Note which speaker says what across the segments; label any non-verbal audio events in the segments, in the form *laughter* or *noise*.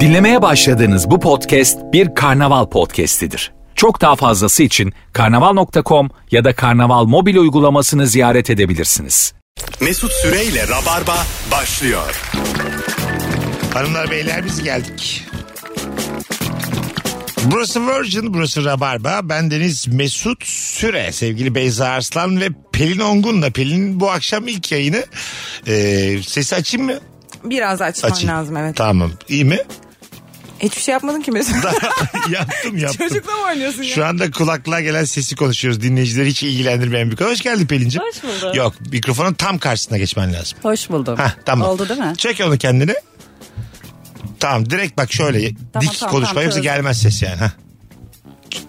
Speaker 1: Dinlemeye başladığınız bu podcast bir karnaval podcastidir. Çok daha fazlası için karnaval.com ya da karnaval mobil uygulamasını ziyaret edebilirsiniz.
Speaker 2: Mesut Süreyle Rabarba başlıyor.
Speaker 3: Hanımlar beyler biz geldik. Burası Virgin, burası Rabarba. Ben Deniz Mesut Süre, sevgili Beyza Arslan ve Pelin Ongun'la. Pelin bu akşam ilk yayını. Ee, sesi açayım mı?
Speaker 4: Biraz açman
Speaker 3: Açayım.
Speaker 4: lazım evet.
Speaker 3: Tamam. İyi mi?
Speaker 4: Hiçbir şey yapmadın ki Mesut.
Speaker 3: *laughs* yaptım yaptım.
Speaker 4: Çocukla mı oynuyorsun ya?
Speaker 3: Şu anda kulaklığa gelen sesi konuşuyoruz. Dinleyicileri hiç ilgilendirmeyen bir konu. Hoş geldin Pelin'ciğim.
Speaker 5: Hoş bulduk.
Speaker 3: Yok mikrofonun tam karşısına geçmen lazım.
Speaker 5: Hoş buldum.
Speaker 3: Hah tamam.
Speaker 5: Oldu değil mi?
Speaker 3: Çek onu kendine. Tamam direkt bak şöyle
Speaker 5: Tamam,
Speaker 3: dik
Speaker 5: tamam,
Speaker 3: konuşma yoksa
Speaker 5: tamam, çözdüm.
Speaker 3: gelmez ses yani. Hah.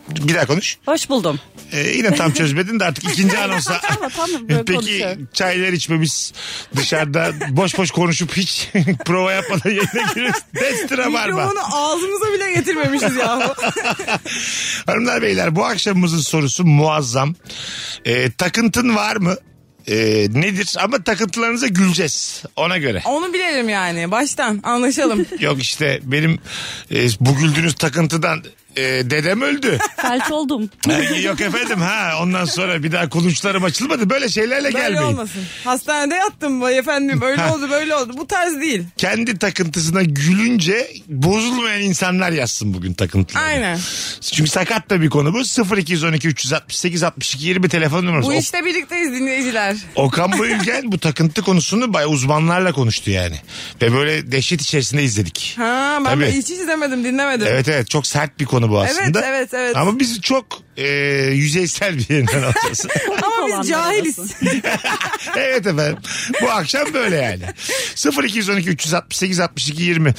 Speaker 3: Bir daha konuş.
Speaker 5: Hoş buldum.
Speaker 3: Ee, yine
Speaker 5: *laughs*
Speaker 3: tam çözmedin de artık ikinci anonsa.
Speaker 5: Tamam, tamam, böyle
Speaker 3: Peki
Speaker 5: konuşuyorum.
Speaker 3: çaylar içmemiz dışarıda boş boş konuşup hiç *laughs* prova yapmadan yayına giriyoruz. Destire var mı?
Speaker 4: Mikrofonu ağzımıza bile getirmemişiz ya.
Speaker 3: Hanımlar beyler bu akşamımızın sorusu muazzam. Ee, takıntın var mı? Ee, nedir? Ama takıntılarınıza güleceğiz ona göre.
Speaker 4: Onu bilelim yani. Baştan
Speaker 3: *laughs*
Speaker 4: anlaşalım.
Speaker 3: Yok işte benim e, bu güldüğünüz takıntıdan e, dedem
Speaker 4: *laughs*
Speaker 3: öldü.
Speaker 5: Felç oldum.
Speaker 3: Ha, Yok efendim ha ondan sonra bir daha kulunçlarım açılmadı. Böyle şeylerle
Speaker 4: Böyle
Speaker 3: gelmeyin.
Speaker 4: olmasın. Hastanede yattım vay efendim. Öyle
Speaker 3: Ha.
Speaker 4: oldu böyle oldu. Bu tarz değil.
Speaker 3: Kendi takıntısına gülünce bozulmayan insanlar yazsın bugün takıntılarını.
Speaker 4: Aynen.
Speaker 3: Çünkü sakat da bir konu bu. 0212 368 62 20 telefon numarası.
Speaker 4: Bu
Speaker 3: O-
Speaker 4: işte birlikteyiz dinleyiciler.
Speaker 3: Okan Bayülgen bu takıntı konusunu bayağı uzmanlarla konuştu yani. Ve böyle dehşet içerisinde izledik.
Speaker 4: Ha ben
Speaker 3: Tabii.
Speaker 4: hiç izlemedim dinlemedim.
Speaker 3: *laughs* Evet evet çok sert bir konu bu aslında.
Speaker 4: evet, evet.
Speaker 3: Ama biz çok e, yüzeysel bir yerinden
Speaker 4: *laughs*
Speaker 3: alacağız.
Speaker 4: Ama
Speaker 5: Olanlar
Speaker 4: biz cahiliz.
Speaker 5: arasın.
Speaker 3: evet efendim. Bu akşam böyle yani. 0212 368 62 20.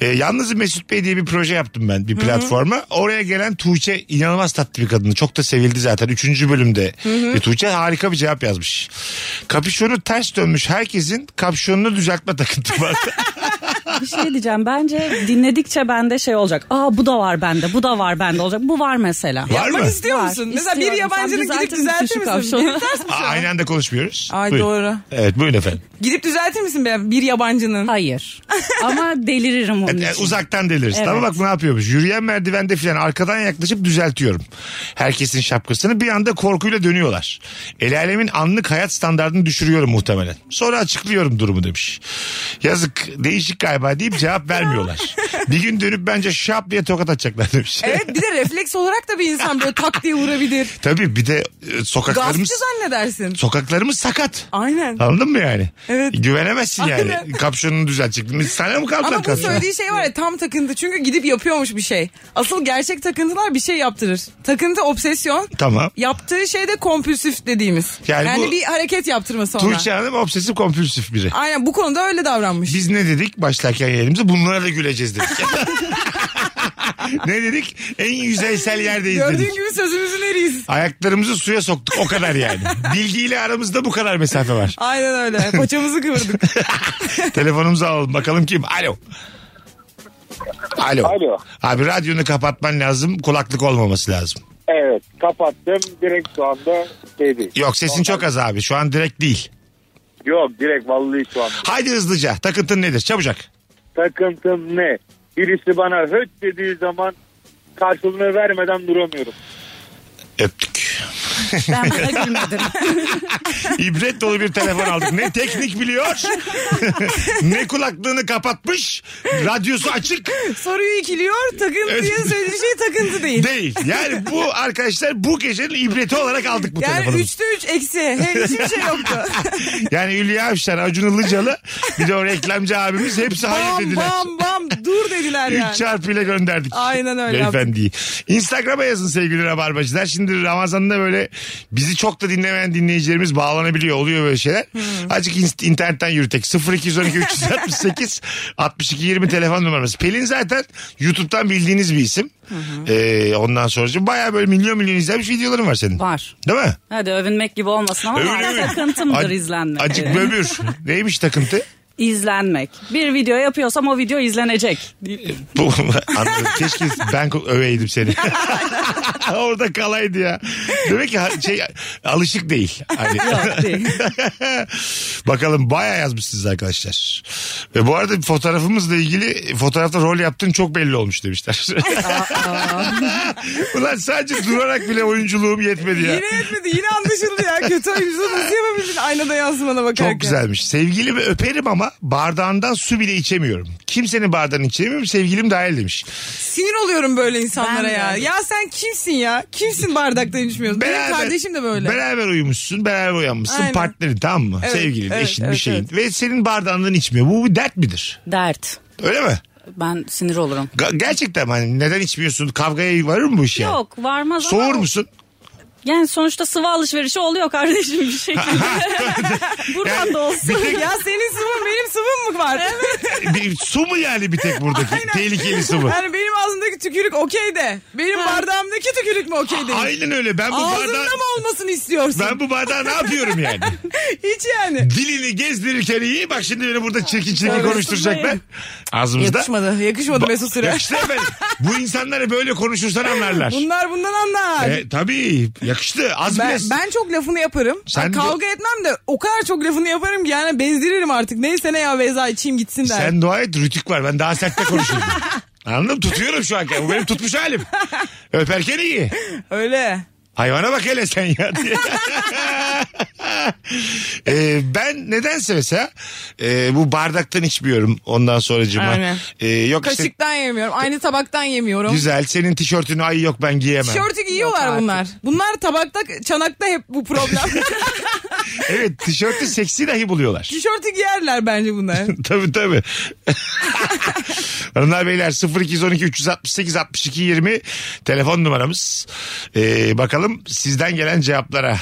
Speaker 3: E, yalnız Mesut Bey diye bir proje yaptım ben bir platforma. Oraya gelen Tuğçe inanılmaz tatlı bir kadını. Çok da sevildi zaten. Üçüncü bölümde. Ve Tuğçe harika bir cevap yazmış. Kapüşonu ters dönmüş herkesin kapşonunu düzeltme takıntı
Speaker 4: *laughs*
Speaker 3: var.
Speaker 5: Bir şey diyeceğim. Bence dinledikçe bende şey olacak. Aa bu da var bende, bu da var bende olacak. Bu var mesela.
Speaker 3: var mı?
Speaker 4: Bak istiyor
Speaker 5: Var.
Speaker 4: musun? Mesela bir
Speaker 5: İstiyorum.
Speaker 4: yabancının
Speaker 5: Sen
Speaker 4: gidip
Speaker 5: düzeltir misin şu
Speaker 4: düzeltir misin?
Speaker 5: kavşağı?
Speaker 4: Beni ters mi
Speaker 3: Aa,
Speaker 4: şu an?
Speaker 3: aynı anda konuşmuyoruz.
Speaker 4: Ay,
Speaker 3: Buyurun.
Speaker 4: doğru.
Speaker 3: Evet buyurun efendim.
Speaker 4: Gidip düzeltir misin be bir yabancının?
Speaker 5: Hayır. Ama deliririm onun
Speaker 3: E,
Speaker 5: için.
Speaker 3: uzaktan deliriz.
Speaker 5: Evet.
Speaker 3: Tamam bak ne yapıyormuş. Yürüyen merdivende filan arkadan yaklaşıp düzeltiyorum. Herkesin şapkasını bir anda korkuyla dönüyorlar. El alemin anlık hayat standartını düşürüyorum muhtemelen. Sonra açıklıyorum durumu demiş. Yazık değişik galiba deyip
Speaker 4: *laughs*
Speaker 3: cevap vermiyorlar. bir gün dönüp bence şap diye tokat atacaklar demiş.
Speaker 4: Evet bir de refleks olarak da bir insan böyle tak diye vurabilir.
Speaker 3: *laughs* Tabii bir de e, sokaklarımız
Speaker 4: Gaspçı zannedersin.
Speaker 3: sokaklarımız sakat.
Speaker 4: Aynen.
Speaker 3: Anladın mı yani?
Speaker 4: Evet.
Speaker 3: Güvenemezsin yani.
Speaker 4: Aynen.
Speaker 3: Kapşonunu düzeltecek. Sana mı kaldı lan
Speaker 4: Ama bu
Speaker 3: kapşon?
Speaker 4: söylediği şey var ya tam takıntı. Çünkü gidip yapıyormuş bir şey. Asıl gerçek takıntılar bir şey yaptırır. Takıntı obsesyon.
Speaker 3: Tamam.
Speaker 4: Yaptığı şey de kompulsif dediğimiz.
Speaker 3: Yani
Speaker 4: Yani,
Speaker 3: bu-
Speaker 4: bir hareket yaptırması ona.
Speaker 3: Tuğçe Hanım obsesif kompulsif biri.
Speaker 4: Aynen bu konuda öyle davranmış.
Speaker 3: Biz ne dedik başlarken yayınımıza? Bunlara da güleceğiz
Speaker 4: *laughs*
Speaker 3: dedik. ne dedik? En yüzeysel yerdeyiz
Speaker 4: Gördüğün
Speaker 3: dedik.
Speaker 4: gibi sözümüzün eriyiz.
Speaker 3: Ayaklarımızı suya soktuk o kadar yani. Bilgiyle aramızda bu kadar mesafe
Speaker 4: *laughs*
Speaker 3: var.
Speaker 4: Aynen
Speaker 3: *laughs*
Speaker 4: öyle. Paçamızı kıvırdık.
Speaker 3: Telefonumuzu alalım bakalım kim? Alo. Alo.
Speaker 6: Alo.
Speaker 3: Abi radyonu kapatman lazım. Kulaklık olmaması lazım.
Speaker 6: Evet kapattım direkt şu anda dedi.
Speaker 3: Yok sesin çok az abi. Şu an direkt değil.
Speaker 6: Yok direkt vallahi şu an.
Speaker 3: Haydi hızlıca. Takıntın nedir? Çabucak.
Speaker 6: Takıntım ne? Birisi bana höt dediği zaman karşılığını vermeden duramıyorum.
Speaker 3: Öptük.
Speaker 5: Ben buna gülmedim.
Speaker 3: *laughs* İbret dolu bir telefon aldık. Ne teknik biliyor. *laughs* ne kulaklığını kapatmış. Radyosu açık.
Speaker 4: Soruyu ikiliyor. Takıntı diye söylediği şey takıntı değil.
Speaker 3: Değil. Yani bu arkadaşlar bu gecenin ibreti olarak aldık bu
Speaker 4: yani
Speaker 3: telefonu.
Speaker 4: üçte üç eksi. He, hiçbir şey yoktu.
Speaker 3: Yani Hülya Avşar, Acun Ilıcalı bir de o reklamcı abimiz hepsi *laughs* hayır
Speaker 4: bam
Speaker 3: dediler.
Speaker 4: bam bam dur dediler
Speaker 3: 3
Speaker 4: yani.
Speaker 3: çarpıyla gönderdik.
Speaker 4: Aynen öyle
Speaker 3: Beyefendiyi. Instagram'a yazın sevgili Rabarbacılar. Şimdi Ramazan'da böyle bizi çok da dinlemeyen dinleyicilerimiz bağlanabiliyor. Oluyor böyle şeyler.
Speaker 5: Hmm.
Speaker 3: Azıcık in- internetten yürütek. 0212
Speaker 5: *laughs*
Speaker 3: 368 62 20 telefon numaramız. Pelin zaten YouTube'dan bildiğiniz bir isim. Ee, ondan sonra baya böyle milyon milyon izlenmiş videoların var senin.
Speaker 5: Var.
Speaker 3: Değil mi?
Speaker 5: Hadi övünmek gibi olmasın ama
Speaker 3: Öyle mi?
Speaker 5: takıntımdır
Speaker 3: Ac-
Speaker 5: izlenmek.
Speaker 3: Acık
Speaker 5: *laughs* Evet.
Speaker 3: böbür. Neymiş takıntı?
Speaker 5: izlenmek. Bir video yapıyorsam o video izlenecek.
Speaker 3: Bu, anladım. Keşke ben ko- öveydim seni. *laughs* Orada kalaydı ya. Demek ki ha- şey alışık değil. Hani.
Speaker 5: değil.
Speaker 3: *laughs* Bakalım bayağı yazmışsınız arkadaşlar. Ve bu arada fotoğrafımızla ilgili fotoğrafta rol yaptığın çok belli olmuş demişler. *laughs* Ulan sadece durarak bile oyunculuğum yetmedi ya.
Speaker 4: Yine etmedi yine anlaşıldı ya. Kötü oyuncu nasıl yapabildin aynada yansımana bakarken.
Speaker 3: Çok güzelmiş. Sevgilimi öperim ama bardağından su bile içemiyorum. Kimsenin bardağını içemiyorum sevgilim dahil demiş.
Speaker 4: Sinir oluyorum böyle insanlara
Speaker 5: Ben de.
Speaker 4: ya. Ya sen kimsin ya? Kimsin bardakta içmiyorsun? Benim kardeşim de böyle.
Speaker 3: Beraber uyumuşsun, beraber uyanmışsın.
Speaker 4: Aynen.
Speaker 3: Partnerin tamam mı?
Speaker 4: Evet,
Speaker 3: Sevgilin,
Speaker 4: evet,
Speaker 3: eşin bir
Speaker 4: evet,
Speaker 3: şeyin.
Speaker 4: evet.
Speaker 3: Ve senin bardağından içmiyor. Bu bir dert midir?
Speaker 5: Dert.
Speaker 3: Öyle mi?
Speaker 5: Ben sinir olurum.
Speaker 3: Ga- gerçekten mi? hani neden içmiyorsun? Kavgaya varır mı bu iş yani?
Speaker 5: Yok varmaz ama.
Speaker 3: Soğur musun?
Speaker 5: Yani sonuçta sıvı alışverişi oluyor
Speaker 3: *laughs*
Speaker 5: kardeşim bir şekilde. Buradan da
Speaker 4: *laughs*
Speaker 5: olsun.
Speaker 4: ya senin sıvın benim sıvım mı var?
Speaker 3: bir, su mu yani bir tek
Speaker 4: *laughs*
Speaker 3: buradaki? Tehlikeli su mu?
Speaker 4: Yani benim ağzımdaki tükürük okey de. Benim bardağımdaki tükürük mü okey değil?
Speaker 3: Aynen öyle. Ben bu
Speaker 4: Ağzımda
Speaker 3: bardağı...
Speaker 4: şey. mı olmasını istiyorsun?
Speaker 3: Ben bu bardağı ne yapıyorum yani?
Speaker 4: *laughs* Hiç yani.
Speaker 3: Dilini gezdirirken iyi. Bak şimdi beni burada çirkin çirkin konuşturacaklar. Ağzımızda.
Speaker 4: Yakışmadı. Yakışmadı Mesut Süre.
Speaker 3: Yakıştı efendim. Bu insanları böyle konuşursan anlarlar.
Speaker 4: Bunlar bundan anlar.
Speaker 3: E, tabii yakıştı. Az
Speaker 4: Ben,
Speaker 3: bile-
Speaker 4: ben çok lafını yaparım.
Speaker 3: Sen
Speaker 4: Ay,
Speaker 3: de-
Speaker 4: kavga etmem de o kadar çok lafını yaparım ki yani bezdiririm artık. Neyse ne ya Beyza içeyim gitsin der.
Speaker 3: Sen dua et rütük var. Ben daha sertte konuşurum.
Speaker 4: *laughs*
Speaker 3: Anladın mı? Tutuyorum şu an. Bu benim tutmuş halim. Öperken iyi.
Speaker 4: Öyle.
Speaker 3: Hayvana bak hele sen ya diye. *laughs* Ee, ben nedense mesela e, bu bardaktan içmiyorum ondan sonracıma.
Speaker 4: Aynen.
Speaker 3: Ee, yok işte
Speaker 4: Kaşıktan yemiyorum. Aynı tabaktan yemiyorum.
Speaker 3: güzel senin tişörtünü ay yok ben giyemem.
Speaker 4: Tişörtü giyiyorlar bunlar. Bunlar tabakta, çanakta hep
Speaker 3: *laughs*
Speaker 4: bu problem.
Speaker 3: Evet tişörtü seksi dahi buluyorlar.
Speaker 4: Tişörtü giyerler bence bunlar.
Speaker 3: tabii
Speaker 4: *laughs*
Speaker 3: tabii. Hanımlar beyler 0212 368 62 20 telefon numaramız. Ee, bakalım sizden gelen cevaplara.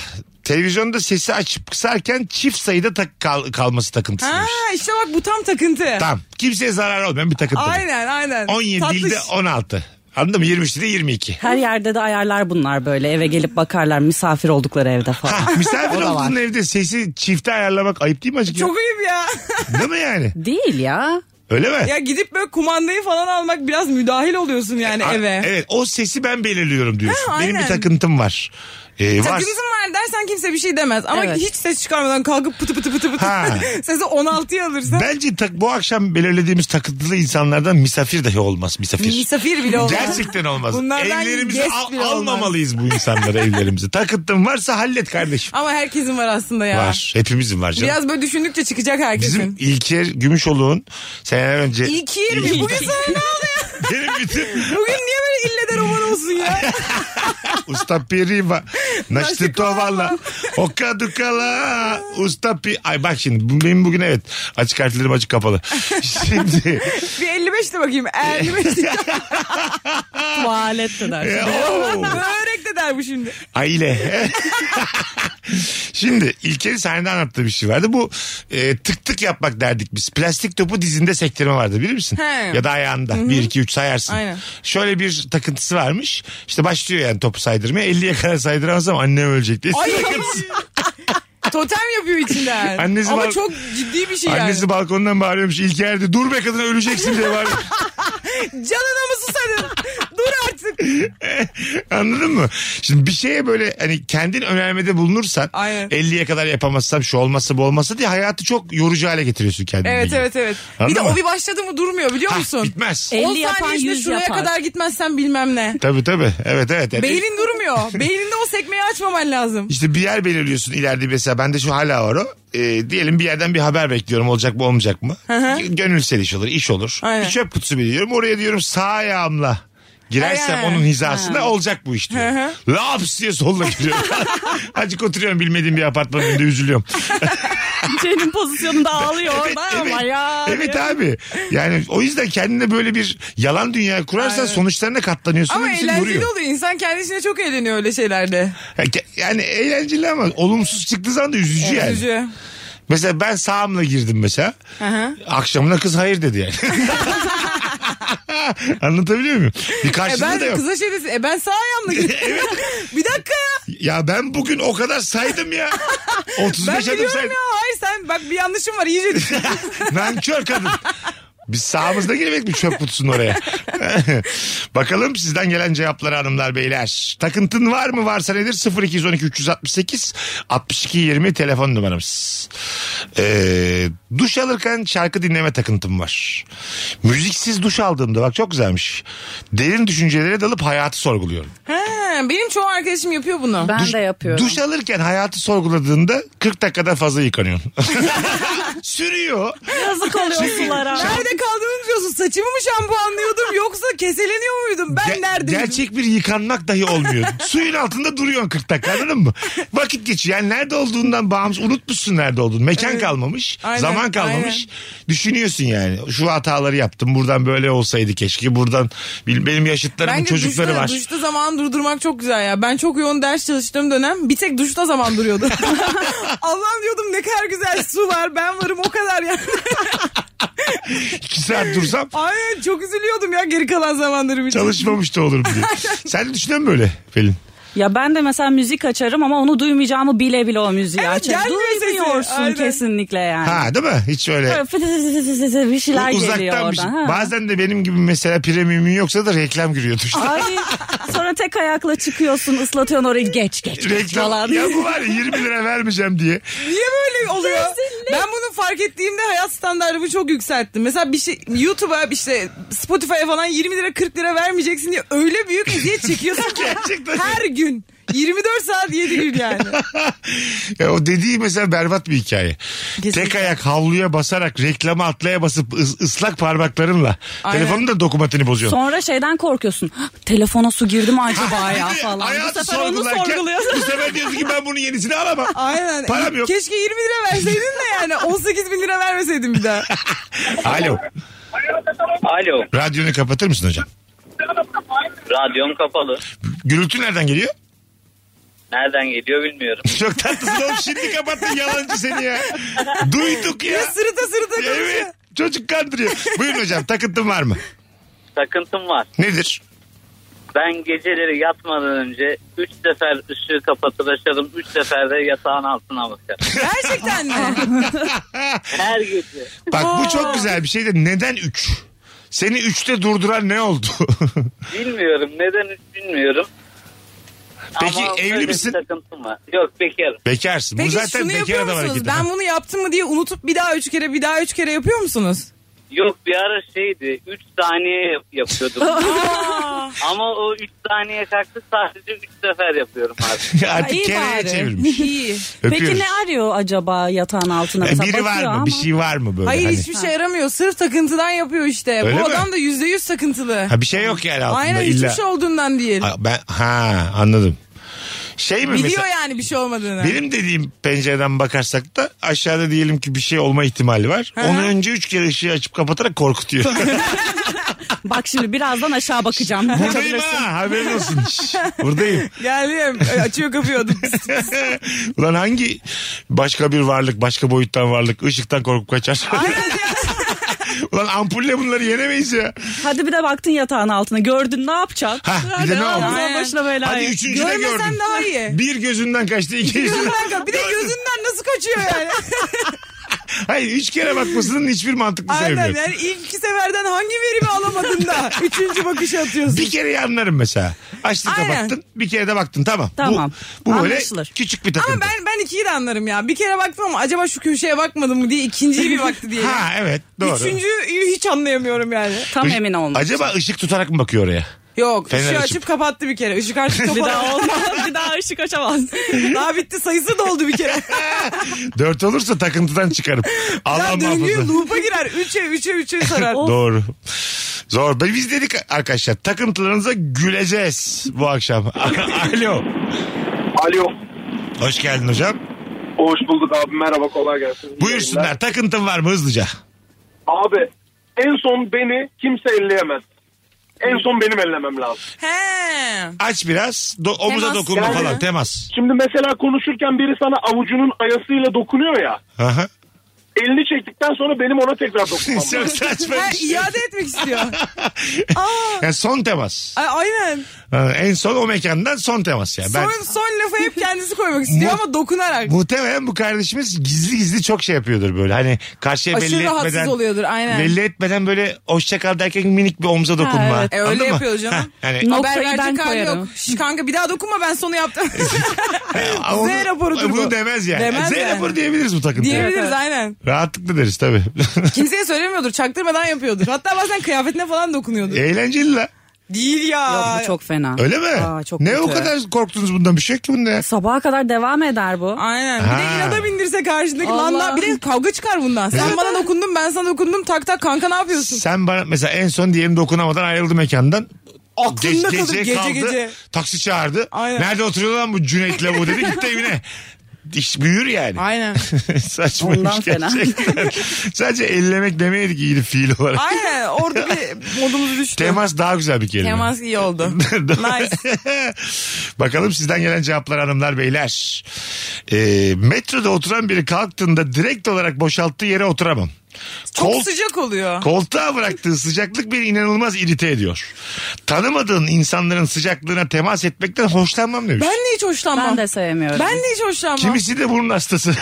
Speaker 3: Televizyonda sesi açıp kısarken çift sayıda tak kal- kalması takıntısıymış.
Speaker 4: ha işte bak bu tam takıntı.
Speaker 3: Tamam. Kimseye zarar olmayan bir takıntı. bu.
Speaker 4: Aynen aynen.
Speaker 3: 17
Speaker 4: Tatlış.
Speaker 3: dilde 16. Anladın mı? 23 dilde
Speaker 4: *laughs*
Speaker 3: 22.
Speaker 5: Her yerde de ayarlar bunlar böyle eve gelip bakarlar misafir oldukları evde falan.
Speaker 3: Ha, misafir
Speaker 5: O da
Speaker 3: olduğun
Speaker 5: var.
Speaker 3: evde sesi çifte ayarlamak ayıp değil mi acık? ya?
Speaker 4: Çok ayıp ya. *laughs*
Speaker 3: Değil mi yani?
Speaker 5: Değil ya.
Speaker 3: Öyle mi?
Speaker 4: ya gidip böyle kumandayı falan almak biraz müdahil oluyorsun yani
Speaker 3: E, A-
Speaker 4: eve.
Speaker 3: Evet o sesi ben belirliyorum diyorsun.
Speaker 4: Ha,
Speaker 3: Benim bir
Speaker 4: aynen.
Speaker 3: takıntım var. Ee, var.
Speaker 4: Takıntın var dersen kimse bir şey demez. Ama
Speaker 5: Evet.
Speaker 4: hiç ses çıkarmadan kalkıp pıtı pıtı pıtı pıtı.
Speaker 3: Ha.
Speaker 4: *laughs* Sesi 16'ya alırsan.
Speaker 3: Bence tak, bu akşam belirlediğimiz takıntılı insanlardan misafir dahi olmaz. Misafir.
Speaker 4: Misafir bile olmaz.
Speaker 3: Gerçekten olmaz.
Speaker 4: Bunlardan
Speaker 3: evlerimizi
Speaker 4: guest
Speaker 3: al-
Speaker 4: bile olmaz.
Speaker 3: almamalıyız bu insanları evlerimizi. Takıntın varsa hallet kardeşim.
Speaker 4: Ama herkesin var aslında ya.
Speaker 3: Var. Hepimizin var canım.
Speaker 4: Biraz böyle düşündükçe çıkacak herkesin.
Speaker 3: Bizim İlker Gümüşoğlu'nun seneler önce...
Speaker 4: İlker mi? Bugün sana ne oldu ya?
Speaker 3: *laughs* Benim bütün
Speaker 4: Bugün niye böyle ille de roman olsun ya?
Speaker 3: usta piri var. Naştı
Speaker 4: Naştikova.
Speaker 3: tovala. Oka dukala. Usta pi... Ay bak şimdi bu- benim bugün evet açık harflerim açık
Speaker 4: *laughs*
Speaker 3: kapalı. Şimdi
Speaker 4: bir 55 de bakayım. 55
Speaker 3: *laughs*
Speaker 4: de.
Speaker 5: Tuvalet de
Speaker 3: e,
Speaker 5: dersin.
Speaker 3: oo,
Speaker 4: Börek de der bu şimdi.
Speaker 3: aile. *laughs* Şimdi İlker'in sahnede anlattığı bir şey vardı. Bu e, tık tık yapmak derdik biz. Plastik topu dizinde sektirme vardı bilir misin?
Speaker 4: He.
Speaker 3: Ya da ayağında. 1 2 3 sayarsın.
Speaker 4: Aynen.
Speaker 3: Şöyle bir takıntısı varmış. İşte başlıyor yani topu saydırmaya. 50'ye kadar saydıramazsam annem ölecek diye. *laughs*
Speaker 4: Ay.
Speaker 3: Takıntısı.
Speaker 4: Totem yapıyor içinden.
Speaker 3: Annesi
Speaker 4: Ama
Speaker 3: bal-
Speaker 4: çok ciddi bir şey
Speaker 3: Annesi
Speaker 4: yani.
Speaker 3: balkondan bağırıyormuş. İlker de dur be kadın öleceksin diye bağırıyor. *laughs*
Speaker 4: Canına mı susadın? Dur
Speaker 3: *laughs*
Speaker 4: artık.
Speaker 3: Anladın mı? Şimdi bir şeye böyle hani kendin önermede bulunursan
Speaker 4: Aynen.
Speaker 3: 50'ye kadar yapamazsam şu olmazsa bu olmazsa diye hayatı çok yorucu hale getiriyorsun kendini.
Speaker 4: Evet evet evet.
Speaker 3: Anladın
Speaker 4: bir de
Speaker 3: mı?
Speaker 4: o bir başladı mı durmuyor biliyor
Speaker 3: Ha,
Speaker 4: musun?
Speaker 3: bitmez.
Speaker 5: E-
Speaker 4: 10
Speaker 5: 50 yapan
Speaker 4: saniye içinde
Speaker 5: 100
Speaker 4: şuraya
Speaker 5: yapar.
Speaker 4: kadar gitmezsen bilmem ne.
Speaker 3: Tabii tabii. Evet evet. Yani
Speaker 4: Beynin durmuyor.
Speaker 3: *laughs*
Speaker 4: Beyninde o sekmeyi açmaman lazım.
Speaker 3: İşte bir yer belirliyorsun ileride mesela bende şu hala var o. Ee, diyelim bir yerden bir haber bekliyorum olacak mı olmayacak mı? Gönül seriş olur iş olur.
Speaker 4: Aynen.
Speaker 3: Bir çöp kutusu biliyorum oraya diyorum sağ ayağımla girersem
Speaker 4: Aynen.
Speaker 3: onun hizasına olacak bu iş diyor. Laps diye soluna
Speaker 4: *laughs*
Speaker 3: giriyorum. Acık oturuyorum bilmediğim bir apartmanın önünde üzülüyorum.
Speaker 5: Senin pozisyonunda ağlıyor
Speaker 3: Evet,
Speaker 5: orada ama
Speaker 3: evet.
Speaker 5: ya.
Speaker 3: Evet abi. Yani o yüzden kendine böyle bir yalan dünya kurarsan sonuçlarına katlanıyorsun.
Speaker 4: Ama
Speaker 3: ve hepsini
Speaker 4: eğlenceli
Speaker 3: vuruyor.
Speaker 4: oluyor. İnsan kendisine çok eğleniyor öyle şeylerde.
Speaker 3: Ya ke- Yani eğlenceli ama olumsuz çıktığı zaman da üzücü yani.
Speaker 4: Üzücü.
Speaker 3: Mesela ben sağımla girdim mesela. Akşamına kız hayır dedi yani.
Speaker 4: *laughs*
Speaker 3: Anlatabiliyor muyum? Bir
Speaker 4: E
Speaker 3: karşılığı da
Speaker 4: ben şey
Speaker 3: yok. *laughs*
Speaker 4: e kıza şey desin. E ben sağ ayağımla gittim. *laughs* bir dakika ya.
Speaker 3: Ya ben bugün o kadar saydım ya. 35
Speaker 4: *laughs* Ben
Speaker 3: adım
Speaker 4: biliyorum
Speaker 3: saydım.
Speaker 4: ya. Hayır sen bak bir yanlışım var
Speaker 3: *laughs*
Speaker 4: iyice düşün.
Speaker 3: Nankör kadın. Biz sağımızda girmek mi çöp kutusunun oraya? *laughs* Bakalım sizden gelen cevapları hanımlar beyler. Takıntın var mı varsa nedir? 0212 368 62 20 telefon numaramız. Ee, duş alırken şarkı dinleme takıntım var. Müziksiz duş aldığımda bak çok güzelmiş. Derin düşüncelere dalıp hayatı sorguluyorum.
Speaker 4: Ha, benim çoğu arkadaşım yapıyor bunu.
Speaker 7: Ben de yapıyorum.
Speaker 3: Duş alırken hayatı sorguladığında 40 dakikada fazla yıkanıyorsun. *laughs* Sürüyor.
Speaker 5: Yazık
Speaker 3: Şey-
Speaker 5: oluyor sulara.
Speaker 4: Nerede kaldığımı biliyorsun. Saçımı mı şampuanlıyordum yoksa keseleniyor muydum? Ben
Speaker 3: Ge-
Speaker 4: neredeydim?
Speaker 3: Gerçek bir yıkanmak dahi olmuyor. Suyun altında duruyorsun 40 dakika anladın mı? Vakit geçiyor. Yani nerede olduğundan bağımsız unutmuşsun nerede olduğunu. Mekan kalmamış.
Speaker 4: Aynen,
Speaker 3: zaman kalmamış. Düşünüyorsun yani. Şu hataları yaptım. Buradan böyle olsaydı keşke. Buradan bil- benim yaşıtlarımın
Speaker 4: Bence
Speaker 3: çocukları
Speaker 4: duşta,
Speaker 3: var. *laughs*
Speaker 4: duşta zaman durdurmak çok güzel ya. Ben çok yoğun ders çalıştığım dönem bir tek duşta
Speaker 3: *laughs*
Speaker 4: zaman duruyordu. Allah'ım diyordum ne kadar güzel su var ben varım o kadar ya.
Speaker 3: 2 saat dursam
Speaker 4: Aynen çok üzülüyordum ya geri kalan zamanlarım için.
Speaker 3: çalışmamış da olurum diye. Sen de düşünüyor musun böyle Pelin?
Speaker 5: Ya ben de mesela müzik açarım ama onu duymayacağımı bile bile o müziği
Speaker 4: Evet,
Speaker 5: açarım.
Speaker 4: gelmiyor sesi.
Speaker 5: Duymuyorsun
Speaker 4: Aynen.
Speaker 5: kesinlikle yani.
Speaker 3: Ha değil mi? Hiç öyle
Speaker 5: Böyle fıtı fıtı fıtı fıtı bir şeyler geliyor
Speaker 3: uzaktan bir şey.
Speaker 5: oradan. ha.
Speaker 3: Bazen de benim gibi mesela premium'un yoksa da reklam giriyor duşta.
Speaker 5: Ay, sonra tek ayakla çıkıyorsun ıslatıyorsun orayı geç geç, geç
Speaker 3: *laughs*
Speaker 5: falan.
Speaker 3: reklam. Ya bu var ya 20 lira vermeyeceğim diye.
Speaker 4: Niye böyle oluyor? Ben bunu fark ettiğimde hayat standartımı çok yükselttim. Mesela bir şey YouTube'a işte Spotify'a falan 20 lira 40 lira vermeyeceksin diye öyle büyük
Speaker 3: *laughs*
Speaker 4: eziyet çekiyorsun ki.
Speaker 3: Gerçekten.
Speaker 4: Her gün. 24 saat 7 gün yani.
Speaker 3: Ya o dediği mesela berbat bir hikaye.
Speaker 4: Kesinlikle.
Speaker 3: Tek ayak havluya basarak reklama atlaya basıp ıs- ıslak parmaklarınla telefonun da dokumatini bozuyorsun.
Speaker 5: Sonra şeyden korkuyorsun. "Hah, Telefona su girdi mi acaba ya
Speaker 3: Bir de
Speaker 5: falan. Bu
Speaker 3: hayatı
Speaker 5: sefer onu
Speaker 3: sorgularken
Speaker 5: sorguluyorsun.
Speaker 3: Bu sefer diyorsun ki ben bunun yenisini
Speaker 5: *laughs*
Speaker 3: alamam.
Speaker 4: Aynen.
Speaker 3: Param yok.
Speaker 4: Keşke 20 lira verseydin de yani 18 bin lira vermeseydin bir daha.
Speaker 3: *laughs* Alo.
Speaker 8: Alo,
Speaker 3: Radyonu kapatır mısın hocam?
Speaker 8: radyom kapalı.
Speaker 3: Gürültü nereden geliyor? *laughs*
Speaker 8: Nereden geliyor bilmiyorum.
Speaker 3: Çok tatlısın oğlum şimdi kapattın yalancı seni ya. Duyduk ya.
Speaker 4: Ya sırıta sırıta konuşuyor.
Speaker 3: Evet çocuk kandırıyor. Buyurun hocam takıntın var mı?
Speaker 8: Takıntım var.
Speaker 3: Nedir?
Speaker 8: Ben geceleri yatmadan önce 3 sefer ışığı kapatıp açarım. 3 sefer de yatağın altına bakarım.
Speaker 4: Gerçekten mi?
Speaker 8: Her gece.
Speaker 3: Bak bu çok güzel bir şey de neden 3? Seni 3'te durduran ne oldu? *laughs*
Speaker 8: Bilmiyorum. Neden hiç bilmiyorum.
Speaker 3: Peki
Speaker 8: Ama
Speaker 3: evli
Speaker 8: böyle bir
Speaker 3: misin?
Speaker 8: Takıntım var. Yok bekarım.
Speaker 3: Bekarsın.
Speaker 4: Peki
Speaker 3: bu zaten
Speaker 4: şunu
Speaker 3: bekar
Speaker 4: yapıyor
Speaker 3: adam
Speaker 4: musunuz?
Speaker 3: hareketi.
Speaker 4: Ben bunu yaptım mı diye unutup bir daha üç kere bir daha üç kere yapıyor musunuz?
Speaker 8: Yok bir ara şeydi. 3 saniye yap- yapıyordum. Ama o 3 saniye kalktı sadece 3 sefer yapıyorum abi.
Speaker 5: Ay,
Speaker 3: *laughs* Artık
Speaker 5: iyi
Speaker 3: kereye
Speaker 5: bari.
Speaker 4: *laughs*
Speaker 3: çevirmiş.
Speaker 4: İyi.
Speaker 3: *laughs* Öpüyoruz.
Speaker 5: Peki ne arıyor acaba yatağın altına?
Speaker 3: E,
Speaker 5: Mesela
Speaker 3: Biri var mı?
Speaker 5: bakıyor ama-
Speaker 3: Bir şey var mı böyle?
Speaker 4: Hayır
Speaker 3: hani?
Speaker 4: hiçbir şey yaramıyor. Sırf takıntıdan yapıyor işte.
Speaker 3: Öyle
Speaker 4: Bu
Speaker 3: mi?
Speaker 4: adam da yüzde yüz takıntılı.
Speaker 3: Ha bir şey yok yani altında
Speaker 4: Aynen
Speaker 3: illa.
Speaker 4: hiçbir şey olduğundan değil.
Speaker 3: Ha, ben ha anladım. Şey mi
Speaker 4: Biliyor
Speaker 3: mesela?
Speaker 4: yani bir şey olmadığını.
Speaker 3: Benim dediğim pencereden bakarsak da aşağıda diyelim ki bir şey olma ihtimali var. Onu önce üç kere ışığı açıp kapatarak
Speaker 4: *laughs*
Speaker 3: korkutuyor. *laughs*
Speaker 5: Bak şimdi birazdan aşağı bakacağım.
Speaker 3: Buradayım ha haberin olsun. Şş, Buradayım.
Speaker 4: Geldim. e, Açıyor kapıyordum.
Speaker 3: *laughs* Ulan hangi başka bir varlık, başka boyuttan varlık ışıktan korkup kaçar? *laughs* Ulan ampulle bunları yenemeyiz ya.
Speaker 5: Hadi bir de baktın yatağın altına. Gördün ne yapacaksın?
Speaker 3: Hah, bir de ne oldu?
Speaker 5: Aynen. başına bela
Speaker 3: Hadi
Speaker 5: yok.
Speaker 3: üçüncü de gördüm.
Speaker 4: Görmesen daha iyi.
Speaker 3: Bir gözünden kaçtı, iki gözünden.
Speaker 4: Bir de gözünden nasıl kaçıyor
Speaker 3: *laughs*
Speaker 4: yani?
Speaker 3: Hayır, üç kere bakmasının hiçbir mantıklı sebebi
Speaker 4: Aynen
Speaker 3: yok.
Speaker 4: yani ilk iki seferden hangi verimi
Speaker 3: *laughs*
Speaker 4: alamadın da üçüncü bakışı atıyorsun.
Speaker 3: Bir kereyi anlarım mesela. Açtın
Speaker 4: Aynen.
Speaker 3: kapattın, bir kere de baktın tamam.
Speaker 5: Tamam.
Speaker 3: Bu, bu böyle
Speaker 5: Anlaşılır.
Speaker 3: küçük bir takıntı.
Speaker 4: Ama ben ben ikiyi de anlarım ya. Bir kere baktım ama acaba şu köşeye bakmadım mı diye ikinciyi bir baktı diye.
Speaker 3: *laughs* Ha evet doğru.
Speaker 4: Üçüncüyü hiç anlayamıyorum yani.
Speaker 5: Tam
Speaker 3: Iş-
Speaker 5: emin olmadım.
Speaker 3: Acaba ışık tutarak mı bakıyor oraya?
Speaker 4: Yok
Speaker 3: Fener
Speaker 4: ışığı
Speaker 3: açıp.
Speaker 4: açıp kapattı bir kere.
Speaker 3: *laughs*
Speaker 4: Işık açıp
Speaker 5: bir
Speaker 4: kapattı.
Speaker 5: daha olmaz. bir daha ışık açamaz.
Speaker 4: *laughs* Daha bitti sayısı doldu
Speaker 5: *laughs*
Speaker 4: bir kere.
Speaker 3: Dört olursa takıntıdan
Speaker 4: *laughs*
Speaker 3: çıkarım. Allah
Speaker 4: ya
Speaker 3: muhafaza.
Speaker 4: döngü loop'a girer. Üçe üçe üçe sarar.
Speaker 3: Doğru. Zor. Biz dedik arkadaşlar takıntılarınıza güleceğiz bu akşam. *laughs* Alo.
Speaker 6: Alo.
Speaker 3: Hoş geldin hocam.
Speaker 6: Hoş bulduk abi. Merhaba kolay gelsin. İyi yayınlar.
Speaker 3: Buyursunlar. Takıntın var mı hızlıca?
Speaker 6: Abi en son beni kimse elleyemez. En son benim ellemem lazım.
Speaker 4: He.
Speaker 3: Aç biraz. Do- omuza
Speaker 4: Temas
Speaker 3: dokunma
Speaker 6: yani.
Speaker 3: falan. Temas.
Speaker 6: Şimdi mesela konuşurken biri sana avucunun ayasıyla dokunuyor ya.
Speaker 3: Aha. *laughs*
Speaker 7: Elini çektikten sonra benim ona tekrar dokunmam.
Speaker 3: Çok saçma
Speaker 4: Ha,
Speaker 3: bir şey.
Speaker 4: iade etmek istiyor. Aa,
Speaker 3: Yani son temas.
Speaker 4: a- aynen.
Speaker 3: Ha, En son o mekandan son temas yani. Ben,
Speaker 4: Son, son lafı hep kendisi koymak istiyor
Speaker 3: Mu-
Speaker 4: ama dokunarak.
Speaker 3: muhtemelen bu kardeşimiz gizli gizli çok şey yapıyordur böyle. Hani karşıya
Speaker 4: Aşırı
Speaker 3: belli
Speaker 4: rahatsız
Speaker 3: etmeden.
Speaker 4: oluyordur aynen.
Speaker 3: Belli etmeden böyle hoşça kal derken minik bir omza dokunma.
Speaker 5: evet.
Speaker 4: E, öyle
Speaker 3: Anladın mı?
Speaker 4: yapıyor canım.
Speaker 3: Ha, Hani
Speaker 4: Haber
Speaker 5: Noktayı ben
Speaker 4: verecek hali
Speaker 5: koyarım.
Speaker 4: yok. Şş, kanka bir daha dokunma ben
Speaker 3: *laughs*
Speaker 4: sonu yaptım. *laughs*
Speaker 3: Ama
Speaker 4: Z
Speaker 3: bunu-
Speaker 4: raporudur
Speaker 3: Bunu
Speaker 4: bu.
Speaker 3: demez yani.
Speaker 4: Demez
Speaker 3: Z
Speaker 4: yani.
Speaker 3: raporu diyebiliriz bu takıntıya.
Speaker 4: Diyebiliriz aynen.
Speaker 3: Rahatlıkla deriz tabii. *laughs*
Speaker 4: Kimseye söylemiyordur. Çaktırmadan yapıyordur. Hatta bazen kıyafetine falan dokunuyordur.
Speaker 3: Eğlenceli la.
Speaker 4: Değil ya.
Speaker 5: Yok bu çok fena.
Speaker 3: Öyle mi?
Speaker 5: Aa, çok
Speaker 3: ne
Speaker 5: kötü.
Speaker 3: o kadar korktunuz bundan bir şey yok ki bunda ya.
Speaker 5: Sabaha kadar devam eder bu.
Speaker 4: Aynen. Bir
Speaker 3: Ha.
Speaker 4: de inada bindirse karşındaki. Lan
Speaker 5: Allah.
Speaker 4: lan bir de kavga çıkar bundan. Sen
Speaker 3: Evet.
Speaker 4: bana dokundun ben sana dokundum. Tak tak kanka ne yapıyorsun?
Speaker 3: Sen bana mesela en son diyelim dokunamadan ayrıldı mekandan.
Speaker 4: Aklında
Speaker 3: Ge-
Speaker 4: kalır, gece gece.
Speaker 3: Taksi çağırdı.
Speaker 4: Aynen.
Speaker 3: Nerede oturuyor lan bu Cüneyt'le bu dedi gitti
Speaker 4: *laughs*
Speaker 3: evine. İş büyür yani.
Speaker 4: Aynen.
Speaker 3: *laughs* Saçmaymış
Speaker 5: Ondan fena.
Speaker 3: gerçekten. *laughs* Sadece ellemek demeydi ki iyiydi fiil olarak.
Speaker 4: Aynen orada bir modumuz düştü.
Speaker 3: Temas daha güzel bir kelime.
Speaker 4: Temas iyi oldu.
Speaker 3: *laughs*
Speaker 4: nice.
Speaker 3: Bakalım sizden gelen cevaplar hanımlar beyler. Ee, metroda oturan biri kalktığında direkt olarak boşalttığı yere oturamam.
Speaker 4: Çok
Speaker 3: Kol-
Speaker 4: sıcak oluyor.
Speaker 3: Koltuğa bıraktığı sıcaklık beni inanılmaz irite ediyor. Tanımadığın insanların sıcaklığına temas etmekten hoşlanmam demiş.
Speaker 4: ben de hiç hoşlanmam.
Speaker 5: Ben de sevmiyorum.
Speaker 4: Ben de hiç hoşlanmam.
Speaker 3: Kimisi de bunun hastası.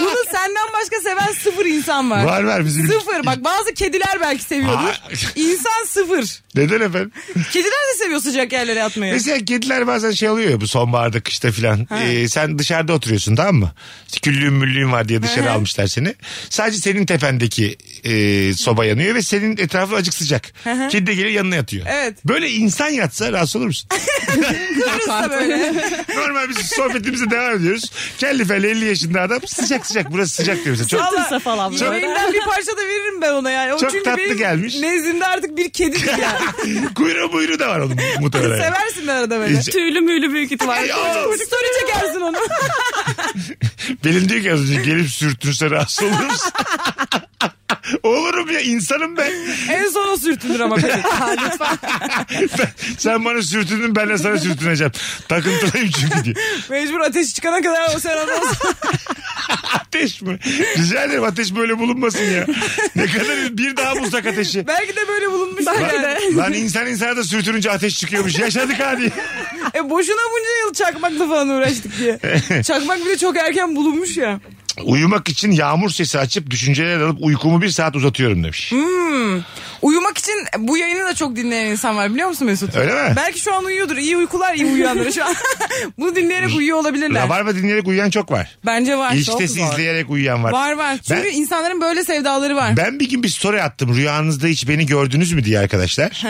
Speaker 4: Bunu senden başka seven sıfır insan
Speaker 3: *laughs*
Speaker 4: var.
Speaker 3: var var bizim.
Speaker 4: Sıfır. Bak bazı kediler belki seviyordur.
Speaker 3: Ha.
Speaker 4: İnsan sıfır.
Speaker 3: Neden efendim?
Speaker 4: Kediler de seviyor sıcak yerlere yatmayı.
Speaker 3: Mesela kediler bazen şey oluyor ya bu sonbaharda kışta filan. Ee, sen dışarıda oturuyorsun tamam mı? İşte Küllüğün müllüğün var diye dışarı almışlar seni. Sadece senin tependeki e, soba yanıyor ve senin etrafın acık sıcak. Kedi de gelir yanına yatıyor.
Speaker 4: Evet.
Speaker 3: Böyle insan yatsa rahatsız olur musun?
Speaker 4: Kıbrıs'ta böyle.
Speaker 3: Normal biz sohbetimize devam ediyoruz. Kelli felli 50 yaşında adam sıcak sıcak burası sıcak diyor mesela. *laughs* Çok
Speaker 5: Tırsa falan
Speaker 4: Çok...
Speaker 5: böyle.
Speaker 4: bir parça da veririm ben ona yani. O
Speaker 3: Çok
Speaker 4: çünkü
Speaker 3: tatlı
Speaker 4: benim
Speaker 3: gelmiş.
Speaker 4: Nezdimde artık bir kedidir yani.
Speaker 3: *laughs* kuyruğu buyruğu da var onun muhtemelen.
Speaker 4: Seversin ben arada böyle.
Speaker 3: Hiç-
Speaker 5: Tüylü müylü büyük ihtimal.
Speaker 3: Ay, oğlum.
Speaker 4: Story
Speaker 3: *laughs*
Speaker 4: çekersin onu.
Speaker 3: Benim diyor ki az önce gelip sürtünse rahatsız olur musun? *laughs* Olurum ya insanım ben.
Speaker 4: en son o sürtünür
Speaker 3: *laughs*
Speaker 4: ama kedi.
Speaker 3: Ben- *laughs* sen bana sürtündün ben de sana sürtüneceğim. Takıntılıyım çünkü diyor.
Speaker 4: Mecbur ateşi çıkana kadar o sen ondan sonra-
Speaker 3: Ateş mi? Rica ederim ateş böyle bulunmasın ya. Ne kadar bir daha bulsak ateşi.
Speaker 4: Belki de böyle bulunmuş.
Speaker 3: Lan,
Speaker 4: yani.
Speaker 3: lan insan insana da sürtününce ateş çıkıyormuş. Yaşadık hadi.
Speaker 4: E boşuna bunca yıl çakmakla falan
Speaker 3: *laughs*
Speaker 4: uğraştık diye. Çakmak bile çok erken bulunmuş ya.
Speaker 3: Uyumak için yağmur sesi açıp düşünceler alıp uykumu bir saat uzatıyorum demiş.
Speaker 4: Uyumak için bu yayını da çok dinleyen insan var biliyor musun Mesut?
Speaker 3: Öyle mi?
Speaker 4: Belki şu an uyuyordur. İyi uykular iyi uyuyanlara şu an. *laughs* Bunu dinleyerek uyuyor olabilirler.
Speaker 3: Rabarba dinleyerek uyuyan çok var.
Speaker 4: Bence var. Çok
Speaker 3: İlişkitesi
Speaker 4: var.
Speaker 3: izleyerek uyuyan var.
Speaker 4: Var var. Çünkü
Speaker 3: Ben-
Speaker 4: insanların böyle sevdaları var.
Speaker 3: Ben bir gün bir story attım rüyanızda hiç beni gördünüz mü diye arkadaşlar.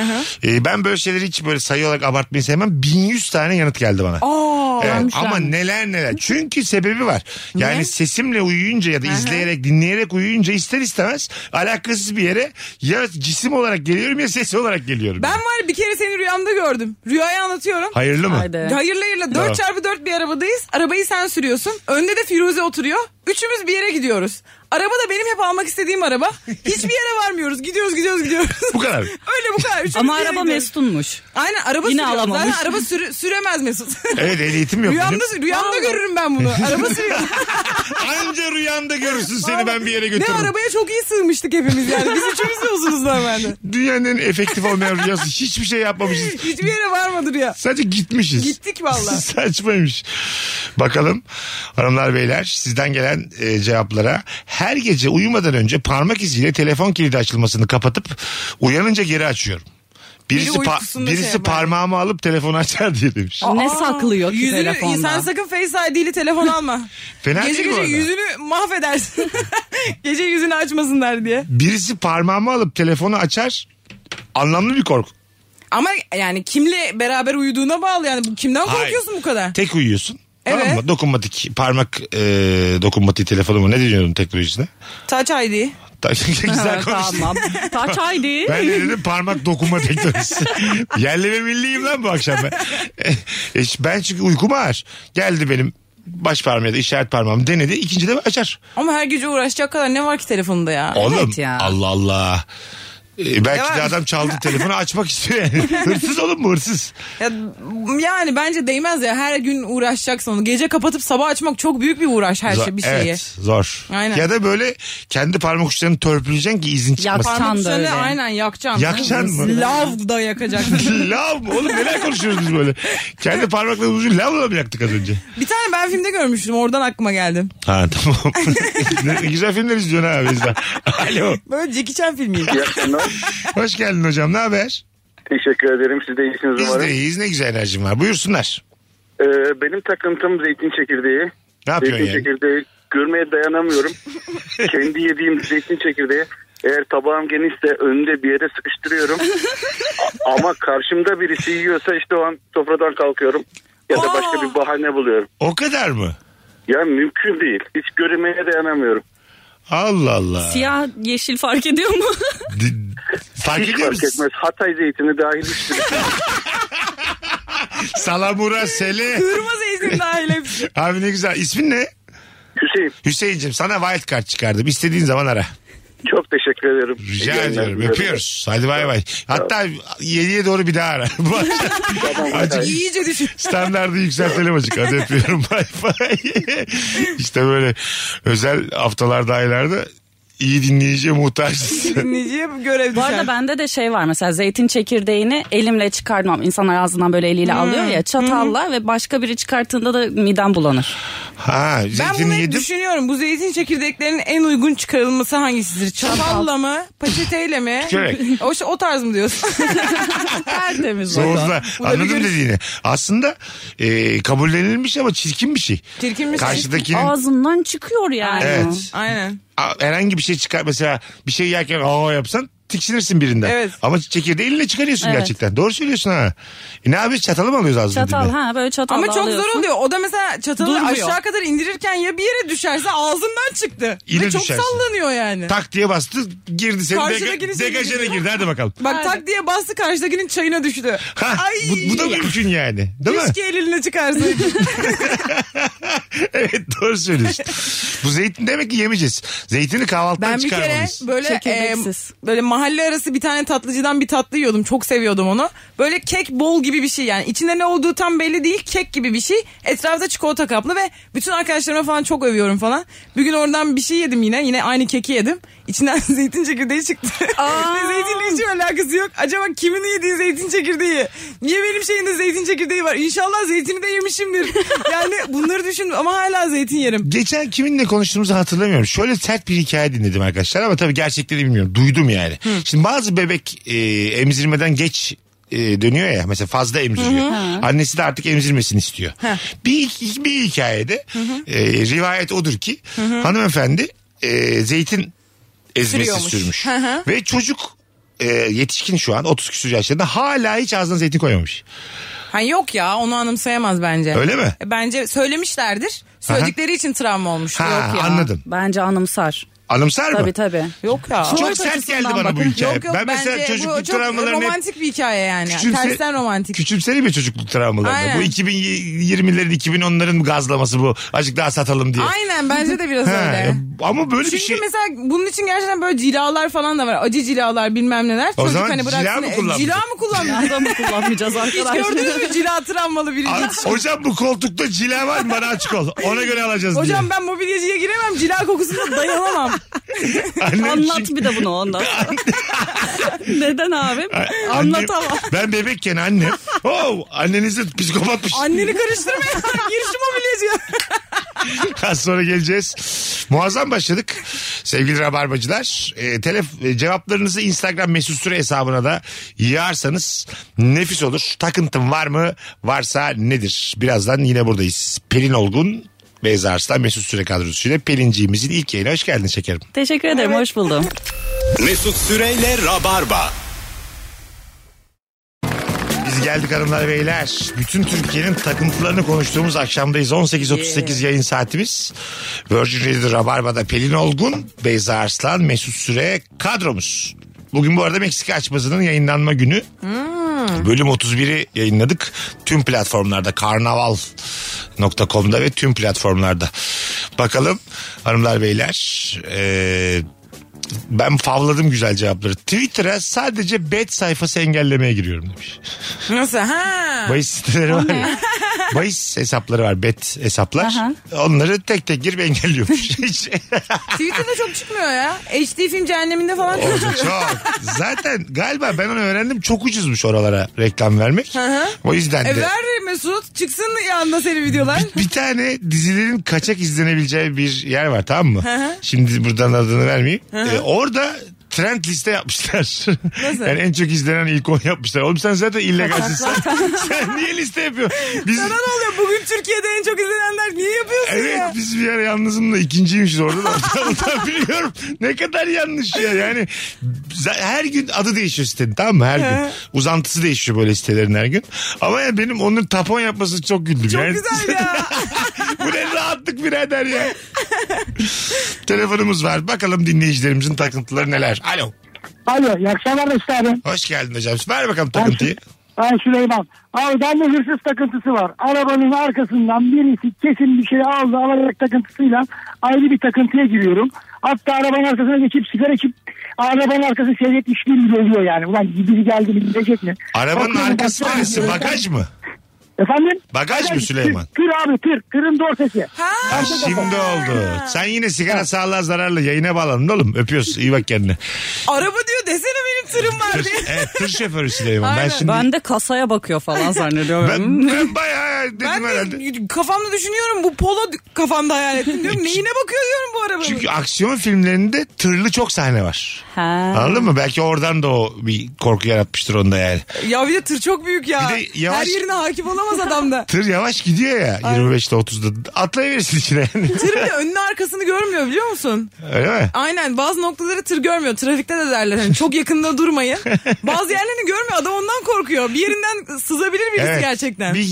Speaker 3: Ee, ben böyle şeyleri hiç böyle sayı olarak abartmayı sevmem. 1100 tane yanıt geldi bana.
Speaker 4: Aa,
Speaker 3: Evet,
Speaker 5: varmış
Speaker 3: ama
Speaker 5: varmış.
Speaker 3: neler neler. Çünkü sebebi var. Yani sesimle uyuyunca ya da izleyerek dinleyerek uyuyunca ister istemez alakasız bir yere ya cisim olarak geliyorum ya ses olarak geliyorum.
Speaker 4: Ben var bir kere seni rüyamda gördüm. Rüyayı anlatıyorum.
Speaker 3: Hayırlı mı?
Speaker 5: Haydi.
Speaker 4: Hayırlı hayırlı 4 çarpı 4 bir arabadayız. Arabayı sen sürüyorsun. Önde de Firuze oturuyor. Üçümüz bir yere gidiyoruz. Araba da benim hep almak istediğim araba. Hiçbir yere varmıyoruz. Gidiyoruz gidiyoruz gidiyoruz.
Speaker 3: Bu kadar.
Speaker 4: *laughs* Öyle bu kadar. Üçümüz
Speaker 5: Ama
Speaker 4: bir yere
Speaker 5: araba
Speaker 4: gidiyoruz.
Speaker 5: Mesut'unmuş.
Speaker 4: Aynen araba
Speaker 5: Yine
Speaker 4: sürüyor.
Speaker 5: alamamış.
Speaker 4: Zaten araba sürü- süremez Mesut.
Speaker 3: *laughs* Evet ehliyetim yok.
Speaker 4: rüyamda,
Speaker 3: benim.
Speaker 4: rüyamda görürüm ben bunu. Araba sürüyor.
Speaker 3: *laughs* Anca rüyanda görürsün seni ben bir yere
Speaker 4: *laughs* ne
Speaker 3: götürürüm.
Speaker 4: arabaya çok iyi sığmıştık hepimiz yani. Biz üçümüz de uzunuz normalde.
Speaker 3: Dünyanın en efektif olmayan rüyası. Hiçbir şey yapmamışız.
Speaker 4: Hiçbir yere varmadı rüya.
Speaker 3: Sadece gitmişiz.
Speaker 4: Gittik
Speaker 3: *laughs*
Speaker 4: vallahi.
Speaker 3: Saçmaymış. Bakalım hanımlar beyler sizden gelen e, cevaplara her gece uyumadan önce parmak iziyle telefon kilidi açılmasını kapatıp uyanınca geri açıyorum. Birisi,
Speaker 4: Biri
Speaker 3: pa-
Speaker 4: uykusunda
Speaker 3: birisi
Speaker 4: şey yapar.
Speaker 3: parmağımı alıp telefonu açar diye demiş.
Speaker 5: Ne saklıyor ki
Speaker 4: yüzünü,
Speaker 5: telefonda?
Speaker 4: Sen sakın Face ID'li
Speaker 3: *laughs*
Speaker 4: telefon alma.
Speaker 3: Fena
Speaker 4: gece
Speaker 3: değil bu
Speaker 4: gece
Speaker 3: arada.
Speaker 4: yüzünü mahvedersin. *laughs* gece yüzünü açmasınlar diye.
Speaker 3: Birisi parmağımı alıp telefonu açar anlamlı bir korku.
Speaker 4: Ama yani kimle beraber uyuduğuna bağlı yani. Bu- Kimden
Speaker 3: Hayır.
Speaker 4: korkuyorsun bu kadar?
Speaker 3: Tek uyuyorsun. Tamam
Speaker 4: Evet.
Speaker 3: mı? Dokunmatik parmak e, dokunmatik telefonu mu ne deniyordu teknolojisine?
Speaker 4: Touch ID.
Speaker 3: *laughs* Güzel
Speaker 4: *laughs*
Speaker 5: Ha,
Speaker 3: konuştun.
Speaker 5: Tamam. *laughs* Taç haydi.
Speaker 3: Ben de dedim parmak dokuma teknolojisi. Yerli ve milliyim lan bu akşam ben. E, ben çünkü uykum ağır. Geldi benim baş parmağım ya da işaret parmağım denedi. İkinci de açar.
Speaker 4: Ama her gece uğraşacak kadar ne var ki telefonda ya?
Speaker 3: Oğlum
Speaker 5: ya.
Speaker 3: Allah Allah. Ee, belki
Speaker 4: var
Speaker 3: de
Speaker 4: mı?
Speaker 3: adam çaldı telefonu açmak istiyor yani.
Speaker 4: *laughs*
Speaker 3: hırsız oğlum bu hırsız.
Speaker 4: Ya, yani bence değmez ya her gün uğraşacaksın onu. Gece kapatıp sabah açmak çok büyük bir uğraş her şey bir
Speaker 3: Zor-
Speaker 4: şeyi.
Speaker 3: Evet zor.
Speaker 4: Aynen.
Speaker 3: Ya da böyle kendi parmak uçlarını törpüleyeceksin ki izin çıkmasın.
Speaker 5: Yaksan
Speaker 4: Parmak
Speaker 5: da
Speaker 4: uçlarını
Speaker 5: öyle.
Speaker 4: aynen yakacaksın.
Speaker 3: Yakacaksın mı?
Speaker 4: Lav
Speaker 3: *laughs*
Speaker 4: da yakacaksın. *laughs*
Speaker 3: lav mı? Oğlum neler konuşuyoruz biz böyle? Kendi parmaklarımızı lavla mı yaktık az önce?
Speaker 4: bir tane ben filmde görmüştüm oradan aklıma geldi.
Speaker 3: Ha *laughs* tamam. ne, güzel filmler izliyorsun ha bizden. Alo.
Speaker 4: Böyle Jackie Chan filmiydi.
Speaker 3: *laughs*
Speaker 7: İyi akşamlar.
Speaker 3: Hoş geldin hocam. Ne haber?
Speaker 7: Teşekkür ederim. Siz de iyisiniz
Speaker 3: Biz
Speaker 7: umarım.
Speaker 3: de iyiyiz. Ne güzel enerjim var. Buyursunlar.
Speaker 7: Ee, benim takıntım zeytin çekirdeği.
Speaker 3: Ne yapıyorsun
Speaker 7: Zeytin
Speaker 3: yani?
Speaker 7: çekirdeği görmeye
Speaker 3: *laughs*
Speaker 7: dayanamıyorum. Kendi yediğim zeytin çekirdeği. Eğer tabağım genişse önünde bir yere
Speaker 3: *laughs*
Speaker 7: sıkıştırıyorum. A- Ama karşımda birisi yiyorsa işte o an sofradan kalkıyorum. Ya da başka
Speaker 4: Aa.
Speaker 7: bir bahane buluyorum.
Speaker 3: O kadar mı?
Speaker 7: Ya mümkün değil. Hiç görmeye dayanamıyorum.
Speaker 3: Allah Allah.
Speaker 5: Siyah yeşil fark ediyor mu?
Speaker 3: D- fark
Speaker 7: Hiç
Speaker 3: ediyor
Speaker 7: fark
Speaker 3: musun?
Speaker 7: etmez. Hatay zeytini dahil hiçbir
Speaker 3: Salamura, Sele.
Speaker 4: Kırmızı izin dahil hepsi.
Speaker 3: Abi ne güzel. İsmin ne?
Speaker 7: Hüseyin
Speaker 3: Hüseyin'cim sana wild card çıkardım. İstediğin zaman ara.
Speaker 7: çok teşekkür ederim.
Speaker 3: Rica
Speaker 7: İyi yayınlar
Speaker 3: ediyorum.
Speaker 7: diliyorum.
Speaker 3: Öpüyoruz. Hadi bay bay. Hatta 7'ye doğru bir daha ara. *laughs* Bu akşam
Speaker 7: Tamam,
Speaker 3: Acık
Speaker 7: Hatay.
Speaker 4: İyice düşün.
Speaker 3: standardı yükseltelim azıcık. Hadi öpüyorum. Bay bay. işte böyle özel haftalarda aylarda iyi dinleyiciye muhtaçsın.
Speaker 4: Dinleyiciye görev
Speaker 5: Bu arada
Speaker 4: düşer.
Speaker 5: bende de şey var mesela zeytin çekirdeğini elimle çıkarmam. İnsanlar ağzından böyle eliyle alıyor ya çatalla ve başka biri çıkarttığında da midem bulanır.
Speaker 3: Ha,
Speaker 4: Ben
Speaker 3: zeytini
Speaker 4: bunu hep
Speaker 3: yedim.
Speaker 4: düşünüyorum. Bu zeytin çekirdeklerinin en uygun çıkarılması hangisidir? Çatalla mı? Peçeteyle mi?
Speaker 3: Tükürerek.
Speaker 4: *laughs* o, o tarz mı *laughs* diyorsun?
Speaker 5: Tertemiz
Speaker 3: Soğuzla.
Speaker 4: da bir
Speaker 3: Anladım
Speaker 4: görüş.
Speaker 3: dediğini. Aslında e, kabullenilmiş ama çirkin bir şey.
Speaker 4: Çirkin bir şey.
Speaker 3: Karşıdakinin
Speaker 5: Ağzından çıkıyor yani.
Speaker 3: Evet.
Speaker 4: Aynen.
Speaker 3: A- herhangi bir şey çıkar mesela bir şey yerken aa yapsan tiksinirsin birinden.
Speaker 4: Evet.
Speaker 3: Ama çekirdeği eline çıkarıyorsun
Speaker 5: Evet.
Speaker 3: gerçekten. Doğru söylüyorsun ha. E ne yapıyoruz çatalı mı alıyoruz ağzına
Speaker 5: Çatal
Speaker 3: dibine?
Speaker 5: ha böyle çatal
Speaker 4: Ama çok zor oluyor. O da mesela çatalı
Speaker 5: Durmuyor.
Speaker 4: aşağı kadar indirirken ya bir yere düşerse ağzından çıktı.
Speaker 3: İle
Speaker 4: Ve çok
Speaker 3: düşersin.
Speaker 4: sallanıyor yani.
Speaker 3: Tak diye bastı girdi senin
Speaker 4: Karşıdakinin
Speaker 3: dega-
Speaker 4: seni
Speaker 3: degajene
Speaker 4: girdi.
Speaker 3: girdi hadi bakalım.
Speaker 4: Bak tak diye bastı karşıdakinin çayına düştü.
Speaker 3: Ha, bu, bu da mümkün yani. Değil mi? *laughs*
Speaker 4: Keşke eline çıkarsın.
Speaker 3: evet doğru söylüyorsun. bu zeytin demek ki yemeyeceğiz. Zeytini kahvaltıdan
Speaker 4: Ben bir kere
Speaker 3: çıkarmalıyız.
Speaker 4: böyle e,
Speaker 5: Çekirdeksiz.
Speaker 4: böyle mahalle arası bir tane tatlıcıdan bir tatlı yiyordum. Çok seviyordum onu. Böyle kek bol gibi bir şey yani. İçinde ne olduğu tam belli değil. Kek gibi bir şey. Etrafta çikolata kaplı ve bütün arkadaşlarıma falan çok övüyorum falan. Bir gün oradan bir şey yedim yine. Yine aynı keki yedim. İçinden *laughs* zeytin çekirdeği çıktı. ve *laughs* zeytinle hiç alakası yok. Acaba kimin yediği zeytin çekirdeği? Niye benim şeyimde zeytin çekirdeği var? İnşallah zeytini de yemişimdir. yani bunları düşün ama hala zeytin yerim.
Speaker 3: Geçen kiminle konuştuğumuzu hatırlamıyorum. Şöyle sert bir hikaye dinledim arkadaşlar ama tabii gerçekleri bilmiyorum. Duydum yani. Şimdi bazı bebek e, emzirmeden geç e, dönüyor ya mesela fazla emziriyor. Annesi de artık emzirmesini istiyor. Bir, bir hikayede e, rivayet odur ki hanımefendi e, zeytin ezmesi
Speaker 4: Sürüyormuş.
Speaker 3: sürmüş.
Speaker 4: Hı hı.
Speaker 3: Ve çocuk e, yetişkin şu an 30 küsur yaşlarında hala hiç ağzına zeytin koymamış.
Speaker 4: Ha yok ya onu anımsayamaz bence.
Speaker 3: Öyle mi?
Speaker 4: E, Bence söylemişlerdir. Söyledikleri için travma olmuştur.
Speaker 3: Ha
Speaker 4: Yok ya.
Speaker 3: anladım.
Speaker 5: Bence anımsar.
Speaker 3: Anımsar mı?
Speaker 5: Tabii tabii.
Speaker 4: Yok ya.
Speaker 3: Çok sert geldi bana bu hikaye.
Speaker 4: Yok yok
Speaker 3: ben mesela
Speaker 4: bence
Speaker 3: çocukluk
Speaker 4: bu çok
Speaker 3: travmalarını hep
Speaker 4: romantik bir hikaye yani. Tersten romantik.
Speaker 3: Küçümseli bir çocukluk travmalarını.
Speaker 4: Aynen.
Speaker 3: Bu 2020'lerin 2010'ların gazlaması bu. Azıcık daha satalım diye.
Speaker 4: Aynen bence de biraz
Speaker 3: Ha,
Speaker 4: öyle.
Speaker 3: ya ama böyle bir
Speaker 4: Çünkü
Speaker 3: şey.
Speaker 4: mesela bunun için gerçekten böyle cilalar falan da var. Acı cilalar bilmem neler.
Speaker 3: O
Speaker 4: Çocuk
Speaker 3: zaman
Speaker 4: hani
Speaker 3: cila
Speaker 4: bıraksın-
Speaker 3: mı
Speaker 4: E,
Speaker 3: kullanmış?
Speaker 4: Cila mı *laughs* kullanmış?
Speaker 5: Adamı kullanmayacağız
Speaker 4: Hiç
Speaker 5: arkadaşlar.
Speaker 4: gördünüz mü cila travmalı birini?
Speaker 3: Abi, hocam bu koltukta cila var mı? bana açık ol. Ona göre alacağız
Speaker 4: *laughs* Hocam
Speaker 3: diye.
Speaker 4: ben mobilyacıya giremem. Cila kokusuna dayanamam.
Speaker 3: Annem
Speaker 5: Anlat
Speaker 3: çünkü-
Speaker 5: bir de bunu ondan.
Speaker 3: *laughs*
Speaker 5: Neden abim? Anlatamam.
Speaker 3: Annem- ben bebekken annem.
Speaker 4: *laughs*
Speaker 3: Oh, anneniz de psikopatmış.
Speaker 4: Anneni karıştırma ya. *laughs* Gir şu mobilyacıya.
Speaker 3: *laughs* Az sonra geleceğiz. Muazzam başladık. Sevgili Rabarbacılar. E, telef- e, cevaplarınızı Instagram mesut süre hesabına da yığarsanız nefis olur. Takıntım var mı? Varsa nedir? Birazdan yine buradayız. Pelin Olgun, Beyza Arslan, Mesut Süre kadrosuyla Pelinciğimizin ilk yayına hoş geldin şekerim.
Speaker 5: Teşekkür ederim hoş buldum.
Speaker 4: *laughs*
Speaker 2: Mesut Süreyle Rabarba.
Speaker 3: Biz geldik hanımlar beyler. Bütün Türkiye'nin takıntılarını konuştuğumuz akşamdayız. 18.38 yayın saatimiz. Virgin Radio Rabarba'da Pelin Olgun, Beyza Arslan, Mesut Süre kadromuz. Bugün bu arada Meksika açmasının yayınlanma günü. Bölüm 31'i yayınladık. Tüm platformlarda karnaval.com'da ve tüm platformlarda. Bakalım hanımlar beyler. eee, e, Ben favladım güzel cevapları. Twitter'a sadece bet sayfası engellemeye giriyorum demiş.
Speaker 4: Nasıl? Ha.
Speaker 3: *laughs* Bahis siteleri
Speaker 4: *laughs*
Speaker 3: var ya. Bahis hesapları var. Bet hesaplar.
Speaker 5: Aha.
Speaker 3: Onları tek tek girip
Speaker 4: *laughs*
Speaker 3: engelliyormuş. Hiç-
Speaker 4: Twitter'da çok çıkmıyor ya. HD film cehenneminde falan çok çıkıyor.
Speaker 3: Çok. Zaten galiba ben onu öğrendim. Çok ucuzmuş oralara reklam vermek.
Speaker 4: hı.
Speaker 3: O yüzden de.
Speaker 4: E ver Mesut çıksın yanında senin videolar.
Speaker 3: Bir tane dizilerin kaçak izlenebileceği bir yer var tamam mı?
Speaker 4: hı.
Speaker 3: Şimdi buradan adını vermeyeyim. Ee, orada trend liste yapmışlar. *laughs* Yani en çok izlenen ilk on yapmışlar. Oğlum sen zaten illegalsin. Sen, sen niye liste yapıyorsun? Biz,
Speaker 4: Sana ne oluyor? Bugün Türkiye'de en çok izlenenler niye yapıyorsun
Speaker 3: evet
Speaker 4: ya?
Speaker 3: biz bir ara yalnızımla ikinciymişiz orada
Speaker 4: *laughs*
Speaker 3: da. Ondan- Ondan biliyorum. Ne kadar yanlış ya. Yani za- her gün adı değişiyor sitenin tamam mı? Her gün. Uzantısı değişiyor böyle sitelerin her gün. Ama yani benim onun tapon yapması çok güldüm.
Speaker 4: Çok
Speaker 3: yani.
Speaker 4: güzel ya.
Speaker 3: *laughs* Bu ne rahatlık birader ya. Telefonumuz var. Bakalım dinleyicilerimizin takıntıları neler. Alo.
Speaker 9: Alo iyi akşamlar Mesut abi.
Speaker 3: Hoş geldin hocam. Ver bakalım takıntıyı.
Speaker 9: Ben Süleyman. Abi bende hırsız takıntısı var. Arabanın arkasından birisi kesin bir şey aldı alarak takıntısıyla ayrı bir takıntıya giriyorum. Hatta arabanın arkasına geçip sigara içip arabanın arkası seyretmişliğim bile oluyor yani. Ulan biri geldi mi gidecek mi?
Speaker 3: Arabanın
Speaker 9: Bakıyorum,
Speaker 3: arkası
Speaker 9: bakıyorum,
Speaker 3: neresi?
Speaker 9: bakıyorum.
Speaker 3: Bagaj mı?
Speaker 9: Efendim?
Speaker 3: Bagaj mı
Speaker 9: Tır-
Speaker 3: Süleyman?
Speaker 9: Tır, abi tır. Tırın dor sesi.
Speaker 3: Ha, şimdi oldu. Sen yine sigara sağlığa zararlı yayına bağlandın oğlum. Öpüyoruz. İyi bak
Speaker 4: *laughs*
Speaker 3: kendine.
Speaker 4: Araba diyor desene benim tırım var
Speaker 3: Tır,
Speaker 4: diye.
Speaker 3: evet, tır şoförü Süleyman. Ben
Speaker 4: Aynen.
Speaker 3: şimdi...
Speaker 5: Ben de kasaya bakıyor falan zannediyorum.
Speaker 3: Ben, ben bayağı dedim
Speaker 4: Ben
Speaker 3: herhalde.
Speaker 4: de kafamda düşünüyorum bu polo d- kafamda hayal ettim diyorum. Neyine bakıyor diyorum bu arabanın.
Speaker 3: Çünkü aksiyon filmlerinde tırlı çok sahne var.
Speaker 5: Ha.
Speaker 3: Anladın mı? Belki oradan da o bir korku yaratmıştır onda yani.
Speaker 4: Ya bir de tır çok büyük ya.
Speaker 3: Bir de yavaş-
Speaker 4: Her yerine hakim olamaz adam da.
Speaker 3: Tır yavaş gidiyor ya 25'te 30'da. Atlayabilirsin içine
Speaker 4: *laughs*
Speaker 3: yani.
Speaker 4: Tır bir de önünü arkasını görmüyor biliyor musun?
Speaker 3: Öyle mi?
Speaker 4: Aynen bazı noktaları tır görmüyor. Trafikte de derler hani çok
Speaker 3: *laughs*
Speaker 4: yakında durmayın. Bazı yerlerini görmüyor adam ondan korkuyor. Bir yerinden sızabilir birisi gerçekten. *laughs*
Speaker 3: Bir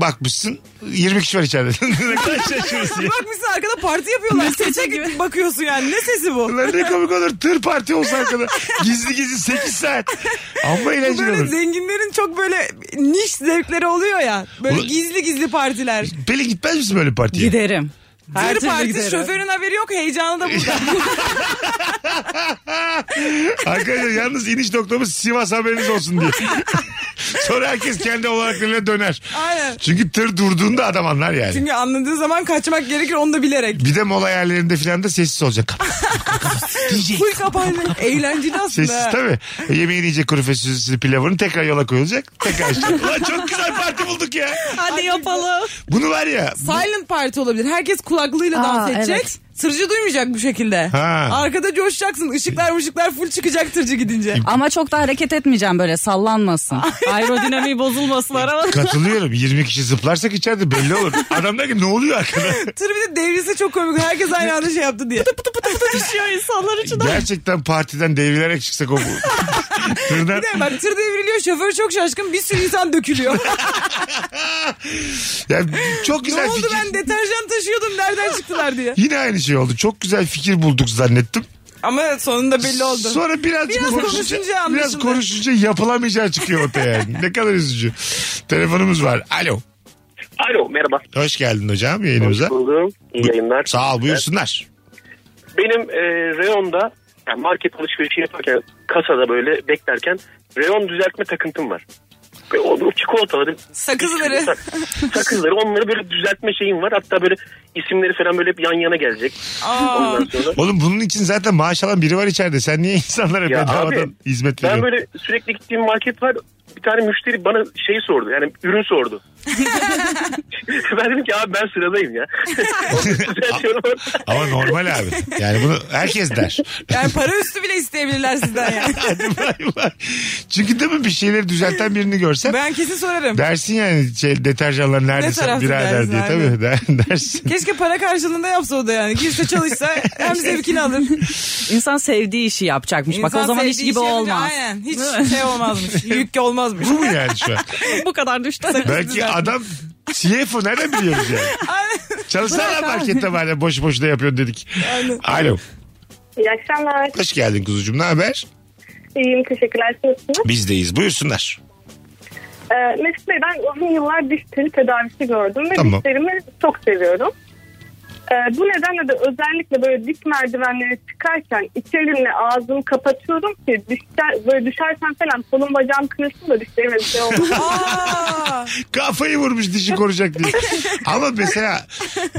Speaker 3: bakmışsın 20 kişi var içeride. *laughs* ne kadar şaşırırsın. ya.
Speaker 4: Bakmışsın arkada parti yapıyorlar. Sese gibi bakıyorsun yani ne sesi bu?
Speaker 3: Ulan ne komik olur. Tır parti olsa arkada. Gizli gizli 8 saat. Ama eğlenceli
Speaker 4: Böyle
Speaker 3: olur.
Speaker 4: zenginlerin çok böyle niş zevkleri oluyor ya. Böyle
Speaker 3: Ulan-
Speaker 4: gizli gizli partiler.
Speaker 3: Pelin gitmez misin böyle bir partiye?
Speaker 5: Giderim. Her
Speaker 4: Tır
Speaker 5: türlü
Speaker 4: partisi
Speaker 5: giderim.
Speaker 4: şoförün haberi yok heyecanı
Speaker 3: *laughs*
Speaker 4: da burada.
Speaker 3: Arkadaşlar yalnız iniş noktamız Sivas haberiniz olsun
Speaker 4: *laughs*
Speaker 3: diye. Sonra herkes kendi olanaklarına döner.
Speaker 4: Aynen.
Speaker 3: Çünkü tır durduğunda adam anlar yani.
Speaker 4: Çünkü anladığı zaman kaçmak gerekir onu da bilerek.
Speaker 3: Bir de mola yerlerinde filan da sessiz olacak.
Speaker 4: *laughs*
Speaker 3: Kapat, kapat, kapat. Diyecek.
Speaker 4: Full
Speaker 3: *laughs*
Speaker 4: kapalı. Eğlenceli aslında.
Speaker 3: Sessiz
Speaker 4: ha.
Speaker 3: tabii. Yemeğini yiyecek kuru fasulyesini pilavını tekrar yola koyulacak. Tekrar
Speaker 4: *laughs*
Speaker 3: işte. Ulan çok güzel parti bulduk ya.
Speaker 5: Hadi yapalım.
Speaker 3: Bunu var ya. bu-
Speaker 4: Silent party olabilir. Herkes kulaklığıyla
Speaker 5: Aa,
Speaker 4: dans edecek.
Speaker 5: evet.
Speaker 4: Tırcı duymayacak bu şekilde.
Speaker 3: Ha.
Speaker 4: Arkada coşacaksın. Işıklar ışıklar full çıkacak tırcı gidince.
Speaker 5: Ama çok da hareket etmeyeceğim böyle sallanmasın.
Speaker 4: *laughs*
Speaker 5: Aerodinamiği bozulmasın araba.
Speaker 3: Katılıyorum. 20 kişi zıplarsak içeride belli olur. Adam der ki ne oluyor arkada?
Speaker 4: Tır bir de devrilse çok komik. Herkes aynı anda şey yaptı diye. Pıtı pıtı pıtı düşüyor insanlar
Speaker 3: Gerçekten partiden devrilerek çıksak o
Speaker 4: *laughs*
Speaker 3: bu. Tırdan-
Speaker 4: Bir de bak tır devriliyor. Şoför çok şaşkın. Bir sürü insan dökülüyor.
Speaker 3: Ya, çok *laughs*
Speaker 4: ne
Speaker 3: güzel
Speaker 4: oldu
Speaker 3: fikir.
Speaker 4: ben deterjan taşıyordum. Nereden çıktılar diye.
Speaker 3: Yine aynı şey oldu. Çok güzel fikir bulduk zannettim.
Speaker 4: Ama sonunda belli oldu.
Speaker 3: Sonra biraz,
Speaker 4: Biraz konuşunca
Speaker 3: konuşunca,
Speaker 4: anlaşıldı.
Speaker 3: biraz konuşunca yapılamayacağı çıkıyor ortaya. yani. ne kadar üzücü. Telefonumuz var. Alo.
Speaker 7: Alo merhaba.
Speaker 3: Hoş geldin hocam yayınımıza.
Speaker 7: buldum. İyi yayınlar.
Speaker 3: Sağ ol buyursunlar.
Speaker 7: Benim e, reyonda yani market alışverişi yaparken kasada böyle beklerken reyon düzeltme takıntım var. Ve o çikolataları
Speaker 4: Sakızları.
Speaker 7: sakızları onları böyle düzeltme şeyim var. Hatta böyle isimleri falan böyle hep yan yana gelecek.
Speaker 4: Aa.
Speaker 7: Ondan sonra.
Speaker 3: Oğlum bunun için zaten maaş alan biri var içeride. Sen niye insanlara
Speaker 7: Ya
Speaker 3: bedavadan
Speaker 7: abi,
Speaker 3: hizmet
Speaker 7: Ben
Speaker 3: veriyorsun?
Speaker 7: böyle sürekli gittiğim market var. Bir tane müşteri bana şeyi sordu. Yani ürün sordu. ben dedim ki abi ben sıradayım ya. Düzeltiyorum.
Speaker 3: Ama normal abi. Yani bunu herkes der.
Speaker 4: Yani para üstü bile isteyebilirler sizden yani.
Speaker 3: Hadi bay bay. Çünkü değil mi bir şeyleri düzelten birini görsen
Speaker 4: Ben kesin sorarım.
Speaker 3: dersin yani şey, deterjanlar nerede sen
Speaker 4: tarafta
Speaker 3: birader
Speaker 4: dersin
Speaker 3: diye
Speaker 4: abi?
Speaker 3: tabii der- dersin.
Speaker 4: Keşke para karşılığında yapsa o da yani. Girse çalışsa hem zevkini alır.
Speaker 5: İnsan sevdiği işi yapacakmış. Bak o
Speaker 4: İnsan
Speaker 5: zaman iş
Speaker 4: sevdiği
Speaker 5: gibi
Speaker 4: işi yapınca
Speaker 5: olmaz.
Speaker 4: Aynen hiç
Speaker 5: Değil mi?
Speaker 3: *laughs*
Speaker 4: şey olmazmış. Yük olmazmış.
Speaker 3: Bu mu
Speaker 4: *laughs*
Speaker 3: yani şu an?
Speaker 5: Bu kadar düştü.
Speaker 3: Belki adam CFO nereden biliyoruz yani? Çalışsana markette bari boş boşuna yapıyorsun dedik. Alo.
Speaker 10: İyi akşamlar.
Speaker 3: Hoş geldin kuzucuğum ne haber?
Speaker 10: İyiyim teşekkürler. Siz nasılsınız?
Speaker 3: Bizdeyiz buyursunlar.
Speaker 10: Ee, Mesut Bey ben uzun yıllar diş teli tedavisi gördüm ve
Speaker 3: Tamam.
Speaker 10: dişlerimi çok seviyorum. Ee, bu nedenle de özellikle böyle dik merdivenleri çıkarken iki elimle ağzımı kapatıyorum ki düşer, böyle düşersen falan kolum bacağım kırılsın da düşeceğime bir şey olmaz.
Speaker 3: Kafayı vurmuş dişi koruyacak diye. Ama mesela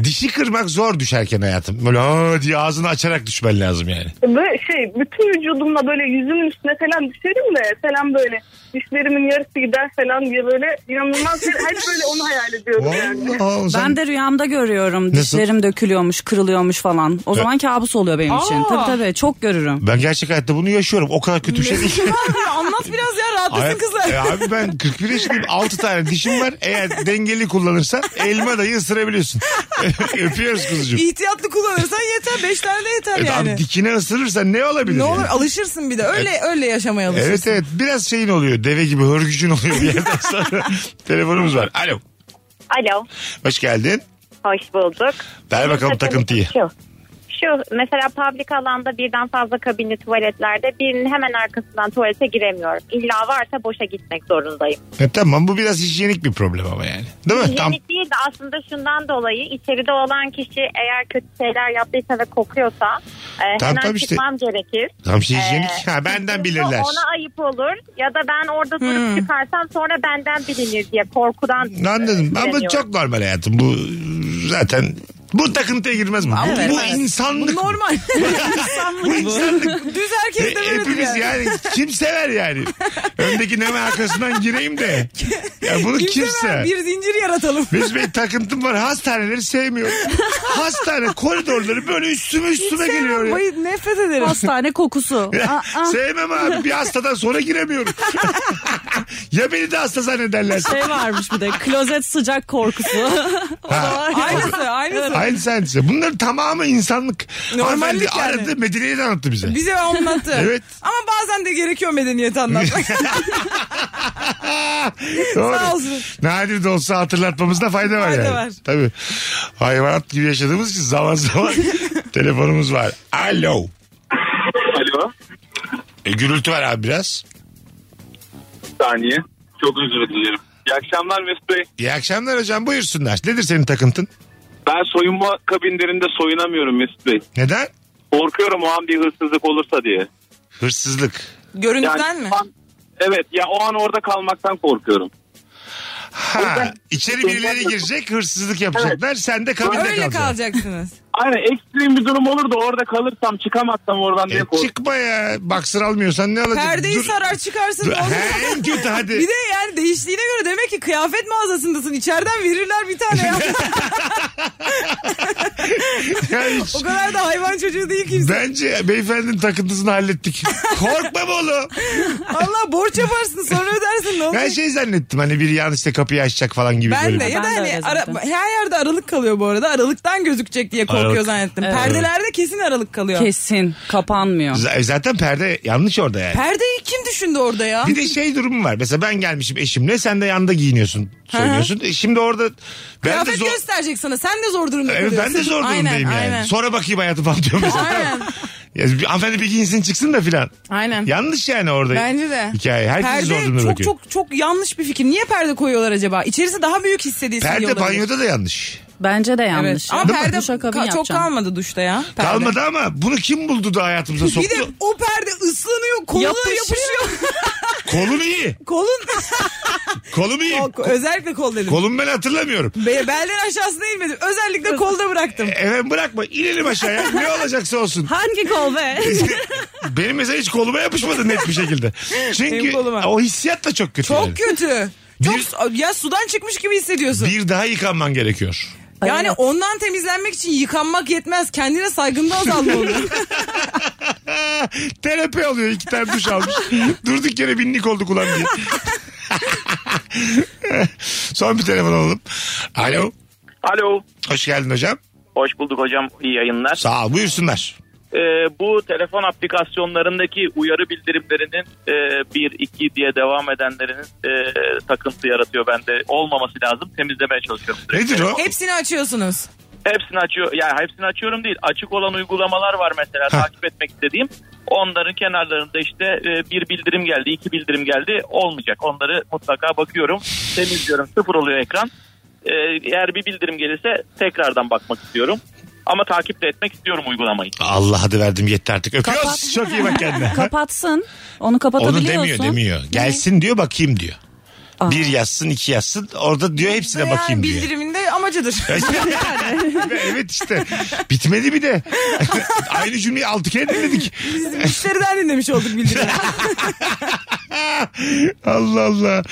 Speaker 3: dişi kırmak zor düşerken hayatım. Böyle "Aa" diye ağzını açarak düşmen lazım yani.
Speaker 10: Böyle şey bütün vücudumla böyle yüzümün üstüne falan düşerim de falan böyle dişlerimin yarısı gider falan diye böyle inanılmaz bir hep böyle onu hayal ediyorum yani.
Speaker 3: Aa, sen-
Speaker 5: Ben de rüyamda görüyorum.
Speaker 3: Nasıl?
Speaker 5: Dişlerim dökülüyormuş, kırılıyormuş falan. O zaman kabus oluyor benim için.
Speaker 4: Aa.
Speaker 5: Tabii tabii çok görürüm.
Speaker 3: Ben gerçek hayatta bunu yaşıyorum. O kadar kötü bir şey
Speaker 4: *laughs*
Speaker 3: değil.
Speaker 4: Anlat biraz ya rahatlasın
Speaker 3: Ay-
Speaker 4: kızlar.
Speaker 3: E abi ben 41 yaşındayım. 6 tane dişim var. Eğer dengeli kullanırsan elma dayı ısırabiliyorsun. *laughs* Öpüyoruz kuzucuğum.
Speaker 4: İhtiyatlı kullanırsan yeter. Beş tane de yeter
Speaker 3: Evet,
Speaker 4: yani.
Speaker 3: Abi dikine ısırırsan ne olabilir?
Speaker 4: ne
Speaker 3: yani?
Speaker 4: olur alışırsın bir de. Öyle öyle yaşamaya alışırsın.
Speaker 3: Evet evet biraz şeyin oluyor deve gibi hörgücün oluyor bir yerden
Speaker 4: *laughs*
Speaker 3: sonra. Telefonumuz var. Alo
Speaker 11: Alo,
Speaker 3: hoş geldin.
Speaker 11: hoş bulduk.
Speaker 3: Ver bakalım takıntıyı.
Speaker 11: Şu, şu mesela public alanda birden fazla kabinli tuvaletlerde birinin hemen arkasından tuvalete giremiyorum. İlla varsa boşa gitmek zorundayım.
Speaker 3: E, tamam bu biraz hijyenik bir problem ama yani. Değil mi? Tam,
Speaker 11: Hijyenik değil de aslında şundan dolayı içeride olan kişi eğer kötü şeyler yaptıysa ve kokuyorsa e, hemen
Speaker 3: tabii işte.
Speaker 11: çıkmam gerekir.
Speaker 3: tam şey hijyenik.
Speaker 11: Ee,
Speaker 3: ha, benden
Speaker 11: çünkü
Speaker 3: bilirler. Hmm.
Speaker 11: Ona ayıp olur ya da ben orada durup çıkarsam sonra benden bilinir diye korkudan
Speaker 3: Anladım.
Speaker 11: e,
Speaker 3: Ama
Speaker 11: giremiyorum.
Speaker 3: çok normal hayatım. Bu zaten bu takıntıya girmez mi?
Speaker 4: Evet,
Speaker 3: bu
Speaker 4: evet.
Speaker 3: insanlık. *laughs*
Speaker 4: Normal.
Speaker 3: Bu insanlık.
Speaker 4: Düz herkes de
Speaker 3: E,
Speaker 4: böyledir
Speaker 3: hepimiz
Speaker 4: yani.
Speaker 3: yani. kim sever yani? Öndeki neme arkasından gireyim de. Ya bunu kim,
Speaker 4: Kimse
Speaker 3: sever?
Speaker 4: var, bir zincir yaratalım.
Speaker 3: Biz bir takıntım var. Hastaneleri sevmiyorum. Hastane koridorları böyle üstüme üstüme geliyor. ya.
Speaker 4: Bayı nefret ederim.
Speaker 3: *laughs*
Speaker 5: Hastane kokusu. Aa, aa.
Speaker 3: Sevmem abi. Bir hastadan sonra giremiyorum. *laughs* ya beni de hasta zannederler.
Speaker 5: şey varmış bir de klozet
Speaker 3: *laughs*
Speaker 5: sıcak korkusu.
Speaker 3: Ha.
Speaker 4: aynısı aynısı.
Speaker 3: Aynı sensin. Bunların tamamı insanlık.
Speaker 4: Normallik
Speaker 3: Normallik
Speaker 4: yani.
Speaker 3: Aradı Medine'yi de anlattı bize.
Speaker 4: Bize anlattı.
Speaker 3: Evet.
Speaker 4: Ama bazen de gerekiyor medeniyeti
Speaker 3: *laughs*
Speaker 4: anlatmak.
Speaker 3: Ah, Doğru.
Speaker 4: *laughs* Sağ olsun.
Speaker 3: Nadir de olsa hatırlatmamızda fayda var
Speaker 4: Fayda
Speaker 3: yani.
Speaker 4: var.
Speaker 3: Tabii. Hayvanat gibi yaşadığımız için zaman
Speaker 4: *laughs*
Speaker 3: zaman telefonumuz var. Alo.
Speaker 6: Alo.
Speaker 3: E, gürültü var abi biraz.
Speaker 6: Saniye. Çok özür dilerim. İyi akşamlar Mesut Bey.
Speaker 3: İyi akşamlar hocam buyursunlar. Nedir senin takıntın?
Speaker 6: Ben soyunma kabinlerinde soyunamıyorum Mesut Bey.
Speaker 3: Neden?
Speaker 6: Korkuyorum o an bir hırsızlık olursa diye.
Speaker 3: Hırsızlık.
Speaker 4: Görüntüden mi?
Speaker 6: o an- evet ya o an orada kalmaktan korkuyorum.
Speaker 3: Ha, içeri birileri girecek hırsızlık yapacaklar. Sen de kabinde
Speaker 4: Öyle
Speaker 3: kalacaksın.
Speaker 4: kalacaksınız.
Speaker 6: Aynen ekstrem bir durum olur da orada kalırsam çıkamazsam oradan diye
Speaker 3: E,
Speaker 6: korkuyorum.
Speaker 3: çıkma ya. Baksır almıyorsan ne alacaksın?
Speaker 4: Perdeyi
Speaker 3: Dur-
Speaker 4: sarar çıkarsın.
Speaker 3: Dur-
Speaker 4: ne olur.
Speaker 3: He, en kötü hadi.
Speaker 4: Bir de yani değiştiğine göre demek ki kıyafet mağazasındasın. İçeriden verirler bir tane
Speaker 3: *laughs*
Speaker 4: ya.
Speaker 3: Ya hiç-
Speaker 4: o kadar da hayvan çocuğu değil
Speaker 5: *laughs*
Speaker 4: kimse.
Speaker 3: Bence beyefendinin takıntısını
Speaker 4: *laughs*
Speaker 3: hallettik. Korkma be oğlum.
Speaker 4: Allah borç yaparsın sonra ödersin ne
Speaker 3: Ben
Speaker 4: olacak?
Speaker 3: şey zannettim hani biri yanlışlıkla kapıyı açacak falan gibi.
Speaker 4: Ben
Speaker 3: böyle
Speaker 4: de
Speaker 3: bir-
Speaker 4: ya da
Speaker 5: Ben de
Speaker 4: hani
Speaker 5: öyle
Speaker 4: ara-
Speaker 5: zaten.
Speaker 4: her yerde aralık kalıyor bu arada. Aralıktan gözükecek diye korkuyor
Speaker 3: Aralık.
Speaker 4: zannettim. Perdelerde kesin aralık kalıyor.
Speaker 5: Kesin kapanmıyor.
Speaker 3: Z- e, Zaten perde yanlış orada yani.
Speaker 4: Perdeyi kim düşündü orada ya?
Speaker 3: Bir de şey durumu var. Mesela ben gelmişim eşimle sen de yanda giyiniyorsun. Söylüyorsun. E şimdi orada ben de
Speaker 4: Kıyafet
Speaker 3: zor...
Speaker 4: gösterecek sana. Sen de zor durumda
Speaker 3: Evet, ben de
Speaker 4: kalıyorsun.
Speaker 3: zor durumdayım
Speaker 4: Aynen,
Speaker 3: yani.
Speaker 4: Aynen.
Speaker 3: Sonra bakayım hayatı falan diyorum mesela.
Speaker 4: Aynen.
Speaker 3: *laughs* Ya, bir- hanımefendi bir giyinsin çıksın da filan.
Speaker 4: Aynen.
Speaker 3: Yanlış yani orada.
Speaker 4: Bence de.
Speaker 3: Hikaye. Herkes zor
Speaker 4: Perde
Speaker 3: durumda
Speaker 4: çok
Speaker 3: bakıyor.
Speaker 4: çok çok yanlış bir fikir. Niye perde koyuyorlar acaba? İçerisi daha büyük hissedilsin diye
Speaker 3: Perde
Speaker 4: olabilir.
Speaker 3: banyoda da yanlış.
Speaker 5: Bence de yanlış.
Speaker 4: Evet.
Speaker 5: ya.
Speaker 4: Ama perde
Speaker 5: Duşakabin
Speaker 4: ka- çok
Speaker 5: yapacağım.
Speaker 4: kalmadı duşta ya. Perde.
Speaker 3: Kalmadı ama bunu kim buldu da hayatımıza
Speaker 4: Bir
Speaker 3: soktu?
Speaker 4: de o perde ıslanıyor. Koluna
Speaker 5: Yapışıyor.
Speaker 4: yapışıyor.
Speaker 3: Kolum iyi.
Speaker 4: Kolun.
Speaker 3: Kolum iyi.
Speaker 4: O- Özellikle kol dedim.
Speaker 3: Kolum ben hatırlamıyorum.
Speaker 4: Be- belden aşağısına inmedim. Özellikle kolda bıraktım.
Speaker 3: Efendim bırakma inelim aşağıya
Speaker 4: *laughs*
Speaker 3: ne olacaksa olsun.
Speaker 5: Hangi kol be?
Speaker 3: *laughs* Benim mesela hiç koluma yapışmadı net bir şekilde. Çünkü
Speaker 4: Benim koluma.
Speaker 3: o hissiyat da çok kötü. yani.
Speaker 4: Çok kötü. Çok,
Speaker 3: Bir-
Speaker 4: su- ya sudan çıkmış gibi hissediyorsun.
Speaker 3: Bir daha yıkanman gerekiyor.
Speaker 4: yani
Speaker 5: Evet.
Speaker 4: ondan temizlenmek için yıkanmak yetmez. Kendine
Speaker 3: *laughs*
Speaker 4: saygında azalmalı.
Speaker 3: Terapi alıyor iki tane duş almış. Durduk yere binlik olduk ulan diye. *laughs* Son bir telefon alalım. Alo.
Speaker 12: Alo.
Speaker 3: Hoş geldin hocam.
Speaker 12: Hoş bulduk hocam. İyi yayınlar.
Speaker 3: Sağ ol. Buyursunlar.
Speaker 12: Ee, bu telefon aplikasyonlarındaki uyarı bildirimlerinin e, 1, 2 diye devam edenlerinin e, takıntı yaratıyor bende. Olmaması lazım. Temizlemeye çalışıyorum. sürekli.
Speaker 3: Nedir o?
Speaker 4: Hepsini açıyorsunuz.
Speaker 12: Hepsini açıyor. Yani hepsini açıyorum değil. Açık olan uygulamalar var mesela
Speaker 3: Heh.
Speaker 12: takip etmek istediğim. Onların kenarlarında işte e, bir bildirim geldi, iki bildirim geldi. Olmayacak. Onları mutlaka bakıyorum. E, Temizliyorum. Sıfır oluyor ekran. Ee, eğer bir bildirim gelirse tekrardan bakmak istiyorum. Ama takip de etmek istiyorum uygulamayı.
Speaker 3: Allah hadi verdim yetti artık. Öpüyoruz. Çok iyi bak kendine.
Speaker 5: Kapatsın. Onu
Speaker 3: Onu
Speaker 5: kapatabiliyorsun.
Speaker 3: demiyor demiyor. Gelsin diyor bakayım diyor. Bir yazsın iki yazsın orada diyor hepsine bakayım diyor.
Speaker 4: Bildiriminde amacıdır.
Speaker 3: *laughs*
Speaker 4: *laughs*
Speaker 3: evet işte. Bitmedi bir de. *laughs* Aynı cümleyi altı kere dinledik. *laughs*
Speaker 4: Biz müşteriden dinlemiş olduk bildirimi.
Speaker 3: Allah Allah.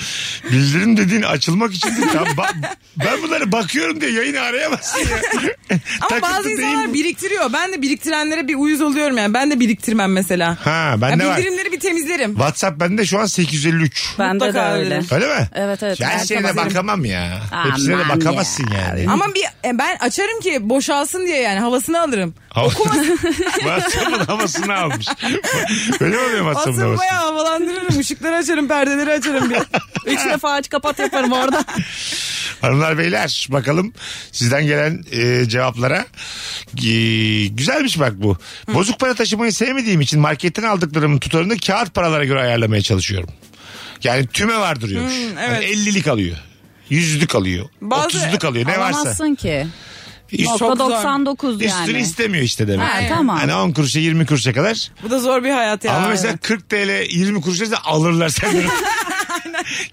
Speaker 3: Bildirim dediğin açılmak için değil. Ya ba- ben bunları bakıyorum diye yayını arayamazsın ya.
Speaker 4: *laughs* Ama bazı insanlar biriktiriyor. Ben de biriktirenlere bir uyuz oluyorum yani. Ben de biriktirmem mesela.
Speaker 3: Ha ben
Speaker 4: Ya
Speaker 3: de var.
Speaker 4: bildirimleri bir temizlerim.
Speaker 3: WhatsApp bende şu an 853.
Speaker 4: Bende de Mutlaka öyle. öyle.
Speaker 3: Öyle mi?
Speaker 4: Evet, evet.
Speaker 3: Her
Speaker 4: Ben
Speaker 3: şeyine de
Speaker 4: kapatıyorum.
Speaker 3: bakamam ya.
Speaker 4: Aman
Speaker 3: Hepsine de bakamazsın yani.
Speaker 4: Ama bir e, ben açarım ki boşalsın diye yani havasını alırım. Okumasın.
Speaker 3: *laughs* WhatsApp'ın havasını almış. Öyle mi oluyor WhatsApp'ın
Speaker 4: Aslında
Speaker 3: havası?
Speaker 4: bayağı havalandırırım. Işıkları açarım, perdeleri açarım bir. Üç defa aç kapat yaparım orada.
Speaker 3: Hanımlar beyler bakalım sizden gelen e, cevaplara. E, güzelmiş bak bu. Bozuk para taşımayı sevmediğim için marketten aldıklarımın tutarını kağıt paralara göre ayarlamaya çalışıyorum. Yani tüme var duruyormuş.
Speaker 5: Hmm,
Speaker 3: Yani 50'lik alıyor. Yüzlük alıyor. otuzluk alıyor ne varsa.
Speaker 5: Alamazsın ki.
Speaker 3: Üst-
Speaker 5: Nokta 99 yani.
Speaker 3: Üstünü istemiyor işte demek.
Speaker 5: Ha,
Speaker 3: ki.
Speaker 5: tamam.
Speaker 3: Hani 10 kuruşa 20 kuruşa kadar.
Speaker 4: Bu da zor bir hayat ya.
Speaker 3: Ama mesela 40 TL 20 kuruşa da alırlar
Speaker 4: *laughs*
Speaker 3: senden.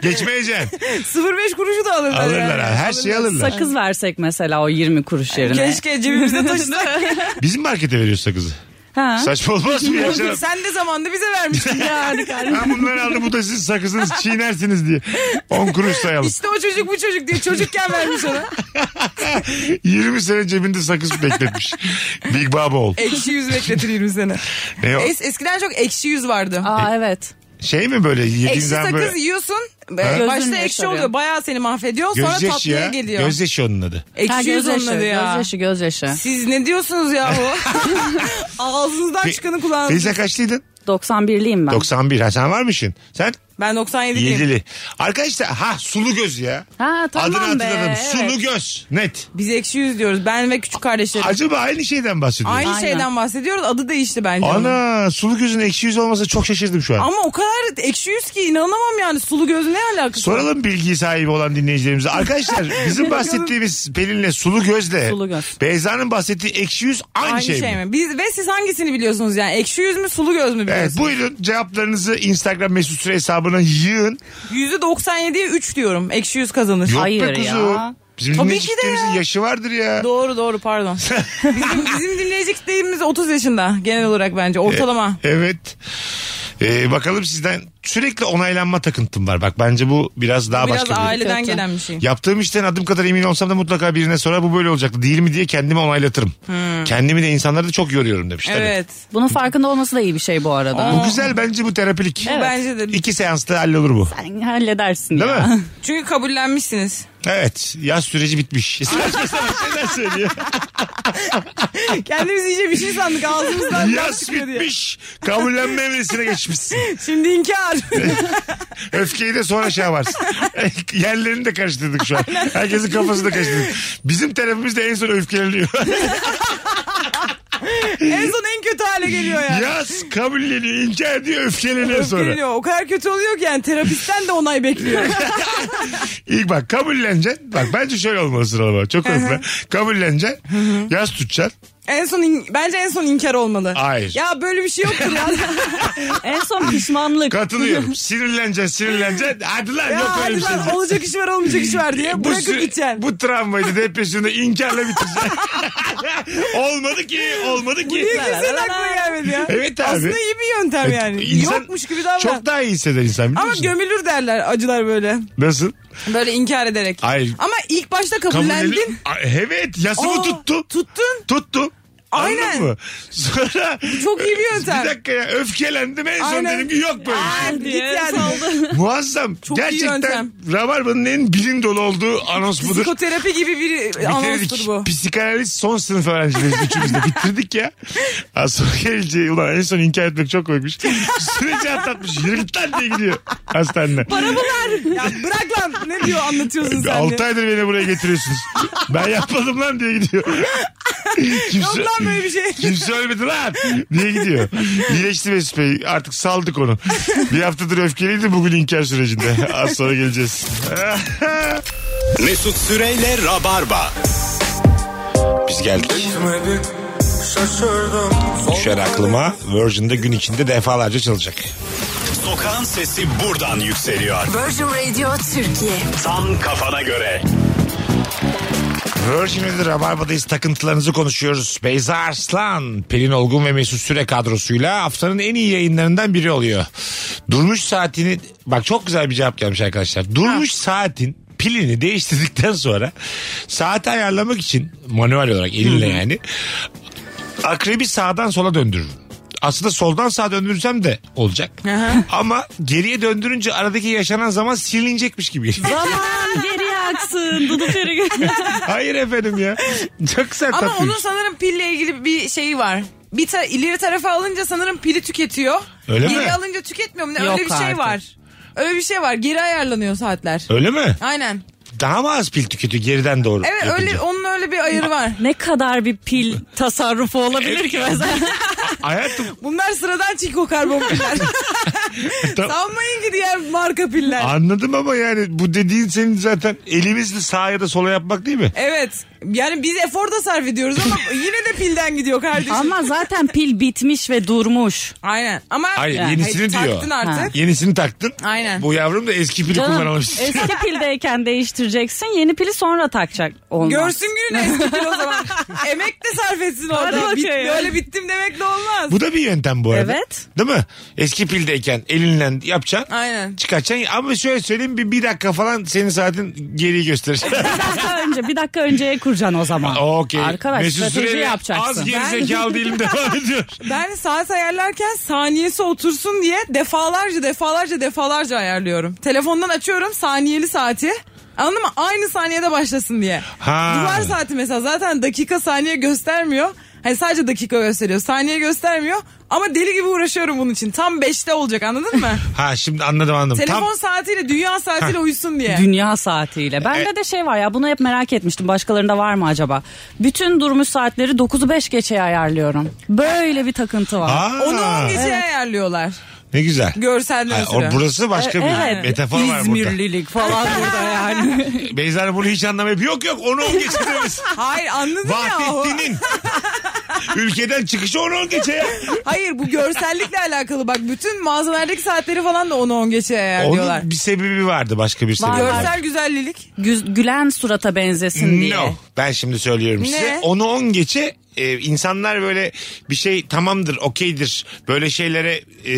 Speaker 3: Geçmeyeceksin.
Speaker 4: 05 kuruşu da alırlar.
Speaker 3: Alırlar ha, her şeyi alırlar.
Speaker 5: Sakız versek mesela o 20 kuruş yerine.
Speaker 3: *laughs*
Speaker 4: Keşke cebimizde taşısak.
Speaker 3: Bizim markete veriyoruz sakızı.
Speaker 5: Ha.
Speaker 3: Saçma olmaz mı ya? canım?
Speaker 4: Sen de zamanında bize vermiştin yani.
Speaker 3: Ben bunları aldım bu da sizin sakızınız çiğnersiniz diye. 10 kuruş sayalım.
Speaker 4: İşte o çocuk bu çocuk diye çocukken vermiş ona.
Speaker 3: 20 sene cebinde sakız bekletmiş. Big Baba ol.
Speaker 4: Ekşi yüz bekletir 20 sene.
Speaker 3: Ne o?
Speaker 4: E, Es- eskiden çok ekşi yüz vardı.
Speaker 5: Aa evet.
Speaker 3: Şey mi böyle yediğin
Speaker 4: Ekşi
Speaker 3: zaman
Speaker 4: sakız
Speaker 3: böyle.
Speaker 4: yiyorsun.
Speaker 3: Ha?
Speaker 4: Başta
Speaker 5: Gözünle
Speaker 4: ekşi
Speaker 5: yaşarıyor.
Speaker 4: oluyor. Bayağı seni mahvediyor. Sonra
Speaker 3: Gözyaşı
Speaker 4: tatlıya
Speaker 3: ya.
Speaker 4: geliyor.
Speaker 3: Gözyaşı onun adı.
Speaker 4: Ekşi
Speaker 5: Ha,
Speaker 4: yüz onun
Speaker 5: gözyaşı,
Speaker 4: adı ya.
Speaker 5: Gözyaşı gözyaşı.
Speaker 4: Siz ne diyorsunuz ya
Speaker 3: *laughs*
Speaker 4: bu? Ağzınızdan
Speaker 3: Fe-
Speaker 4: çıkanı kulağınız.
Speaker 3: Feyza kaçlıydın?
Speaker 5: 91'liyim ben.
Speaker 3: 91. Ha, sen varmışsın. Sen?
Speaker 4: Ben 97'liyim.
Speaker 3: Yedili. Arkadaşlar ha sulu göz ya.
Speaker 5: Ha tamam
Speaker 3: Adını
Speaker 5: be.
Speaker 3: hatırladım.
Speaker 5: evet.
Speaker 3: Sulu göz. Net.
Speaker 4: Biz ekşi yüz diyoruz. Ben ve küçük kardeşlerim.
Speaker 3: Acaba aynı şeyden bahsediyoruz.
Speaker 4: Aynı şeyden bahsediyoruz. Adı değişti bence. onun.
Speaker 3: Ana sulu gözün ekşi yüz olmasa çok şaşırdım şu an.
Speaker 4: Ama o kadar ekşi yüz ki inanamam yani. Sulu gözü ne alakası?
Speaker 3: Soralım bilgi sahibi olan dinleyicilerimize. Arkadaşlar bizim bahsettiğimiz Pelin'le sulu gözle
Speaker 5: Sulu göz.
Speaker 3: Beyza'nın bahsettiği ekşi yüz aynı,
Speaker 4: Aynı şey, mi? Biz, ve siz hangisini biliyorsunuz yani? Ekşi yüz mü sulu göz mü
Speaker 3: Evet,
Speaker 4: biliyorsunuz?
Speaker 3: buyurun cevaplarınızı Instagram mesut süre hesabına yığın.
Speaker 4: %97'ye 3 diyorum. Ekşi yüz kazanır.
Speaker 3: Yok be kuzu. Bizim
Speaker 4: Tabii
Speaker 3: dinleyicilerimizin yaşı vardır ya.
Speaker 4: Doğru doğru pardon. bizim, bizim dinleyici kitlemiz 30 yaşında genel olarak bence ortalama.
Speaker 3: *laughs* Evet. Ee, bakalım sizden sürekli onaylanma takıntım var. Bak bence bu biraz daha
Speaker 4: Bu biraz
Speaker 3: başka bir-
Speaker 4: aileden gelen bir şey.
Speaker 3: Yaptığım işten adım kadar emin olsam da mutlaka birine sorar bu böyle olacaktı değil mi diye kendimi onaylatırım. Kendimi de insanları da çok yoruyorum demiş. tabii.
Speaker 4: Hmm. Evet.
Speaker 5: Bunun farkında olması da iyi bir şey bu arada.
Speaker 3: Bu güzel bence bu terapilik.
Speaker 4: Bu Bence de.
Speaker 3: İki seansta hallolur bu.
Speaker 5: Sen halledersin
Speaker 3: Değil
Speaker 5: ya.
Speaker 3: mi?
Speaker 4: Çünkü kabullenmişsiniz.
Speaker 3: Evet. Yaz süreci
Speaker 4: *laughs*
Speaker 3: bitmiş. Saçma sapan şeyler söylüyor.
Speaker 4: Kendimiz iyice bir şey sandık ağzımızdan. laf
Speaker 3: Yaz
Speaker 4: çıkıyor diye.
Speaker 3: bitmiş. Kabullenme evresine geçmişsin.
Speaker 4: Şimdi inkar.
Speaker 3: Öfkeyi de sonra şey yaparsın. *laughs* Yerlerini de karıştırdık şu an. Herkesin kafasını da karıştırdık. Bizim terapimiz de en son
Speaker 4: *laughs*
Speaker 3: öfkeleniyor.
Speaker 4: en son en kötü hale geliyor yani.
Speaker 3: Yaz kabulleniyor, inkar ediyor, öfkeleniyor sonra.
Speaker 4: Öfkeleniyor. O kadar kötü oluyor ki yani terapisten de onay bekliyor.
Speaker 3: İlk bak kabulleneceksin. Bak bence şöyle olmalı sıralama. Çok önemli. kabulleneceksin. Yaz tutacaksın.
Speaker 4: en son in- bence en son inkar olmalı.
Speaker 3: Hayır.
Speaker 4: Ya böyle bir şey yoktur ya.
Speaker 5: *laughs* En son pişmanlık.
Speaker 3: Katılıyorum. Sinirleneceksin, sinirleneceksin. Hadi lan
Speaker 4: ya
Speaker 3: yok öyle
Speaker 4: hadi
Speaker 3: bir şey.
Speaker 4: lan olacak iş var olmayacak iş var diye bırakıp
Speaker 3: sü-
Speaker 4: gideceksin. *laughs*
Speaker 3: Bu travmaydı depresyonu inkarla bitireceksin.
Speaker 4: *laughs*
Speaker 3: olmadı ki olmadı
Speaker 4: Bu niye
Speaker 3: ki.
Speaker 4: kimsenin aklına gelmedi ya?
Speaker 3: Evet abi.
Speaker 4: Aslında iyi bir yöntem
Speaker 3: Evet,
Speaker 4: yani.
Speaker 3: insan
Speaker 4: Yokmuş gibi davran.
Speaker 3: Çok daha iyi hisseder insan biliyor
Speaker 4: Ama
Speaker 3: musun?
Speaker 4: gömülür derler acılar böyle.
Speaker 3: Nasıl?
Speaker 4: Böyle inkar ederek.
Speaker 3: Hayır.
Speaker 4: Ama ilk başta
Speaker 3: Kabul-
Speaker 4: kabullendin.
Speaker 3: A- Evet yasımı
Speaker 4: Aa,
Speaker 3: tuttu.
Speaker 4: Tuttun.
Speaker 3: Tuttu. Aynen.
Speaker 4: Aynen.
Speaker 3: mı? Sonra
Speaker 4: Çok iyi bir yöntem.
Speaker 3: bir dakika ya öfkelendim en son
Speaker 4: Aynen.
Speaker 3: dedim ki yok böyle. bir şey.
Speaker 4: Git yani.
Speaker 3: Muazzam.
Speaker 4: Çok iyi
Speaker 3: Gerçekten
Speaker 4: yöntem.
Speaker 3: Rabarba'nın en bilim dolu olduğu anons budur.
Speaker 4: Psikoterapi gibi bir anonstur
Speaker 3: Bitirdik.
Speaker 4: bu.
Speaker 3: Psikanalist son sınıf öğrencileriyiz üçümüz de bitirdik ya. Az sonra gelince ulan en son inkar etmek çok koymuş. Süreci atlatmış. Yürü git lan diye gidiyor hastanede.
Speaker 4: Para mı ver? Ya bırak lan. Ne diyor anlatıyorsun sen?
Speaker 3: 6
Speaker 4: de?
Speaker 3: aydır beni buraya getiriyorsunuz. ben yapmadım lan diye gidiyor.
Speaker 4: Yok
Speaker 3: kimse,
Speaker 4: lan böyle bir şey.
Speaker 3: kimse ölmedi lan diye gidiyor. İyileşti Mesut Bey. Artık saldık onu. bir haftadır öfkeliydi bugün inkar sürecinde. Az sonra geleceğiz.
Speaker 2: Mesut Süreyle Rabarba.
Speaker 3: Biz geldik. Düşer aklıma Virgin'de gün içinde defalarca çalacak.
Speaker 2: Sokağın sesi buradan yükseliyor.
Speaker 13: Virgin Radio Türkiye.
Speaker 2: Tam kafana göre.
Speaker 3: Virgin'de Rabarba'dayız takıntılarınızı konuşuyoruz. Beyza Arslan, Pelin Olgun ve Mesut Süre kadrosuyla haftanın en iyi yayınlarından biri oluyor. Durmuş saatini bak çok güzel bir cevap gelmiş arkadaşlar. Durmuş saatin pilini değiştirdikten sonra saati ayarlamak için manuel olarak elinle yani akrebi sağdan sola döndürürüm. Aslında soldan sağa döndürürsem de olacak. Ama geriye döndürünce aradaki yaşanan zaman silinecekmiş gibi.
Speaker 5: Zaman geriye aksın. Dudu peri.
Speaker 3: *laughs* Hayır efendim ya. Çok sert
Speaker 4: Ama
Speaker 3: tatlıymış.
Speaker 4: onun sanırım pille ilgili bir şeyi var. Bir ta- ileri tarafa alınca sanırım pili tüketiyor.
Speaker 3: Öyle mi?
Speaker 4: Geri alınca tüketmiyor mu? Ne?
Speaker 3: Yok
Speaker 4: Öyle bir şey
Speaker 3: artık.
Speaker 4: var. Öyle bir şey var. Geri ayarlanıyor saatler.
Speaker 3: Öyle mi?
Speaker 4: Aynen.
Speaker 3: Daha mı az pil tüketiyor geriden doğru?
Speaker 4: Evet öyle onun öyle bir ayarı var.
Speaker 5: Ne kadar bir pil tasarrufu olabilir ki mesela?
Speaker 3: Hayatım
Speaker 4: Bunlar sıradan çiko karbon
Speaker 3: *laughs*
Speaker 4: piller. *laughs* Sanmayın ki diğer marka piller.
Speaker 3: anladım ama yani bu dediğin senin zaten elimizle sağa ya da sola yapmak değil mi?
Speaker 4: Evet. Yani biz efor da sarf ediyoruz
Speaker 5: *laughs*
Speaker 4: ama yine de pilden gidiyor kardeşim.
Speaker 5: Ama zaten pil bitmiş ve durmuş.
Speaker 4: Aynen. Ama
Speaker 3: Hayır
Speaker 4: Yani
Speaker 3: yenisini
Speaker 4: hayır,
Speaker 3: diyor.
Speaker 4: Taktın artık.
Speaker 3: Yenisini taktın.
Speaker 4: Aynen.
Speaker 3: Bu yavrum da eski pili
Speaker 5: Canım,
Speaker 3: kullanamamış.
Speaker 5: *laughs* eski pildeyken değiştireceksin. Yeni pili sonra takacak. Olmaz.
Speaker 4: Görsün gününü eski pil o
Speaker 5: *laughs*
Speaker 4: zaman. Emek de sarf etsin
Speaker 5: Hadi
Speaker 4: orada. Bit,
Speaker 5: bakayım.
Speaker 4: böyle bittim demek de olmaz.
Speaker 3: Bu da bir yöntem bu arada.
Speaker 4: Evet.
Speaker 3: Değil mi? Eski pildeyken elinle yapacaksın.
Speaker 4: Aynen.
Speaker 3: Çıkartacaksın ama şöyle söyleyeyim bir, bir dakika falan senin saatin geriyi
Speaker 4: *laughs*
Speaker 3: gösterir.
Speaker 5: Bir dakika önce, bir dakika önceye kuracaksın o zaman.
Speaker 3: *laughs* Okey.
Speaker 5: Arkadaş
Speaker 3: Mesut
Speaker 5: strateji
Speaker 3: Süreyle
Speaker 5: yapacaksın.
Speaker 3: Az geri zekalı değilim devam
Speaker 4: *laughs*
Speaker 3: ediyor.
Speaker 4: Ben saat ayarlarken saniyesi otursun diye defalarca defalarca defalarca ayarlıyorum. Telefondan açıyorum saniyeli saati. Anladın mı? Aynı saniyede başlasın diye.
Speaker 3: Ha.
Speaker 4: Duvar saati mesela zaten dakika saniye göstermiyor. Hani sadece dakika gösteriyor. Saniye göstermiyor. Ama deli gibi uğraşıyorum bunun için. Tam 5'te olacak
Speaker 3: *laughs*
Speaker 4: anladın mı?
Speaker 3: Ha şimdi anladım anladım.
Speaker 4: Telefon
Speaker 3: Tam
Speaker 4: saatiyle dünya saatiyle uyusun diye.
Speaker 5: Dünya saatiyle.
Speaker 3: E-
Speaker 5: Bende de şey var ya bunu hep merak etmiştim. Başkalarında var mı acaba? Bütün durmuş saatleri 9'u 5 geçeye ayarlıyorum. Böyle bir takıntı var.
Speaker 3: Aa.
Speaker 4: Onu 10 geceye
Speaker 5: Evet.
Speaker 4: ayarlıyorlar.
Speaker 3: ne güzel.
Speaker 4: Görselden
Speaker 3: Ha, o- burası başka
Speaker 5: E-
Speaker 3: bir
Speaker 5: evet.
Speaker 3: metafor var burada.
Speaker 5: İzmirlilik falan burada *laughs* yani.
Speaker 3: Beyza'nın bunu hiç anlamayıp yok yok onu
Speaker 5: *laughs*
Speaker 3: on geçirmemiz.
Speaker 4: Hayır anladın ya.
Speaker 3: Vahdettin'in ülkeden çıkışı onu on geçe ya.
Speaker 4: Hayır bu görsellikle *laughs* alakalı bak bütün mağazalardaki saatleri falan da 10-10 geçe ayarlıyorlar.
Speaker 3: Onun bir sebebi vardı başka bir sebebi. vardı.
Speaker 4: Görsel güzellik.
Speaker 5: Güz- gülen surata benzesin diye.
Speaker 3: No. Ben şimdi söylüyorum size.
Speaker 4: Ne?
Speaker 3: Onu on geçe e, insanlar böyle bir şey tamamdır, okeydir. Böyle şeylere e,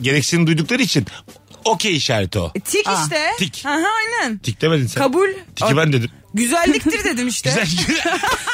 Speaker 3: gereksinim duydukları için okey işareti
Speaker 5: E,
Speaker 3: o.
Speaker 4: Tik
Speaker 3: Aa,
Speaker 4: işte.
Speaker 3: Tik.
Speaker 4: Aha, aynen.
Speaker 3: Tik demedin sen.
Speaker 4: Kabul.
Speaker 3: Tiki ben dedim. *laughs*
Speaker 4: Güzelliktir dedim işte.
Speaker 3: Güzel, *laughs*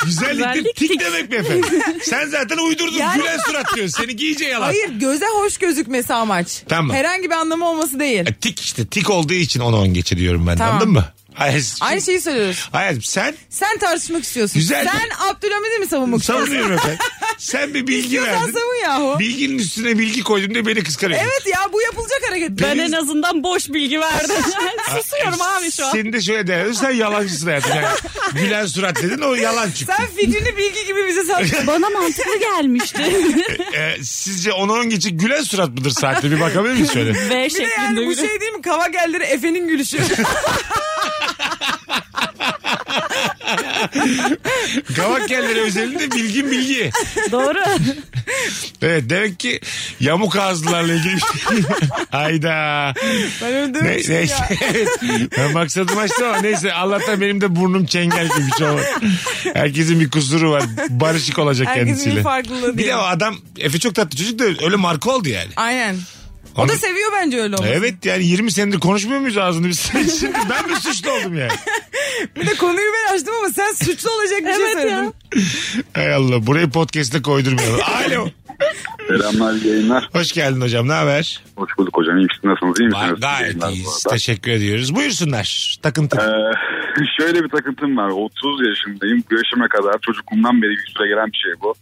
Speaker 3: güzelliktir
Speaker 5: Güzellik
Speaker 3: tik
Speaker 5: tik.
Speaker 3: demek mi efendim? Sen zaten uydurdun
Speaker 4: Yani-
Speaker 3: gülen surat diyorsun. Seni iyice yalan.
Speaker 4: Hayır göze hoş gözükmesi amaç.
Speaker 3: Tamam.
Speaker 4: Herhangi bir anlamı olması değil.
Speaker 3: E, Tik işte tik olduğu için onu on geçe diyorum ben. de,
Speaker 4: Tamam.
Speaker 3: Anladın mı? Hayır,
Speaker 4: Aynı şeyi söylüyoruz.
Speaker 3: hayır sen
Speaker 4: Sen tartışmak istiyorsun.
Speaker 3: Güzel.
Speaker 4: Sen Abdülhamid'i mi savunmak istiyorsun?
Speaker 3: savunuyorum efendim. Sen bir bilgi
Speaker 4: İstiyorsan
Speaker 3: verdin.
Speaker 4: savun yahu.
Speaker 3: Bilginin üstüne bilgi koydun diye beni kıskanıyorsun.
Speaker 4: Evet ya bu yapılacak hareket.
Speaker 5: Ben en azından boş
Speaker 4: *laughs*
Speaker 5: bilgi verdim. Susuyorum
Speaker 3: Ay,
Speaker 5: abi şu an.
Speaker 3: Seni e, de şöyle değerli. Sen yalancısın hayatım. Yani gülen surat dedin o yalan çıktı.
Speaker 4: Sen fikrini bilgi gibi
Speaker 3: *laughs*
Speaker 4: bize sattın.
Speaker 5: Bana mantıklı *laughs* gelmişti.
Speaker 3: Ee, sizce 10-10 geçe gülen surat mıdır saatte? Bir bakabilir miyiz şöyle?
Speaker 5: V
Speaker 4: Bir de
Speaker 5: şeklinde
Speaker 4: yani bu
Speaker 5: bir
Speaker 4: şey değil mi? Kavagelleri
Speaker 3: *laughs*
Speaker 4: Efe'nin gülüşü.
Speaker 3: Kavak yerleri özelinde bilgin bilgi.
Speaker 5: *laughs* Doğru.
Speaker 3: Evet demek ki yamuk ağızlılarla ilgili bir
Speaker 4: *laughs*
Speaker 3: şey. Hayda.
Speaker 4: ben öyle
Speaker 3: Ne,
Speaker 4: demiştim
Speaker 3: neyse. *laughs*
Speaker 4: ya.
Speaker 3: Evet. Ben maksadım açtım ama neyse Allah'tan benim de burnum çengel gibi bir şey olmadı. Herkesin bir kusuru var. Barışık olacak
Speaker 4: Herkesin bir
Speaker 3: kendisiyle.
Speaker 4: farklılığı
Speaker 3: Bir
Speaker 4: değil.
Speaker 3: de o adam Efe çok tatlı çocuk da öyle marka oldu yani.
Speaker 4: Aynen. O
Speaker 3: Onu-
Speaker 4: da seviyor bence öyle olmasını.
Speaker 3: Evet yani 20 senedir konuşmuyor muyuz ağzını biz? *laughs* Şimdi ben mi suçlu oldum yani?
Speaker 4: Bir de konuyu ben açtım ama sen suçlu olacak bir şey
Speaker 5: Evet ya.
Speaker 4: söyledin.
Speaker 3: Hay Allah burayı podcast'e koydurmayalım. Alo.
Speaker 7: Selamlar yayınlar.
Speaker 3: Hoş geldin hocam ne haber?
Speaker 7: Hoş bulduk hocam. İyi misiniz? Nasılsınız? İyi
Speaker 3: Vay,
Speaker 7: misiniz?
Speaker 3: Gayet
Speaker 7: Yayınlar bu
Speaker 3: iyiyiz.
Speaker 7: arada.
Speaker 3: Teşekkür ediyoruz. Buyursunlar. Takıntı.
Speaker 7: Ee, *laughs* şöyle bir takıntım var. 30 yaşındayım. Bu yaşıma kadar çocukluğumdan beri bir süre gelen bir şey bu.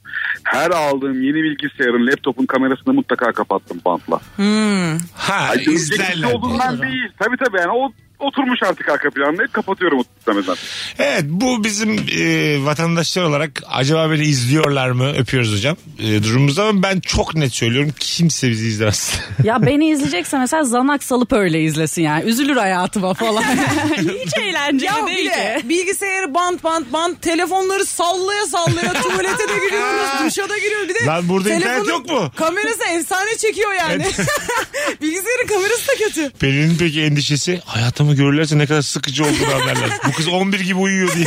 Speaker 7: Her aldığım yeni bilgisayarın laptopun kamerasını mutlaka kapattım bantla.
Speaker 3: Ha
Speaker 7: Ay, şey
Speaker 3: izlerler.
Speaker 7: olduğundan değil. Tabii tabii yani o
Speaker 14: oturmuş artık arka planda. Hep kapatıyorum istemeden.
Speaker 3: Evet bu bizim e, vatandaşlar olarak acaba beni izliyorlar mı? Öpüyoruz hocam e, durumumuzda ama ben çok net söylüyorum kimse bizi izlemez. *laughs*
Speaker 5: Ya beni izleyecekse mesela zanak salıp öyle izlesin yani. Üzülür
Speaker 4: *laughs*
Speaker 5: hayatıma falan. Hiç eğlenceli
Speaker 4: Ya
Speaker 5: değil
Speaker 4: bile bilgisayarı bant bant bant telefonları sallaya
Speaker 5: *laughs*
Speaker 4: sallaya tuvalete de giriyoruz duşa da giriyoruz. Bir de
Speaker 3: Lan burada internet
Speaker 4: telefonun
Speaker 3: yok mu?
Speaker 4: Kamerası efsane çekiyor yani. *laughs* Bilgisayarın kamerası da kötü.
Speaker 3: Pelin'in peki endişesi hayatımı görürlerse ne kadar sıkıcı olduğunu haberler. Bu kız 11 gibi uyuyor diye.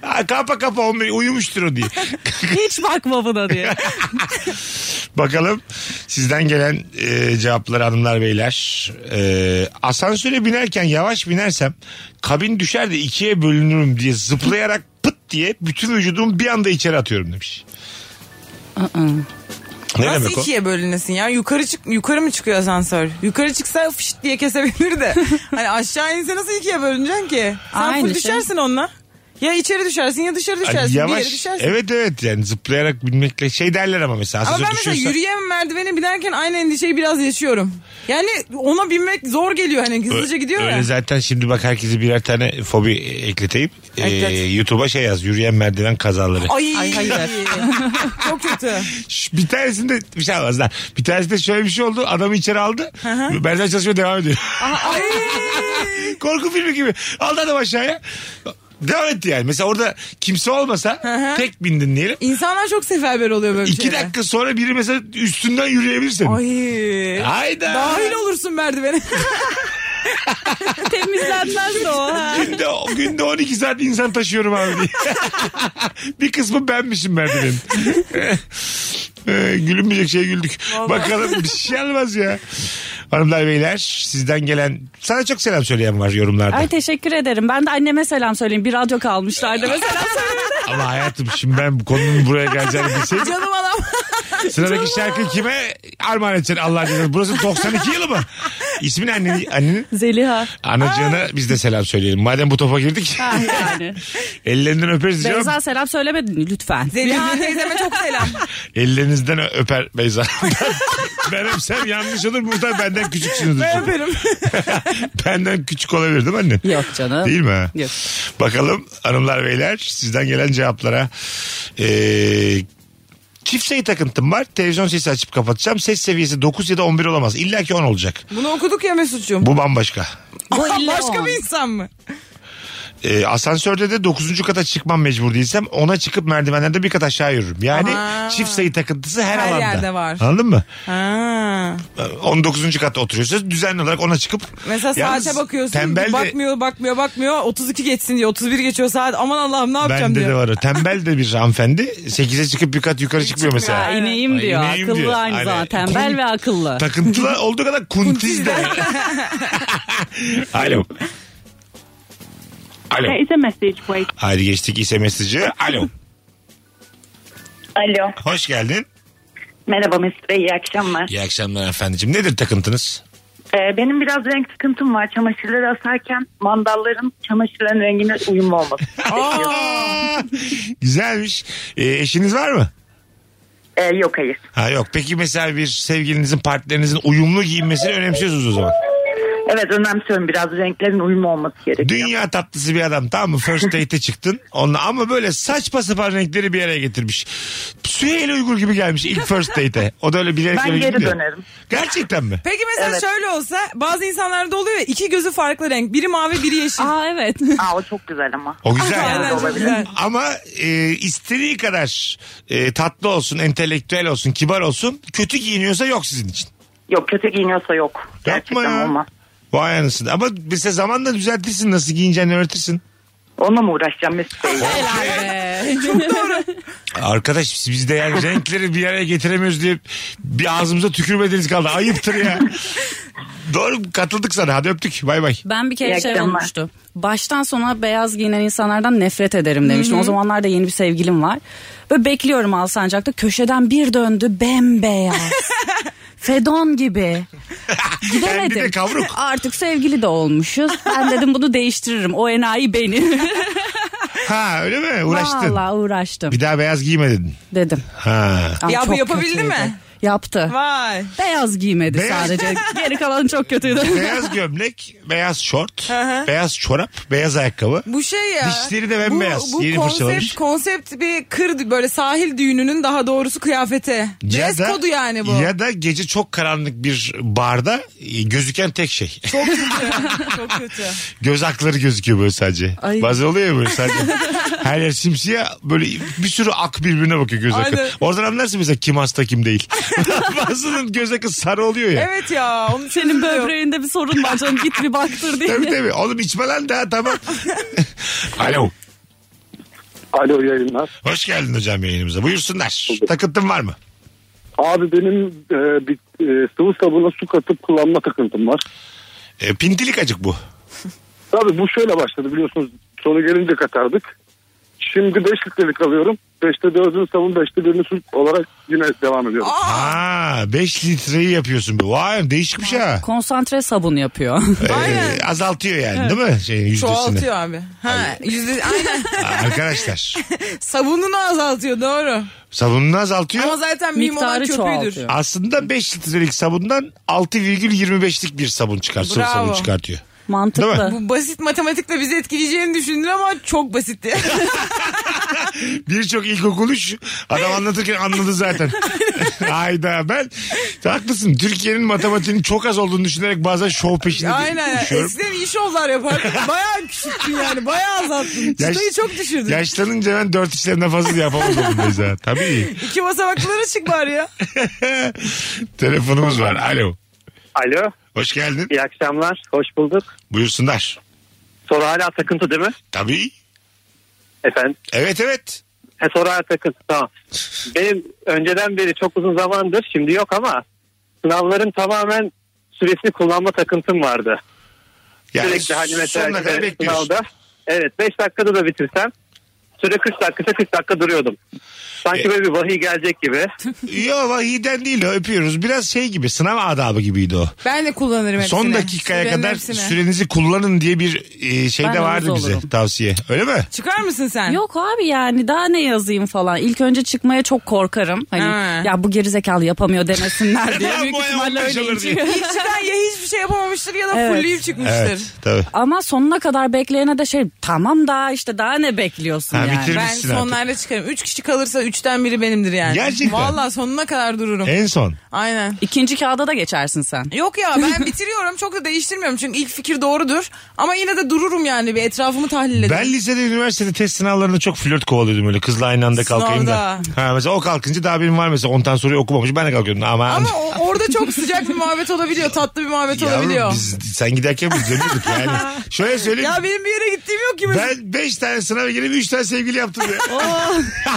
Speaker 3: Ha, kapa kapa 11 uyumuştur o diye.
Speaker 5: Hiç bakma buna diye.
Speaker 3: Bakalım sizden gelen e, cevapları hanımlar beyler. E, asansöre binerken yavaş binersem kabin düşer de ikiye bölünürüm diye zıplayarak pıt diye bütün vücudumu bir anda içeri atıyorum demiş. Ne
Speaker 4: Nasıl
Speaker 3: demek o?
Speaker 4: ikiye bölünesin ya? Yukarı çık yukarı mı çıkıyor asansör? Yukarı çıksa fışt diye kesebilir
Speaker 5: *laughs*
Speaker 4: de. hani aşağı inse nasıl ikiye bölüneceksin ki? Sen
Speaker 5: Aynı
Speaker 4: full
Speaker 5: şey.
Speaker 4: düşersin onunla. Ya içeri düşersin ya dışarı
Speaker 3: Hani
Speaker 4: düşersin. bir yere
Speaker 3: yavaş.
Speaker 4: düşersin.
Speaker 3: Evet evet yani zıplayarak binmekle şey derler ama mesela.
Speaker 4: Ama
Speaker 3: asansör
Speaker 4: ben mesela
Speaker 3: düşüyorsa-
Speaker 4: yürüyen merdivene binerken aynı endişeyi biraz yaşıyorum. Yani ona binmek zor geliyor hani hızlıca gidiyor
Speaker 3: Öyle
Speaker 4: ya.
Speaker 3: zaten şimdi bak herkese birer tane fobi ekleteyim. Ee,
Speaker 4: Eklet.
Speaker 3: YouTube'a şey yaz yürüyen merdiven kazaları.
Speaker 4: Ay, hayır. *laughs* Çok kötü.
Speaker 3: Şş, Bir tanesinde bir şey olmaz lan. Bir tanesinde şöyle bir şey oldu. Adamı içeri aldı. Benzer çalışma devam ediyor.
Speaker 4: Ay.
Speaker 3: *laughs* Korku filmi gibi. Aldı adam aşağıya. Devam etti yani. Mesela orada kimse olmasa tek bindin diyelim.
Speaker 4: İnsanlar çok seferber oluyor böyle bir
Speaker 3: İki
Speaker 4: şeylere.
Speaker 3: dakika sonra biri mesela üstünden yürüyebilirsin.
Speaker 4: Ay.
Speaker 3: Hayda.
Speaker 4: Dahil
Speaker 3: *laughs*
Speaker 4: olursun merdivene. *laughs*
Speaker 5: Temizlenmez de o. ha.
Speaker 3: günde, günde 12 saat insan taşıyorum abi diye. *laughs* bir kısmı benmişim merdivenin. *laughs* ee, gülünmeyecek şeye güldük.
Speaker 4: Vallahi.
Speaker 3: Bakalım bir şey olmaz ya. Hanımlar beyler sizden gelen sana çok selam söyleyen var yorumlarda.
Speaker 5: Ay teşekkür ederim. Ben de anneme selam söyleyeyim. Bir radyo kalmışlardı mesela.
Speaker 3: Ama hayatım şimdi ben bu konunun buraya geleceğini bilseydim.
Speaker 4: *laughs* Canım adam.
Speaker 3: Sıradaki şarkı kime armağan edeceksin Allah aşkına? Burası 92 yılı mı? İsmin annenin, annenin
Speaker 4: *laughs*
Speaker 5: Zeliha.
Speaker 3: anacığına biz de selam söyleyelim. Madem bu topa girdik.
Speaker 5: Ha, yani.
Speaker 3: *laughs* Ellerinden öperiz canım.
Speaker 5: Beyza selam söylemedin lütfen.
Speaker 4: Zeliha teyzeme çok selam.
Speaker 3: Ellerinizden ö- öper Beyza. *laughs* ben öpsem yanlış olur muhtar benden küçüksünüz.
Speaker 4: Ben öperim.
Speaker 3: *laughs* benden küçük olabilir değil mi anne?
Speaker 5: *laughs* Yok canım.
Speaker 3: Değil mi? ha?
Speaker 5: Yok.
Speaker 3: Bakalım hanımlar beyler sizden gelen cevaplara. Ee, çift sayı takıntım var. Televizyon sesi açıp kapatacağım. Ses seviyesi 9 ya da 11 olamaz. İlla ki 10 olacak.
Speaker 4: Bunu okuduk ya Mesut'cum.
Speaker 3: Bu bambaşka.
Speaker 5: Bu illa
Speaker 4: *laughs* Başka
Speaker 5: o.
Speaker 4: bir insan mı?
Speaker 3: Ee, asansörde de 9. kata çıkmam mecbur değilsem ona çıkıp merdivenlerde bir kat aşağı yürürüm. Yani
Speaker 4: Aha.
Speaker 3: çift sayı takıntısı her,
Speaker 4: Her
Speaker 3: alanda.
Speaker 4: yerde var.
Speaker 3: Anladın mı?
Speaker 4: Ha.
Speaker 3: 19. katta oturuyorsunuz. Düzenli olarak ona çıkıp
Speaker 4: Mesela
Speaker 3: Yalnız
Speaker 4: saate bakıyorsun.
Speaker 3: Tembel de-
Speaker 4: bakmıyor, bakmıyor, bakmıyor. 32 geçsin diyor. 31 geçiyor saat. Aman Allah'ım ne yapacağım
Speaker 3: Bende
Speaker 4: diyor.
Speaker 3: de var. o. Tembel de bir hanımefendi. 8'e çıkıp bir kat yukarı çıkmıyor mesela.
Speaker 5: Ha, ineyim
Speaker 3: Ay,
Speaker 5: diyor.
Speaker 3: ineyim
Speaker 5: akıllı
Speaker 3: diyor.
Speaker 5: aynı
Speaker 3: Hani
Speaker 5: zaten.
Speaker 3: kun-
Speaker 5: Bel ve
Speaker 3: *laughs*
Speaker 5: akıllı.
Speaker 3: Takıntılı olduğu kadar kuntiz de. *laughs* Alo. Alo.
Speaker 15: There is a message wait.
Speaker 3: Haydi geçtik ise mesajı. Alo.
Speaker 15: Alo.
Speaker 3: Hoş geldin.
Speaker 15: Merhaba Mesut Bey iyi akşamlar.
Speaker 3: İyi akşamlar efendicim. Nedir takıntınız?
Speaker 15: Ee, benim biraz renk sıkıntım var. Çamaşırları asarken mandalların çamaşırların rengine uyumlu olması.
Speaker 3: Aa, *laughs* güzelmiş. Ee, eşiniz var mı?
Speaker 15: Ee, yok hayır.
Speaker 3: Ha yok. Peki mesela bir sevgilinizin, partnerinizin uyumlu giyinmesini önemsiyorsunuz o zaman.
Speaker 15: Evet önemsiyorum biraz renklerin uyumlu olması gerekiyor.
Speaker 3: Dünya tatlısı bir adam tamam mı? First date'e çıktın. Onunla, ama böyle saçma sapan renkleri bir araya getirmiş. Süheyl Uygur gibi gelmiş ilk first date'e. O da öyle bilerek
Speaker 15: Ben
Speaker 3: öyle
Speaker 15: geri
Speaker 3: gidiyor.
Speaker 15: dönerim.
Speaker 3: Gerçekten mi?
Speaker 4: Peki mesela şöyle olsa bazı insanlarda oluyor ya iki gözü farklı renk. Biri mavi biri yeşil.
Speaker 5: Aa
Speaker 15: *laughs*
Speaker 5: evet.
Speaker 15: Aa o çok güzel ama.
Speaker 3: O güzel.
Speaker 4: Aynen, çok güzel.
Speaker 3: Ama e, istediği kadar e, tatlı olsun, entelektüel olsun, kibar olsun. Kötü giyiniyorsa yok sizin için.
Speaker 15: Yok kötü giyiniyorsa yok.
Speaker 3: Yapma
Speaker 15: Gerçekten
Speaker 3: ya.
Speaker 15: olmaz.
Speaker 3: Vay anasını. Ama mesela zamanla düzeltirsin nasıl giyineceğini öğretirsin.
Speaker 15: Onunla mı uğraşacağım Mesut Bey?
Speaker 3: Arkadaş biz de yani renkleri bir araya getiremiyoruz diye bir ağzımıza tükürmediniz kaldı. Ayıptır ya. Doğru katıldık sana. Hadi öptük. Bay bay.
Speaker 5: Ben bir kere
Speaker 15: İyi
Speaker 5: şey
Speaker 15: akşamlar.
Speaker 5: olmuştu. Baştan sona beyaz giyinen insanlardan nefret ederim demiştim. O zamanlar da yeni bir sevgilim var. Böyle bekliyorum Alsancak'ta. Köşeden bir döndü
Speaker 15: *laughs*
Speaker 5: bembeyaz. Fedon gibi. Gidemedim.
Speaker 3: Kendi de kavruk.
Speaker 5: Artık sevgili de olmuşuz. Ben dedim bunu değiştiririm. O
Speaker 15: *laughs*
Speaker 5: enayi beni.
Speaker 3: Ha öyle mi? Uğraştın.
Speaker 5: Vallahi uğraştım
Speaker 3: Bir daha beyaz giyme dedin.
Speaker 5: dedim.
Speaker 3: Ha.
Speaker 5: Ama
Speaker 4: Ya bu
Speaker 5: çok
Speaker 4: yapabildi
Speaker 5: kötüydü.
Speaker 4: mi?
Speaker 5: Yaptı.
Speaker 4: Vay.
Speaker 5: Beyaz giymedi
Speaker 3: Beyaz-
Speaker 4: *laughs*
Speaker 5: sadece. Geri kalan çok kötüydü.
Speaker 3: beyaz gömlek, beyaz şort, beyaz çorap, beyaz ayakkabı.
Speaker 4: Bu şey ya.
Speaker 3: Dişleri de bembeyaz.
Speaker 4: Bu, bu
Speaker 3: Yeni fırçalamış.
Speaker 4: konsept, konsept bir kır böyle sahil düğününün daha doğrusu kıyafeti. Dress
Speaker 3: da-
Speaker 4: kodu yani bu.
Speaker 3: Ya da gece çok karanlık bir barda e, gözüken tek şey.
Speaker 4: Çok kötü. çok kötü.
Speaker 3: Göz akları gözüküyor böyle sadece.
Speaker 4: Ay.
Speaker 3: Bazen oluyor ya böyle
Speaker 4: *laughs*
Speaker 3: sadece. Her yer simsiyah böyle bir sürü ak birbirine bakıyor göz
Speaker 4: Aynen.
Speaker 3: akı. Oradan anlarsın mesela kim hasta kim
Speaker 4: *laughs*
Speaker 3: değil. Bazının göz akı sarı oluyor ya.
Speaker 4: Evet ya.
Speaker 3: *laughs*
Speaker 4: Onun
Speaker 5: *laughs* Senin böbreğinde bir sorun var canım git bir baktır diye.
Speaker 3: Tabii tabii. Oğlum içme lan daha
Speaker 4: *laughs*
Speaker 3: tamam. Alo.
Speaker 16: Alo yayınlar.
Speaker 3: Hoş geldin hocam yayınımıza. Buyursunlar. Takıntın var mı?
Speaker 16: Abi benim e, bir, e, sıvı sabuna su katıp kullanma takıntım var.
Speaker 3: E, pintilik acık bu.
Speaker 16: Tabii bu şöyle başladı biliyorsunuz. Sonu gelince katardık. Şimdi 5 litrelik alıyorum. 5'te 4'ünü sabun 5'te 1'ini su olarak yine devam ediyorum.
Speaker 3: Aa 5 litreyi yapıyorsun. be. Vay değişikmiş ha.
Speaker 5: Konsantre sabun yapıyor. *laughs*
Speaker 3: Ee, azaltıyor yani değil mi? Şeyin yüzdesini.
Speaker 4: Çoğaltıyor abi. Ha, yüzde,
Speaker 3: *laughs*
Speaker 4: aynen.
Speaker 3: Arkadaşlar
Speaker 4: Sabununu azaltıyor doğru.
Speaker 3: sabununu azaltıyor.
Speaker 4: Ama zaten mühim olan Miktarı köpüğüdür. çoğaltıyor.
Speaker 3: Aslında 5 litrelik sabundan 6,25'lik bir sabun çıkar. Sıvı
Speaker 4: Bravo.
Speaker 3: sabun çıkartıyor. Değil mi?
Speaker 4: Bu basit matematikle bizi etkileyeceğini düşündün ama çok basitti. *laughs*
Speaker 3: Birçok ilkokul üç adam anlatırken anladı
Speaker 4: *laughs*
Speaker 3: zaten. Hayda ben haklısın. Türkiye'nin matematiğinin çok az olduğunu düşünerek bazen şov peşinde
Speaker 4: Aynen.
Speaker 3: düşüyorum.
Speaker 4: Eskiden iyi
Speaker 3: *laughs*
Speaker 4: şovlar yapardık. Bayağı küçülttün yani. Bayağı azalttın.
Speaker 3: Yaş-
Speaker 4: Çıtayı çok düşürdün.
Speaker 3: Yaşlanınca ben dört işlerinden fazla yapamadım mesela. Tabii. *laughs*
Speaker 4: İki basamaklara çık bari ya.
Speaker 3: Telefonumuz var. Alo.
Speaker 17: Alo.
Speaker 3: Hoş geldin.
Speaker 17: İyi akşamlar. Hoş bulduk.
Speaker 3: Buyursunlar.
Speaker 17: Soru hala takıntı değil mi?
Speaker 3: Tabii.
Speaker 17: Efendim?
Speaker 3: Evet evet.
Speaker 17: He, soru hala takıntı tamam. Benim önceden beri çok uzun zamandır şimdi yok ama sınavların tamamen süresini kullanma takıntım vardı.
Speaker 3: Yani
Speaker 17: Sürekli hani mesela
Speaker 3: sonuna kadar
Speaker 17: işte
Speaker 3: bekliyorsun.
Speaker 17: sınavda. Evet 5 dakikada da bitirsem süre 40 dakika 40 dakika duruyordum. Sanki
Speaker 3: E-
Speaker 17: böyle bir vahiy gelecek gibi.
Speaker 3: Yo vahiden değil o, öpüyoruz. Biraz şey gibi sınav adabı gibiydi o.
Speaker 4: Ben de kullanırım hepsini.
Speaker 3: Son dakikaya
Speaker 4: Sürenin
Speaker 3: kadar
Speaker 4: hepsini.
Speaker 3: sürenizi kullanın diye bir e, şey
Speaker 5: Ben
Speaker 3: de vardı
Speaker 5: havuz
Speaker 3: bize
Speaker 5: olurum.
Speaker 3: tavsiye. Öyle mi?
Speaker 4: Çıkar mısın sen?
Speaker 5: Yok abi yani daha ne yazayım falan. İlk önce çıkmaya çok korkarım. Hani
Speaker 4: Ha.
Speaker 5: ya bu gerizekalı
Speaker 3: *laughs*
Speaker 5: yapamıyor demesinler diye.
Speaker 4: Ya
Speaker 5: Büyük
Speaker 4: bu ay
Speaker 5: ihtimalle
Speaker 4: 15
Speaker 5: öyle
Speaker 4: alır diye.
Speaker 5: ince-
Speaker 4: İlk çıkan ya hiçbir şey yapamamıştır ya da
Speaker 5: Evet.
Speaker 4: fulleyip çıkmıştır.
Speaker 3: Evet tabii.
Speaker 5: *laughs* Ama sonuna kadar bekleyene de şey tamam da işte daha ne bekliyorsun
Speaker 3: Ha,
Speaker 5: yani.
Speaker 4: Ben
Speaker 3: bitirmişsin artık.
Speaker 4: sonlarda çıkarım. Üç kişi kalırsa üçten biri benimdir yani.
Speaker 3: Gerçekten. E-
Speaker 4: Valla sonuna kadar dururum.
Speaker 3: En son.
Speaker 4: Aynen.
Speaker 5: İkinci kağıda da geçersin sen.
Speaker 4: Yok
Speaker 3: *laughs*
Speaker 4: ya ben bitiriyorum çok da değiştirmiyorum çünkü ilk fikir doğrudur. Ama yine de dururum yani bir etrafımı tahlil ederim.
Speaker 3: Ben lisede üniversitede test sınavlarında çok flört kovalıyordum öyle kızla aynı anda kalkayım da.
Speaker 4: Sınavda.
Speaker 3: Ha, mesela o kalkınca daha benim var mesela 10 tane soruyu okumamış ben de kalkıyordum. Ama,
Speaker 4: Ama o- orada çok sıcak bir muhabbet olabiliyor tatlı bir muhabbet
Speaker 3: Yavrum,
Speaker 4: olabiliyor.
Speaker 3: biz, sen giderken biz demiyorduk yani.
Speaker 4: *laughs*
Speaker 3: Şöyle söyleyeyim.
Speaker 4: Ya benim bir yere gittiğim yok ki. mesela.
Speaker 3: Ben 5 tane sınava girip 3 tane sevgili yaptım
Speaker 4: Oh.
Speaker 3: *laughs* ya.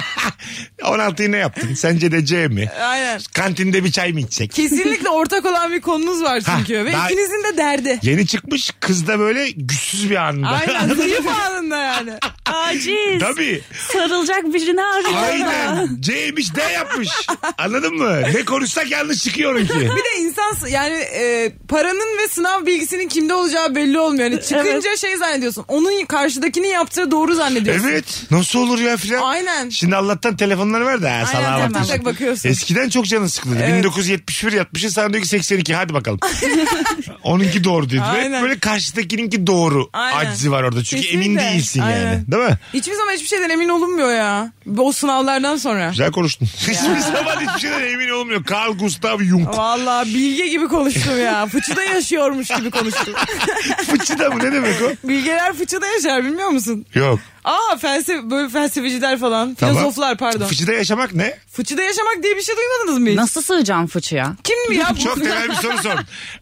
Speaker 3: 16'yı ne yaptın? Sence de C mi?
Speaker 4: Aynen.
Speaker 3: Kantinde bir çay mı içsek?
Speaker 4: Kesinlikle ortak olan bir konunuz var çünkü.
Speaker 3: Ha,
Speaker 4: Ve
Speaker 3: daha-
Speaker 4: ikinizin de derdi.
Speaker 3: Yeni çıkmış kız da böyle güçsüz bir anında.
Speaker 4: Aynen zayıf anında yani.
Speaker 5: Aciz.
Speaker 3: Tabii.
Speaker 5: Sarılacak birini arıyor.
Speaker 4: *laughs*
Speaker 3: Aynen. C'ymiş D yapmış. Anladın mı? Ne konuşsak yanlış çıkıyor ki.
Speaker 4: Bir de insan yani e, paranın ve sınav bilgisinin kimde olacağı belli olmuyor. Yani çıkınca şey zannediyorsun. Onun karşıdakinin yaptığı doğru zannediyorsun.
Speaker 3: Evet. Nasıl olur ya filan.
Speaker 4: Aynen.
Speaker 3: Şimdi Allah'tan telefonları ver de. Ha, salağa
Speaker 4: hemen
Speaker 3: bakıyorsun.
Speaker 4: tek bakıyorsun.
Speaker 3: Eskiden çok canın sıkılırdı.
Speaker 4: Evet.
Speaker 3: 1971 yatmışsın sana diyor ki 82 hadi
Speaker 4: *laughs*
Speaker 3: bakalım. Onunki doğru diyor. Ve
Speaker 4: Aynen.
Speaker 3: böyle karşıdakininki doğru
Speaker 4: Aynen.
Speaker 3: acizi var orada. Çünkü emin
Speaker 4: Kesinlikle.
Speaker 3: değilsin yani.
Speaker 4: Aynen.
Speaker 3: Değil mi?
Speaker 4: Hiçbir zaman hiçbir şeyden emin olunmuyor ya. O sınavlardan sonra.
Speaker 3: Güzel konuştun. *laughs* Hiçbir zaman hiçbir şeyden emin olmuyor. Carl Gustav Jung.
Speaker 4: Vallahi bilge gibi konuştum ya. Fıçıda yaşıyormuş gibi konuştum. *laughs*
Speaker 3: *laughs* Fıçıda mı? Ne demek o?
Speaker 4: Bilgeler fıçıda yaşar bilmiyor musun?
Speaker 3: Yok.
Speaker 4: Aa felsefe, böyle felsefeciler falan.
Speaker 3: Tamam.
Speaker 4: Filozoflar pardon.
Speaker 3: Fıçıda yaşamak ne?
Speaker 4: Fıçıda yaşamak diye bir şey duymadınız mı hiç?
Speaker 5: Nasıl sığacağım fıçıya?
Speaker 4: Kim mi *laughs* ya bu?
Speaker 3: Çok temel bir soru sor.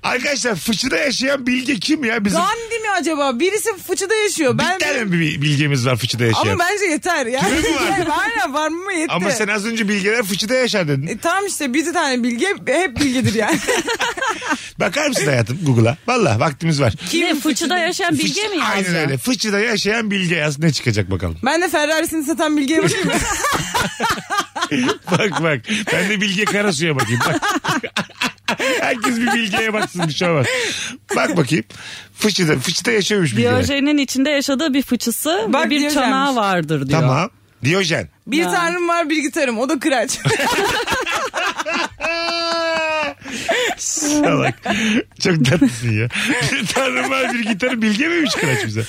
Speaker 3: Arkadaşlar fıçıda yaşayan bilge kim ya? Bizim
Speaker 4: *laughs* Gandhi mi acaba? Birisi fıçıda yaşıyor.
Speaker 3: bir
Speaker 4: Ben
Speaker 3: tane bir bilgemiz var fıçıda yaşayan.
Speaker 4: Ama bence yeter ya.
Speaker 3: Kimi
Speaker 4: *laughs*
Speaker 3: mi var?
Speaker 4: Yani Aynen var mı yetti.
Speaker 3: Ama sen az önce bilgeler fıçıda yaşar dedin.
Speaker 4: E, tamam işte bir tane bilgi hep
Speaker 3: *laughs*
Speaker 4: bilgidir yani.
Speaker 3: Bakar mısın hayatım Google'a? Valla vaktimiz var.
Speaker 5: ne fıçıda yaşayan bilge
Speaker 3: Fıçı-
Speaker 5: mi yazacağım?
Speaker 3: Aynen öyle. Fıçıda yaşayan bilge yaz. Ne çıkacak bakalım. *laughs*
Speaker 4: ben de Ferrari'sini satan bilgiye bakayım. mı?
Speaker 3: bak bak. Ben de Bilge Karasu'ya bakayım. Bak. *laughs* Herkes bir bilgeye baksın bir şey olmaz. Bak bakayım. Fıçıda, fıçıda yaşıyormuş bilgeler.
Speaker 5: Diyojen'in içinde yaşadığı bir fıçısı
Speaker 4: Bak
Speaker 5: ve bir
Speaker 4: Diyojen'miş.
Speaker 5: çanağı vardır diyor.
Speaker 3: Tamam. Diyojen.
Speaker 4: bir tanrım var bir gitarım o da kıraç.
Speaker 3: Salak. Çok tatlısın ya. Bir tanrım var bir gitarı bilge miymiş kıraç bize?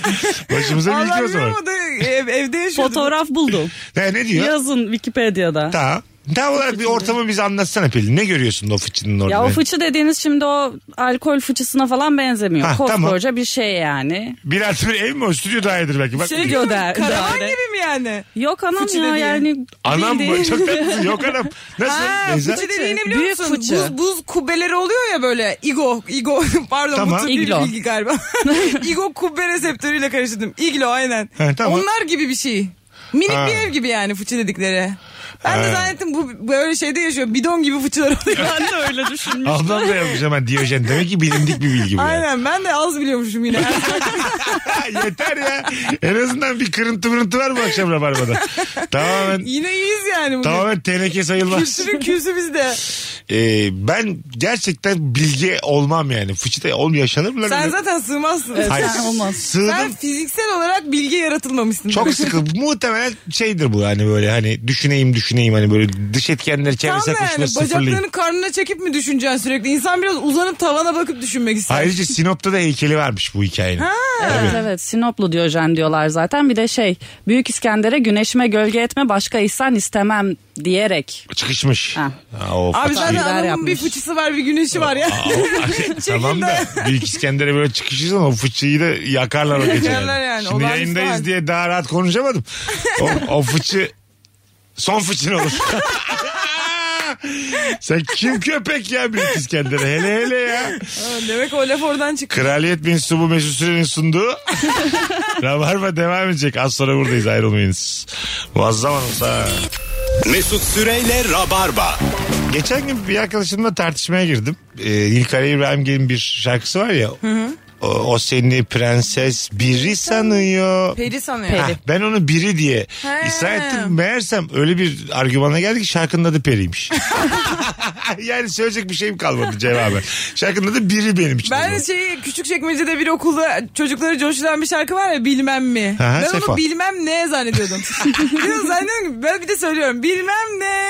Speaker 3: Başımıza
Speaker 4: Vallahi
Speaker 3: bilgi o zaman.
Speaker 4: bilmiyorum o da ev- evde yaşıyordum.
Speaker 5: Fotoğraf
Speaker 3: *laughs*
Speaker 5: buldum.
Speaker 3: Ne, ne diyor?
Speaker 5: Yazın Wikipedia'da.
Speaker 3: Tamam. Tam olarak bir ortamı bize anlatsana Pelin. Ne görüyorsun o fıçının orada?
Speaker 5: Ya o fıçı dediğiniz şimdi o alkol fıçısına falan benzemiyor.
Speaker 3: Ha, tamam.
Speaker 5: Koskoca bir şey yani.
Speaker 3: Bir artı bir ev mi o? Stüdyo dairedir belki. Bak,
Speaker 5: Stüdyo der.
Speaker 4: Karavan
Speaker 5: daire.
Speaker 4: gibi mi yani?
Speaker 5: Yok anam
Speaker 4: Fıçı
Speaker 5: ya
Speaker 4: dediğin.
Speaker 5: yani.
Speaker 3: Anam bu *laughs*
Speaker 5: bildiğin- *laughs*
Speaker 3: çok tatlısın. Yok anam. Nasıl?
Speaker 4: Ha,
Speaker 3: Beyza?
Speaker 4: fıçı dediğini biliyor
Speaker 5: Büyük
Speaker 4: musun?
Speaker 5: fıçı.
Speaker 4: Buz, buz kubbeleri oluyor ya böyle. Igo, igo *laughs* pardon
Speaker 3: Tamam.
Speaker 4: bu tür değil
Speaker 5: İglo.
Speaker 4: bilgi
Speaker 5: *laughs*
Speaker 4: galiba. igo kubbe reseptörüyle karıştırdım. Iglo aynen.
Speaker 3: He, tamam.
Speaker 4: Onlar gibi bir şey. Minik
Speaker 3: Ha.
Speaker 4: bir ev gibi yani fıçı dedikleri. Ben
Speaker 3: Ha.
Speaker 4: de zannettim bu böyle şeyde yaşıyor. Bidon gibi fıçılar oluyor.
Speaker 5: Ben de öyle düşünmüştüm.
Speaker 3: Ablam da yapmış hemen Diyojen. Demek ki bilindik bir bilgi bu. yani.
Speaker 4: Aynen ben de az
Speaker 3: *laughs*
Speaker 4: biliyormuşum yine. *laughs*
Speaker 3: Yeter ya. En azından bir kırıntı mırıntı var bu akşam
Speaker 5: *laughs*
Speaker 3: Rabarba'da. Tamamen,
Speaker 4: yine iyiyiz yani. bugün.
Speaker 3: tamamen teneke sayılmaz.
Speaker 4: Kültürün küsü bizde.
Speaker 3: Ee, ben gerçekten bilgi olmam yani. Fıçıda olm yaşanır mı? lan
Speaker 4: Sen
Speaker 3: öyle?
Speaker 4: zaten sığmazsın.
Speaker 3: Hayır,
Speaker 5: sen olmaz.
Speaker 3: Sığdım.
Speaker 4: Sen fiziksel olarak bilgi
Speaker 3: *laughs*
Speaker 4: yaratılmamışsın.
Speaker 3: Çok sıkı. Muhtemelen şeydir bu hani böyle hani düşüneyim düşüneyim hani böyle dış etkenleri
Speaker 4: Tam
Speaker 3: çevresel
Speaker 4: da yani
Speaker 3: koşulları sıfırlayayım.
Speaker 4: bacaklarını karnına çekip mi düşüneceksin sürekli? İnsan biraz uzanıp tavana bakıp düşünmek ister.
Speaker 3: Ayrıca Sinop'ta da heykeli varmış bu hikayenin.
Speaker 5: Evet evet Sinoplu Diyojen diyorlar zaten bir de şey Büyük İskender'e güneşime gölge etme başka ihsan istemem diyerek
Speaker 3: Çıkışmış.
Speaker 5: Ha.
Speaker 3: Ha, o
Speaker 4: Abi
Speaker 3: Fatih.
Speaker 4: zaten
Speaker 5: Güzel
Speaker 4: adamın
Speaker 5: yapmış.
Speaker 4: bir fıçısı var bir güneşi var ya.
Speaker 3: Aa,
Speaker 4: *laughs*
Speaker 3: o- tamam da Büyük İskender'e böyle çıkışırsan o fıçıyı da yakarlar o gece.
Speaker 4: Yakarlar yani,
Speaker 3: Şimdi
Speaker 4: olağanüstü
Speaker 3: yayındayız
Speaker 4: hal.
Speaker 3: diye daha rahat konuşamadım. O, o fıçı son fıçın
Speaker 4: *laughs*
Speaker 3: olur. Sen kim köpek ya Büyük İskender'e hele hele ya.
Speaker 4: Ha, Demek o laf oradan çıktı.
Speaker 3: Kraliyet mensubu Mesut Süren'in
Speaker 4: *laughs*
Speaker 3: sunduğu Rabarba devam edecek. Az sonra buradayız ayrılmayınız. Muazzam olsa.
Speaker 2: Mesut Süreyle Rabarba.
Speaker 3: Geçen gün bir arkadaşımla tartışmaya girdim. Ee, İlkay İbrahim Gelin bir şarkısı var ya. O, o seni prenses biri sanıyor.
Speaker 4: Peri sanıyor.
Speaker 3: Hah, ben onu biri diye ısrar ettim. Meğersem öyle bir argümana geldi ki şarkının adı
Speaker 4: *laughs*
Speaker 3: Peri'ymiş. yani söyleyecek bir şeyim kalmadı cevabı. Şarkının adı biri benim için.
Speaker 4: Ben şeyi küçük çekmecede bir okulda çocukları coşturan bir şarkı var ya bilmem mi.
Speaker 3: Aha,
Speaker 4: ben
Speaker 3: Sefa.
Speaker 4: onu bilmem ne zannediyordum.
Speaker 3: *laughs*
Speaker 4: Biraz zannediyorum ki ben bir de söylüyorum bilmem ne.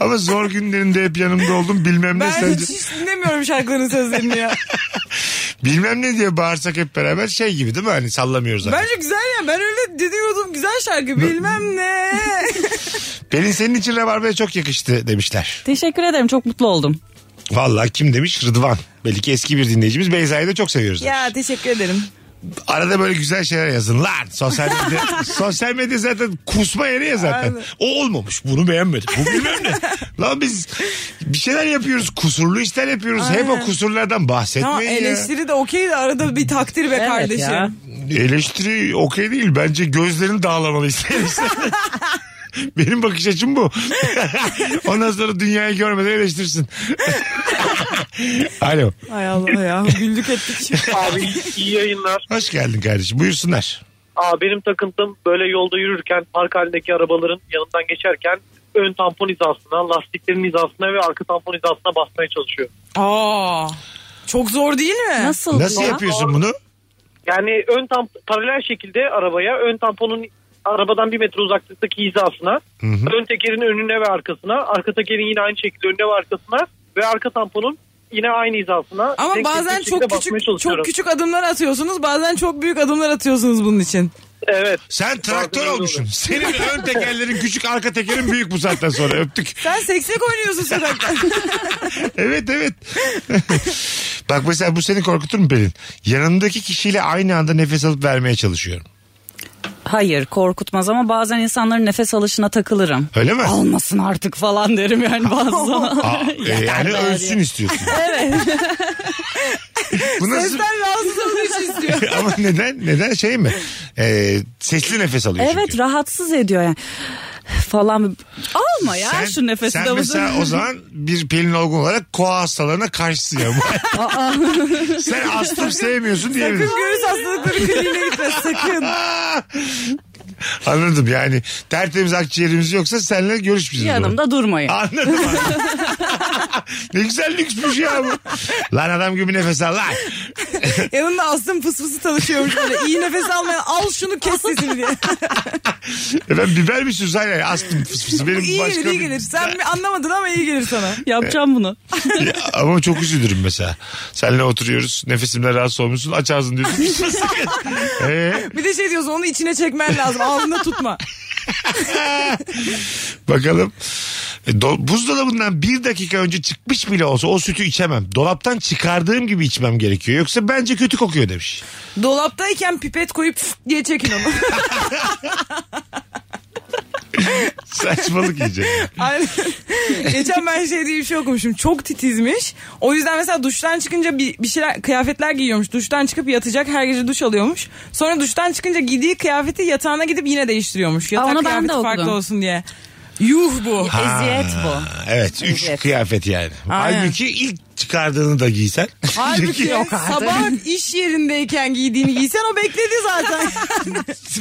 Speaker 3: Ama zor günlerinde hep yanımda oldum bilmem *laughs* ne
Speaker 4: ben
Speaker 3: sence.
Speaker 4: hiç, dinlemiyorum şarkıların sözlerini ya.
Speaker 3: Bilmem ne diye bağırsak hep beraber şey gibi değil mi? Hani sallamıyoruz. artık.
Speaker 4: Bence güzel ya ben öyle dediyordum güzel şarkı bilmem ne.
Speaker 3: Pelin senin için Rabarba'ya çok yakıştı demişler.
Speaker 5: Teşekkür ederim çok mutlu oldum.
Speaker 3: Vallahi kim demiş? Rıdvan. Belli ki eski bir dinleyicimiz. Beyza'yı da çok seviyoruz.
Speaker 4: ya teşekkür ederim.
Speaker 3: Arada böyle güzel şeyler yazın. Lan sosyal
Speaker 4: *laughs*
Speaker 3: medya, sosyal medya zaten kusma yeri ya zaten.
Speaker 4: Aynen.
Speaker 3: O olmamış. Bunu beğenmedim. Bu bilmem
Speaker 4: *laughs*
Speaker 3: ne. Lan biz bir şeyler yapıyoruz. Kusurlu işler yapıyoruz. Hep o kusurlardan bahsetmeyin
Speaker 4: Tamam
Speaker 3: ya.
Speaker 4: eleştiri de okey de arada bir takdir be
Speaker 5: Evet
Speaker 4: kardeşim.
Speaker 5: ya.
Speaker 3: Eleştiri okey değil. Bence gözlerini
Speaker 4: *laughs*
Speaker 3: dağlamalıyız. *laughs* Benim bakış açım bu. Ondan sonra dünyayı görmeden
Speaker 4: *laughs*
Speaker 3: eleştirsin. Alo.
Speaker 4: Hay Allah ya
Speaker 3: *laughs*
Speaker 4: güldük ettik.
Speaker 12: Abi iyi yayınlar.
Speaker 3: Hoş geldin kardeşim. Buyursunlar.
Speaker 12: Aa, benim takıntım böyle yolda yürürken park halindeki arabaların yanından geçerken ön tampon hizasına, lastiklerin hizasına ve arka tampon hizasına basmaya çalışıyor.
Speaker 4: Aa, çok zor değil mi?
Speaker 5: Nasıl,
Speaker 3: Nasıl
Speaker 5: ya?
Speaker 3: yapıyorsun bunu?
Speaker 12: Yani ön tam paralel şekilde arabaya ön tamponun arabadan bir metre uzaklıktaki hizasına, ön tekerin önüne ve arkasına, arka tekerin yine aynı şekilde önüne ve arkasına ve arka tamponun yine aynı hizasına.
Speaker 4: Ama
Speaker 12: denk
Speaker 4: bazen
Speaker 12: gelecek şekilde
Speaker 4: çok
Speaker 12: basmaya
Speaker 4: küçük
Speaker 12: çalışıyorum.
Speaker 4: çok küçük adımlar atıyorsunuz. Bazen çok büyük adımlar atıyorsunuz bunun için.
Speaker 12: Evet.
Speaker 3: Sen traktör
Speaker 12: öyle
Speaker 3: olmuşsun.
Speaker 12: oluyor.
Speaker 3: Senin ön tekerlerin küçük arka tekerin büyük bu saatten sonra öptük.
Speaker 4: Sen seksek
Speaker 3: *laughs*
Speaker 4: oynuyorsun sokakta.
Speaker 3: Evet
Speaker 5: *laughs*
Speaker 3: evet. Bak mesela bu seni korkutur mu Pelin? Yanımdaki kişiyle aynı anda nefes alıp vermeye çalışıyorum.
Speaker 5: Hayır korkutmaz ama bazen insanların nefes alışına takılırım.
Speaker 3: Öyle mi?
Speaker 5: Almasın artık falan derim yani bazı zaman.
Speaker 3: *laughs* Aa,
Speaker 5: *laughs*
Speaker 3: e, yani
Speaker 5: bari.
Speaker 3: ölsün istiyorsun.
Speaker 5: *laughs* evet.
Speaker 3: Bu nasıl?
Speaker 4: Sesten rahatsız olduğu için istiyor.
Speaker 3: *laughs* Ama neden? Neden şey mi? Ee, sesli nefes alıyor
Speaker 5: evet
Speaker 3: çünkü.
Speaker 5: rahatsız ediyor yani. Falan alma ya
Speaker 3: Sen-
Speaker 5: şu nefesi de
Speaker 3: sen
Speaker 5: bu-
Speaker 3: mesela o zaman bir Pelin Olgun olarak koa hastalarına karşısın ya.
Speaker 5: Aa.
Speaker 3: sen astım sevmiyorsun diyebiliriz.
Speaker 4: Sakın göğüs hastalıkları kliniğine gitme sakın.
Speaker 3: Aa! *laughs* Anladım yani tertemiz akciğerimiz yoksa seninle görüşmeyeceğiz. o zaman.
Speaker 5: Yanımda durmayın.
Speaker 3: Anladım. anladım. *laughs* ne güzel lüksmüş ya bu. Lan adam gibi nefes al lan.
Speaker 4: Yanında aslında fısfısı tanışıyormuş böyle. İyi nefes almayan al şunu kes sesini diye.
Speaker 3: Efendim E biber mi süz? Hayır hayır astım fıs fısı. Benim
Speaker 4: iyi
Speaker 3: başka
Speaker 4: gelir iyi
Speaker 3: bir- şey.
Speaker 4: gelir. Sen mi anlamadın ama iyi gelir sana.
Speaker 5: Yapacağım bunu.
Speaker 3: *laughs* Ya, ama çok üzülürüm mesela. Seninle oturuyoruz. Nefesimden rahatsız olmuşsun. Aç ağzını diyorsun. fıs fıs. Ee,
Speaker 4: Bir de şey diyorsun onu içine çekmen lazım. Ağzında tutma. *laughs*
Speaker 3: bakalım. E, do- buzdolabından bir dakika önce çıkmış bile olsa o sütü içemem. Dolaptan çıkardığım gibi içmem gerekiyor. Yoksa bence kötü kokuyor demiş. *laughs*
Speaker 4: Dolaptayken pipet koyup diye çekin onu.
Speaker 3: Saçmalık iyice.
Speaker 4: Aynen. Geçen ben şey diye bir şey okumuşum. Çok titizmiş. O yüzden mesela duştan çıkınca bir, bir şeyler kıyafetler giyiyormuş. Duştan çıkıp yatacak her gece duş alıyormuş. Sonra duştan çıkınca giydiği kıyafeti yatağına gidip yine değiştiriyormuş. Yatak
Speaker 5: Aa, onu ben de
Speaker 4: kıyafeti
Speaker 5: okudum.
Speaker 4: farklı olsun diye. Yuh
Speaker 3: e,
Speaker 4: bu.
Speaker 5: *laughs* Eziyet bu.
Speaker 3: Evet. Üç
Speaker 5: Eziyet.
Speaker 3: kıyafet yani.
Speaker 4: Aynen.
Speaker 3: Halbuki ilk çıkardığını da giysen. *laughs*
Speaker 4: Halbuki
Speaker 3: Çünkü-
Speaker 4: sabah iş yerindeyken giydiğini giysen o bekledi zaten.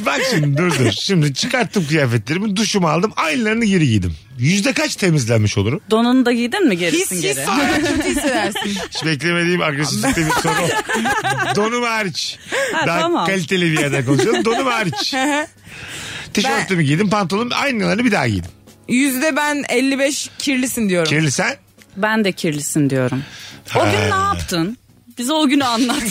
Speaker 3: Bak şimdi dur dur. Şimdi çıkarttım kıyafetlerimi duşumu aldım aynılarını geri giydim. Yüzde kaç temizlenmiş olurum?
Speaker 5: Donunu da giydin mi gerisin
Speaker 4: His his
Speaker 5: geri?
Speaker 4: sonra kötü hissedersin.
Speaker 3: Hiç beklemediğim agresiflikte bir soru.
Speaker 4: *laughs*
Speaker 3: Donum hariç.
Speaker 5: Ha,
Speaker 3: Daha
Speaker 5: tamam.
Speaker 3: kaliteli bir yerden konuşalım. Donum hariç. Tişörtümü giydim pantolonum aynılarını bir daha giydim.
Speaker 4: Yüzde ben 55 kirlisin diyorum.
Speaker 3: Kirli sen?
Speaker 5: Ben de kirlisin diyorum. O gün ne yaptın? Bize o
Speaker 3: *laughs*
Speaker 5: günü anlat.
Speaker 4: *laughs*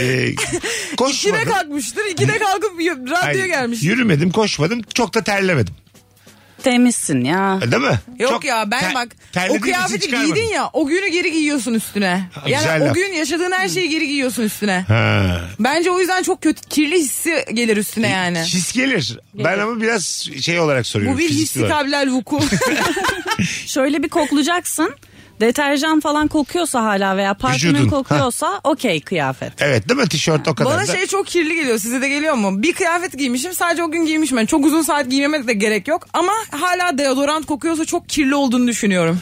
Speaker 3: Ee,
Speaker 4: İkide
Speaker 3: koşmadım.
Speaker 4: kalkmıştır. İkide kalkıp y-
Speaker 3: Hayır,
Speaker 4: radyoya gelmiş.
Speaker 3: yürümedim koşmadım çok da terlemedim.
Speaker 5: Temizsin ya.
Speaker 3: Değil mi?
Speaker 4: Yok
Speaker 3: Çok
Speaker 4: ya ben
Speaker 3: ter-
Speaker 4: bak o
Speaker 3: terlediğim için
Speaker 4: kıyafeti
Speaker 3: çıkarmadım.
Speaker 4: giydin ya o günü geri giyiyorsun üstüne.
Speaker 3: Ha,
Speaker 4: Yani
Speaker 3: güzel
Speaker 4: o
Speaker 3: laf.
Speaker 4: gün yaşadığın her şeyi geri giyiyorsun üstüne.
Speaker 3: Ha.
Speaker 4: Bence o yüzden çok kötü kirli hissi gelir
Speaker 3: E,
Speaker 4: üstüne yani.
Speaker 3: His gelir. Ben ama biraz şey olarak soruyorum.
Speaker 4: Bu bir
Speaker 3: fiziksel
Speaker 4: hissi
Speaker 3: olarak. *laughs*
Speaker 4: kabilel vuku.
Speaker 5: Şöyle bir koklayacaksın. Deterjan falan kokuyorsa hala veya parfümün
Speaker 3: Vücudun.
Speaker 5: kokuyorsa
Speaker 3: *laughs*
Speaker 5: okey kıyafet.
Speaker 3: Evet değil mi tişört o kadar
Speaker 4: Bana
Speaker 3: da.
Speaker 4: şey çok kirli geliyor size de geliyor mu? Bir kıyafet giymişim sadece o gün giymişim. Yani çok uzun saat giymeme de gerek yok. Ama hala deodorant kokuyorsa çok kirli olduğunu düşünüyorum.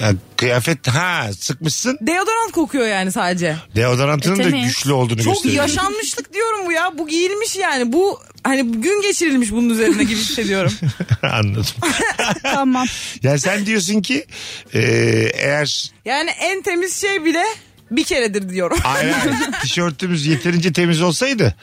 Speaker 3: Yani kıyafet ha sıkmışsın.
Speaker 4: Deodorant kokuyor yani sadece.
Speaker 3: Deodorantının
Speaker 5: E,
Speaker 3: da
Speaker 5: tabii.
Speaker 3: güçlü olduğunu
Speaker 4: Çok
Speaker 3: gösteriyor.
Speaker 4: yaşanmışlık diyorum bu ya. Bu giyilmiş yani. Bu hani gün geçirilmiş bunun üzerine gibi hissediyorum.
Speaker 3: *laughs* Anladım.
Speaker 5: tamam.
Speaker 3: Yani sen diyorsun ki e, eğer
Speaker 4: Yani en temiz şey bile bir keredir diyorum.
Speaker 3: hayır, hayır, tişörtümüz yeterince temiz olsaydı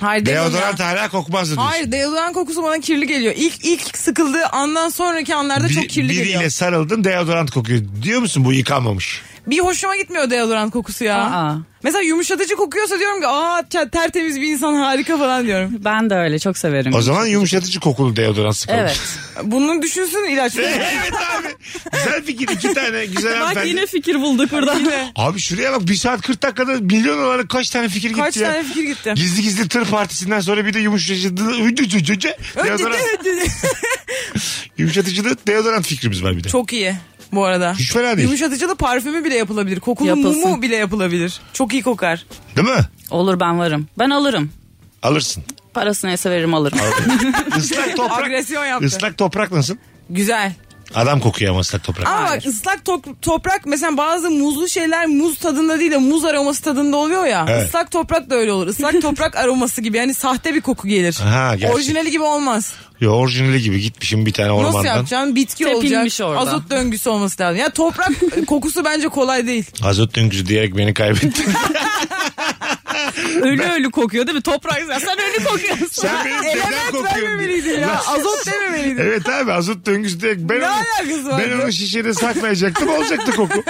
Speaker 4: Hayır, demiyorum ya.
Speaker 3: deodorant hala kokmazdı diyorsun.
Speaker 4: Hayır deodorant kokusu bana kirli geliyor. İlk ilk sıkıldığı andan sonraki anlarda
Speaker 3: Bir-
Speaker 4: çok kirli
Speaker 3: biriyle
Speaker 4: geliyor.
Speaker 3: sarıldın deodorant kokuyor. Diyor musun bu yıkanmamış?
Speaker 4: Bir hoşuma gitmiyor deodorant kokusu ya.
Speaker 5: Aa.
Speaker 4: Mesela yumuşatıcı kokuyorsa diyorum ki aa ter- tertemiz bir insan harika falan diyorum.
Speaker 5: Ben de öyle çok severim.
Speaker 3: O zaman yumuşatıcı kokulu deodorant sıkalım.
Speaker 5: Evet.
Speaker 4: Bunu düşünsün
Speaker 3: *laughs*
Speaker 4: ilaçları.
Speaker 3: evet abi. Güzel fikir. iki tane güzel
Speaker 5: Bak
Speaker 3: hanımefendi.
Speaker 5: yine fikir bulduk buradan.
Speaker 3: Abi şuraya bak 1 saat 40 dakikada milyon olarak kaç tane fikir
Speaker 4: Kaç
Speaker 3: gitti ya.
Speaker 4: tane fikir gitti.
Speaker 3: Gizli gizli tır partisinden sonra bir de yumuşatıcılığı *laughs* deodorant, yumuşatıcılığı deodorant fikrimiz var bir de.
Speaker 4: *laughs* Çok iyi bu arada.
Speaker 3: Hiç fena değil.
Speaker 4: Yumuşatıcılı parfümü bile yapılabilir. Kokulu
Speaker 5: Yapılsın.
Speaker 4: mumu bile yapılabilir. Çok iyi kokar.
Speaker 3: Değil mi?
Speaker 5: Olur ben varım. Ben alırım.
Speaker 3: Alırsın.
Speaker 5: Parasını ise veririm alırım.
Speaker 3: Islak toprak.
Speaker 4: Agresyon yaptı.
Speaker 3: Islak toprak nasıl?
Speaker 4: Güzel.
Speaker 3: Adam kokuyor ama ıslak toprak.
Speaker 4: Ama bak ıslak to- toprak mesela bazı muzlu şeyler muz tadında değil de muz aroması tadında oluyor ya.
Speaker 3: Evet.
Speaker 4: Islak toprak da öyle olur.
Speaker 5: *laughs*
Speaker 4: Islak toprak aroması gibi yani sahte bir koku gelir.
Speaker 3: Ha, gerçek.
Speaker 4: Orijinali gibi olmaz.
Speaker 3: Yo, orijinali gibi gitmişim bir tane ormandan.
Speaker 4: Nasıl yapacaksın? Bitki
Speaker 5: Tepinmiş
Speaker 4: olacak.
Speaker 5: orada.
Speaker 4: Azot döngüsü olması lazım. Ya
Speaker 5: *laughs*
Speaker 4: toprak kokusu bence kolay değil.
Speaker 3: Azot döngüsü diyerek beni
Speaker 4: *laughs*
Speaker 3: kaybettin.
Speaker 5: ölü ölü kokuyor değil mi? Toprak sen ölü kokuyorsun.
Speaker 3: Sen benim neden
Speaker 4: Element
Speaker 3: kokuyorsun?
Speaker 4: vermemeliydin ya.
Speaker 3: Lan-
Speaker 4: Azot dememeliydin.
Speaker 3: Evet abi azot döngüsü diyerek ben,
Speaker 4: Ne alakası
Speaker 3: onu,
Speaker 4: var
Speaker 3: ben
Speaker 4: ya?
Speaker 3: onu şişede saklayacaktım olacaktı
Speaker 4: *laughs*
Speaker 3: koku.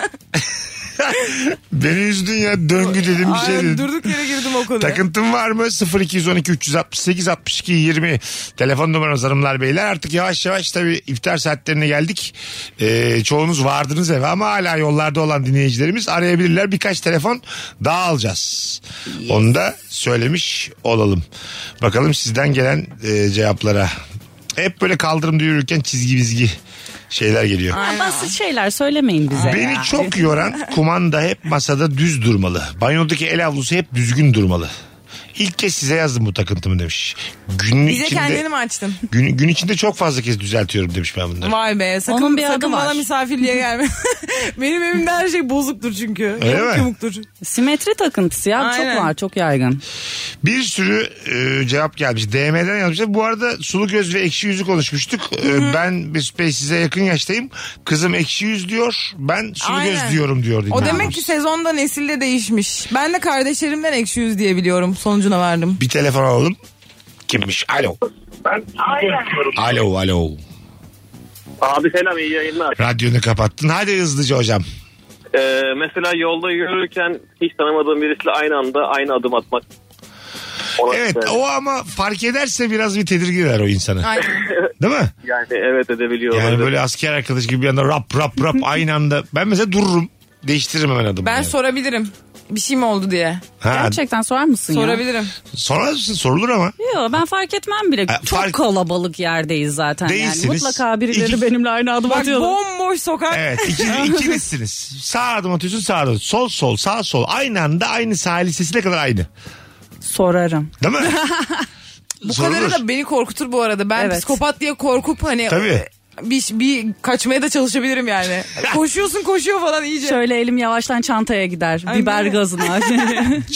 Speaker 3: Beni üzdün ya döngü dedim bir şey
Speaker 4: Aynen,
Speaker 3: dedim.
Speaker 4: durduk yere girdim o konuya.
Speaker 3: Takıntın var mı? 0212 368 62 20 telefon numaramız hanımlar beyler. Artık yavaş yavaş tabii iftar saatlerine geldik. Ee, çoğunuz vardınız eve ama hala yollarda olan dinleyicilerimiz arayabilirler. Birkaç telefon daha alacağız. Onu da söylemiş olalım. Bakalım sizden gelen e, cevaplara. Hep böyle kaldırımda yürürken çizgi bizgi şeyler geliyor.
Speaker 5: Ha, Basit şeyler söylemeyin bize.
Speaker 3: Beni
Speaker 5: ya.
Speaker 3: çok yoran kumanda hep masada düz durmalı. Banyodaki el havlusu hep düzgün durmalı. İlk kez size yazdım bu takıntımı demiş. Gün
Speaker 4: Bize
Speaker 3: içinde,
Speaker 4: kendini mi açtın?
Speaker 3: gün, gün içinde çok fazla kez düzeltiyorum demiş ben bunları.
Speaker 4: Vay be sakın,
Speaker 5: Onun bir adı
Speaker 4: sakın bana
Speaker 5: var.
Speaker 4: misafirliğe
Speaker 5: *laughs*
Speaker 4: gelme. Benim evimde her şey bozuktur çünkü.
Speaker 3: Öyle
Speaker 4: Yamuk
Speaker 3: mi?
Speaker 4: yumuktur.
Speaker 5: Simetri takıntısı ya
Speaker 4: Aynen.
Speaker 5: çok var çok yaygın.
Speaker 3: Bir sürü e, cevap gelmiş. DM'den yazmışlar. Bu arada sulu göz ve ekşi yüzü konuşmuştuk. E, ben bir space size yakın yaştayım. Kızım ekşi yüz diyor. Ben sulu
Speaker 4: Aynen.
Speaker 3: göz diyorum diyor.
Speaker 4: O demek
Speaker 3: dinleyicimiz.
Speaker 4: ki sezonda nesilde değişmiş. Ben de kardeşlerimden ekşi yüz diye biliyorum. Sonucuna vardım.
Speaker 3: Bir telefon alalım. Kimmiş? Alo. Alo alo.
Speaker 18: Abi selam iyi yayınlar.
Speaker 3: Radyonu kapattın. Hadi hızlıca hocam.
Speaker 18: Ee, mesela yolda yürürken hiç tanımadığım birisiyle aynı anda aynı adım atmak. Ona-
Speaker 3: Evet o ama fark ederse biraz bir tedirgin eder o insanı. Değil mi?
Speaker 7: É,
Speaker 18: Yani evet edebiliyor.
Speaker 3: Yani
Speaker 18: olabilir.
Speaker 3: böyle asker arkadaş gibi bir anda rap rap
Speaker 4: *laughs*
Speaker 3: rap aynı anda. Ben mesela dururum. Değiştiririm hemen adımı.
Speaker 4: Ben
Speaker 3: yani.
Speaker 4: sorabilirim. Bir şey mi oldu diye.
Speaker 3: Ha.
Speaker 5: Gerçekten sorar mısın ya?
Speaker 4: Sorabilirim.
Speaker 3: Sorar mısın? Sorulur ama.
Speaker 5: Yok ben fark etmem bile.
Speaker 3: Ha,
Speaker 5: çok
Speaker 3: fark-
Speaker 5: kalabalık yerdeyiz zaten
Speaker 3: Değilsiniz.
Speaker 5: yani. Mutlaka birileri
Speaker 3: İki-
Speaker 5: benimle aynı adım
Speaker 4: Bak
Speaker 5: atıyordu.
Speaker 4: bomboş sokak.
Speaker 3: Evet
Speaker 4: *laughs*
Speaker 3: iki, ikilizsiniz. Sağ adım atıyorsun sağ adım. Sol sol sağ sol. Aynı anda aynı sahil lisesine kadar aynı.
Speaker 5: Sorarım.
Speaker 3: Değil mi?
Speaker 4: *laughs* Bu
Speaker 3: Sorulur.
Speaker 4: kadarı da beni korkutur bu arada. Ben
Speaker 5: Evet.
Speaker 4: psikopat diye korkup hani
Speaker 3: Tabii.
Speaker 4: bir, bir kaçmaya da çalışabilirim
Speaker 3: *laughs*
Speaker 4: yani. Koşuyorsun koşuyor falan iyice.
Speaker 5: Şöyle elim yavaştan çantaya gider.
Speaker 4: Aynen.
Speaker 5: Biber
Speaker 4: *laughs*
Speaker 5: gazına.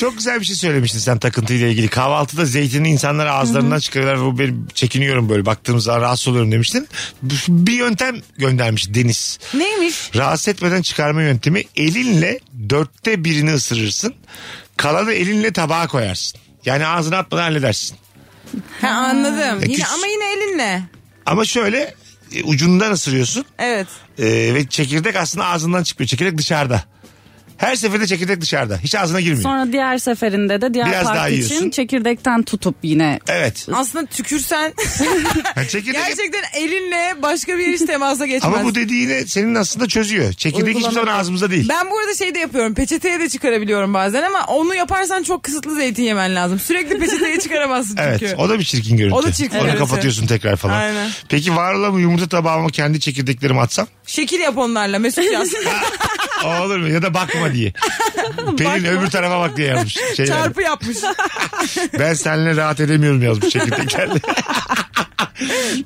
Speaker 3: Çok güzel bir şey söylemiştin sen takıntıyla ilgili. Kahvaltıda zeytini insanlar ağızlarından çıkarıyorlar. Bu benim çekiniyorum böyle baktığımız zaman rahatsız oluyorum demiştin. Bu- Bir yöntem göndermiş Deniz.
Speaker 4: Neymiş?
Speaker 3: Rahatsız etmeden çıkarma yöntemi elinle dörtte birini ısırırsın. Kalanı elinle tabağa koyarsın. Yani ağzına atmadan halledersin.
Speaker 4: Ha, anladım.
Speaker 3: Ya
Speaker 4: Yine,
Speaker 3: küs-
Speaker 4: ama yine elinle.
Speaker 3: Ama şöyle e, ucundan ısırıyorsun
Speaker 4: Evet.
Speaker 3: e, ve çekirdek aslında ağzından çıkmıyor. Çekirdek dışarıda. Her seferinde çekirdek dışarıda. Hiç ağzına girmiyor.
Speaker 5: Sonra diğer seferinde de diğer
Speaker 3: Biraz daha
Speaker 5: parti
Speaker 3: yiyorsun.
Speaker 5: için çekirdekten tutup yine.
Speaker 3: Evet.
Speaker 4: Aslında
Speaker 5: *laughs*
Speaker 4: tükürsen
Speaker 3: Yani çekirdek
Speaker 4: gerçekten elinle başka bir iş temasa geçmez.
Speaker 3: Ama bu dediğini senin aslında çözüyor. Çekirdek hiçbir zaman
Speaker 4: Uygulamada.
Speaker 3: ağzımızda değil.
Speaker 4: Ben bu arada şey de yapıyorum. Peçeteye de çıkarabiliyorum bazen ama onu yaparsan çok kısıtlı zeytin yemen lazım. Sürekli peçeteye çıkaramazsın
Speaker 3: Evet
Speaker 4: çünkü.
Speaker 3: o da bir çirkin görüntü.
Speaker 4: O da çirkin
Speaker 3: Onu
Speaker 4: görüntü.
Speaker 3: kapatıyorsun tekrar falan.
Speaker 4: Aynen.
Speaker 3: Peki var olan bu yumurta tabağıma kendi çekirdeklerimi
Speaker 4: *laughs*
Speaker 3: atsam?
Speaker 4: Şekil yap onlarla Mesut yaz.
Speaker 3: *laughs* O olur mu? Ya da bakma
Speaker 4: *laughs*
Speaker 3: diye. Pelin öbür tarafa bak diye yazmış. Şey yani,
Speaker 4: Çarpı yapmış.
Speaker 3: ben seninle rahat edemiyorum yazmış
Speaker 4: *laughs*
Speaker 3: çekirdeklerle.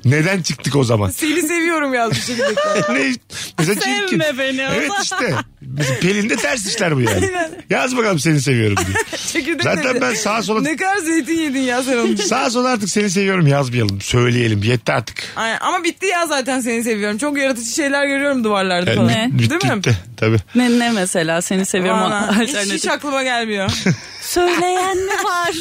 Speaker 3: Neden çıktık o zaman?
Speaker 4: Seni seviyorum yazmış şekildeki.
Speaker 3: ne? Mesela
Speaker 4: Sevme
Speaker 3: çirkin.
Speaker 4: beni o
Speaker 3: Evet
Speaker 4: zaman.
Speaker 3: işte. Mesela Pelin de ters işler bu yani. Yaz bakalım seni seviyorum
Speaker 4: *laughs*
Speaker 3: diye.
Speaker 4: Çekirdek
Speaker 3: Zaten
Speaker 4: dedi.
Speaker 3: ben sağa sola
Speaker 4: Ne kadar zeytin yedin ya sen onun için.
Speaker 3: Sağa sola artık seni seviyorum yazmayalım. Söyleyelim. Yetti artık.
Speaker 4: Aynen. Ama bitti ya zaten seni seviyorum. Çok yaratıcı şeyler görüyorum duvarlarda falan.
Speaker 3: Yani bit-
Speaker 4: Değil
Speaker 3: bitti,
Speaker 4: mi?
Speaker 3: bitti. Tabii.
Speaker 5: Ne, ne mesela seni seviyorum. *laughs*
Speaker 4: Valla, hiç, hiç
Speaker 5: Alternatif.
Speaker 4: aklıma gelmiyor.
Speaker 5: Söyleyen mi
Speaker 4: *laughs*
Speaker 5: var?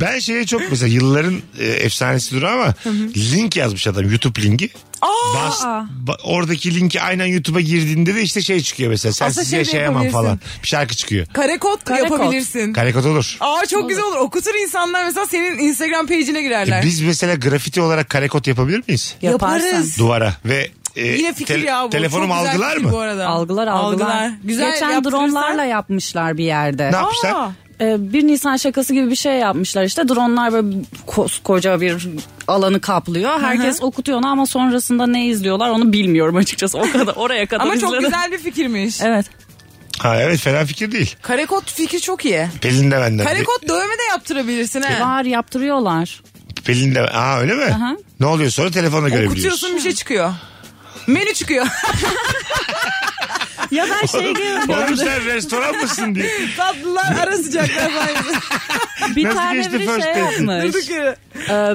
Speaker 3: Ben şeye çok mesela yılların e, efsanesi duru ama link yazmış adam YouTube linki.
Speaker 4: Aa!
Speaker 3: *laughs* Bas- ba- oradaki linki aynen YouTube'a girdiğinde de işte şey çıkıyor mesela. Sen
Speaker 4: Aslında
Speaker 3: size
Speaker 4: şey de
Speaker 3: yaşayamam
Speaker 4: yapabilirsin.
Speaker 3: falan. Bir şarkı çıkıyor.
Speaker 4: Kare kod
Speaker 5: Kare kod.
Speaker 4: yapabilirsin.
Speaker 3: Karekot olur.
Speaker 4: Aa çok güzel olur. Okutur insanlar mesela senin Instagram page'ine girerler.
Speaker 3: E, biz mesela grafiti olarak karekot yapabilir miyiz?
Speaker 4: Yaparız.
Speaker 3: Duvara ve e,
Speaker 4: Yine fikir
Speaker 3: tele-
Speaker 4: ya bu.
Speaker 3: telefonum
Speaker 4: Çok güzel
Speaker 3: algılar
Speaker 4: fikir
Speaker 3: mı?
Speaker 4: Bu arada.
Speaker 5: Algılar algılar.
Speaker 4: Güzel
Speaker 5: Geçen
Speaker 4: yaptırırsan-
Speaker 5: dronlarla yapmışlar bir yerde.
Speaker 3: Ne yapmışlar?
Speaker 5: Ee, bir Nisan şakası gibi bir şey yapmışlar işte dronlar böyle koskoca bir alanı kaplıyor. Herkes okutuyor onu ama sonrasında ne izliyorlar onu bilmiyorum açıkçası. O kadar oraya kadar
Speaker 4: Ama çok
Speaker 5: izledim.
Speaker 4: güzel bir fikirmiş.
Speaker 5: Evet.
Speaker 3: Ha evet fena fikir değil.
Speaker 4: Kare kod fikri çok iyi.
Speaker 3: Pelin de benden.
Speaker 4: Kare kod dövme de yaptırabilirsin ha.
Speaker 5: Var yaptırıyorlar.
Speaker 3: Pelin de. Aa öyle mi?
Speaker 5: Aha.
Speaker 3: Ne oluyor sonra telefonla görebiliyoruz.
Speaker 4: Okutuyorsun bir şey çıkıyor. Menü
Speaker 5: *laughs*
Speaker 4: çıkıyor.
Speaker 5: Ya
Speaker 3: *laughs*
Speaker 5: ben şey
Speaker 3: Oğlum sen restoran mısın diye.
Speaker 4: Tatlılar ara sıcaklar falan.
Speaker 5: bir
Speaker 3: Nasıl
Speaker 5: tane
Speaker 3: geçti
Speaker 5: biri
Speaker 3: first
Speaker 5: şey
Speaker 3: date'in?
Speaker 5: yapmış.
Speaker 4: Durduk yere.
Speaker 5: Ee,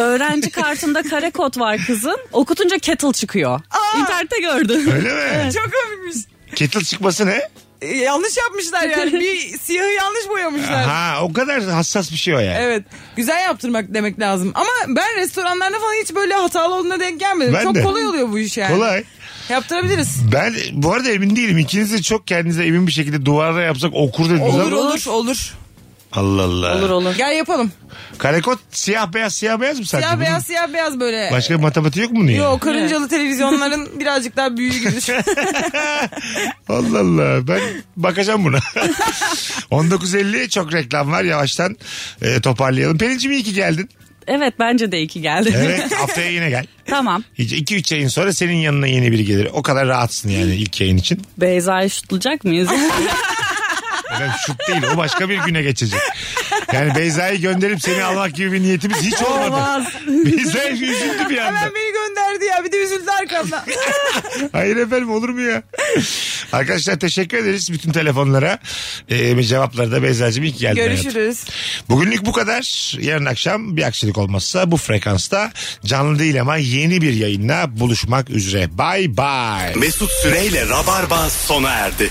Speaker 5: öğrenci kartında kare kod var kızın. Okutunca kettle çıkıyor. İnternette gördüm.
Speaker 3: Öyle mi?
Speaker 4: Çok komikmiş.
Speaker 3: Kettle çıkması ne?
Speaker 4: E, Yanlış yapmışlar
Speaker 5: *laughs*
Speaker 4: yani. Bir siyahı yanlış boyamışlar.
Speaker 3: Ha o kadar hassas bir şey o yani.
Speaker 4: Evet. Güzel yaptırmak demek lazım. Ama ben restoranlarda falan hiç böyle hatalı olduğuna denk gelmedim.
Speaker 3: Ben
Speaker 4: Çok
Speaker 3: de.
Speaker 4: kolay oluyor bu iş yani.
Speaker 3: Kolay.
Speaker 4: Yaptırabiliriz.
Speaker 3: Ben bu arada emin değilim. İkiniz de çok kendinize emin bir şekilde duvarda yapsak okur dediniz
Speaker 4: Olur
Speaker 3: ama.
Speaker 4: olur olur.
Speaker 3: Allah Allah.
Speaker 5: Olur olur.
Speaker 4: Gel yapalım.
Speaker 3: Karekot siyah beyaz siyah beyaz mı sadece?
Speaker 4: Siyah
Speaker 3: Bunun
Speaker 4: beyaz siyah beyaz böyle.
Speaker 3: Başka bir matematiği yok mu bunun yani?
Speaker 4: Yok
Speaker 3: *laughs*
Speaker 4: karıncalı televizyonların birazcık daha büyüğü gibi düşün.
Speaker 3: Allah Allah. Ben bakacağım
Speaker 4: *laughs*
Speaker 3: buna. 19.50 çok reklam var. Yavaştan e, toparlayalım. Pelin'cim iyi ki
Speaker 4: *laughs*
Speaker 3: geldin.
Speaker 5: Evet bence de iki geldi.
Speaker 3: Evet haftaya yine gel.
Speaker 5: *laughs* tamam.
Speaker 3: 2-3 yayın sonra senin yanına yeni biri gelir. O kadar rahatsın
Speaker 4: *laughs*
Speaker 3: yani ilk yayın için. *laughs*
Speaker 5: Beyza'yı şutlayacak mıyız?
Speaker 3: Efendim şut değil o başka bir güne geçecek. Yani Beyza'yı gönderip seni almak gibi bir niyetimiz hiç olmadı.
Speaker 4: Olmaz.
Speaker 3: *laughs* Beyza üzüldü bir anda.
Speaker 4: Hemen beni gönderdi ya. Bir de üzüldü
Speaker 3: *laughs*
Speaker 4: arkamdan.
Speaker 3: Hayır efendim olur mu ya? Arkadaşlar teşekkür ederiz bütün telefonlara. Ee, cevapları da Beyza'cığım ilk geldi. hayatım.
Speaker 4: Görüşürüz.
Speaker 3: Bugünlük bu kadar. Yarın akşam bir aksilik olmazsa bu frekansta canlı değil ama yeni bir yayınla buluşmak üzere. Bay bay.
Speaker 2: Mesut Süreyle Rabarba sona erdi.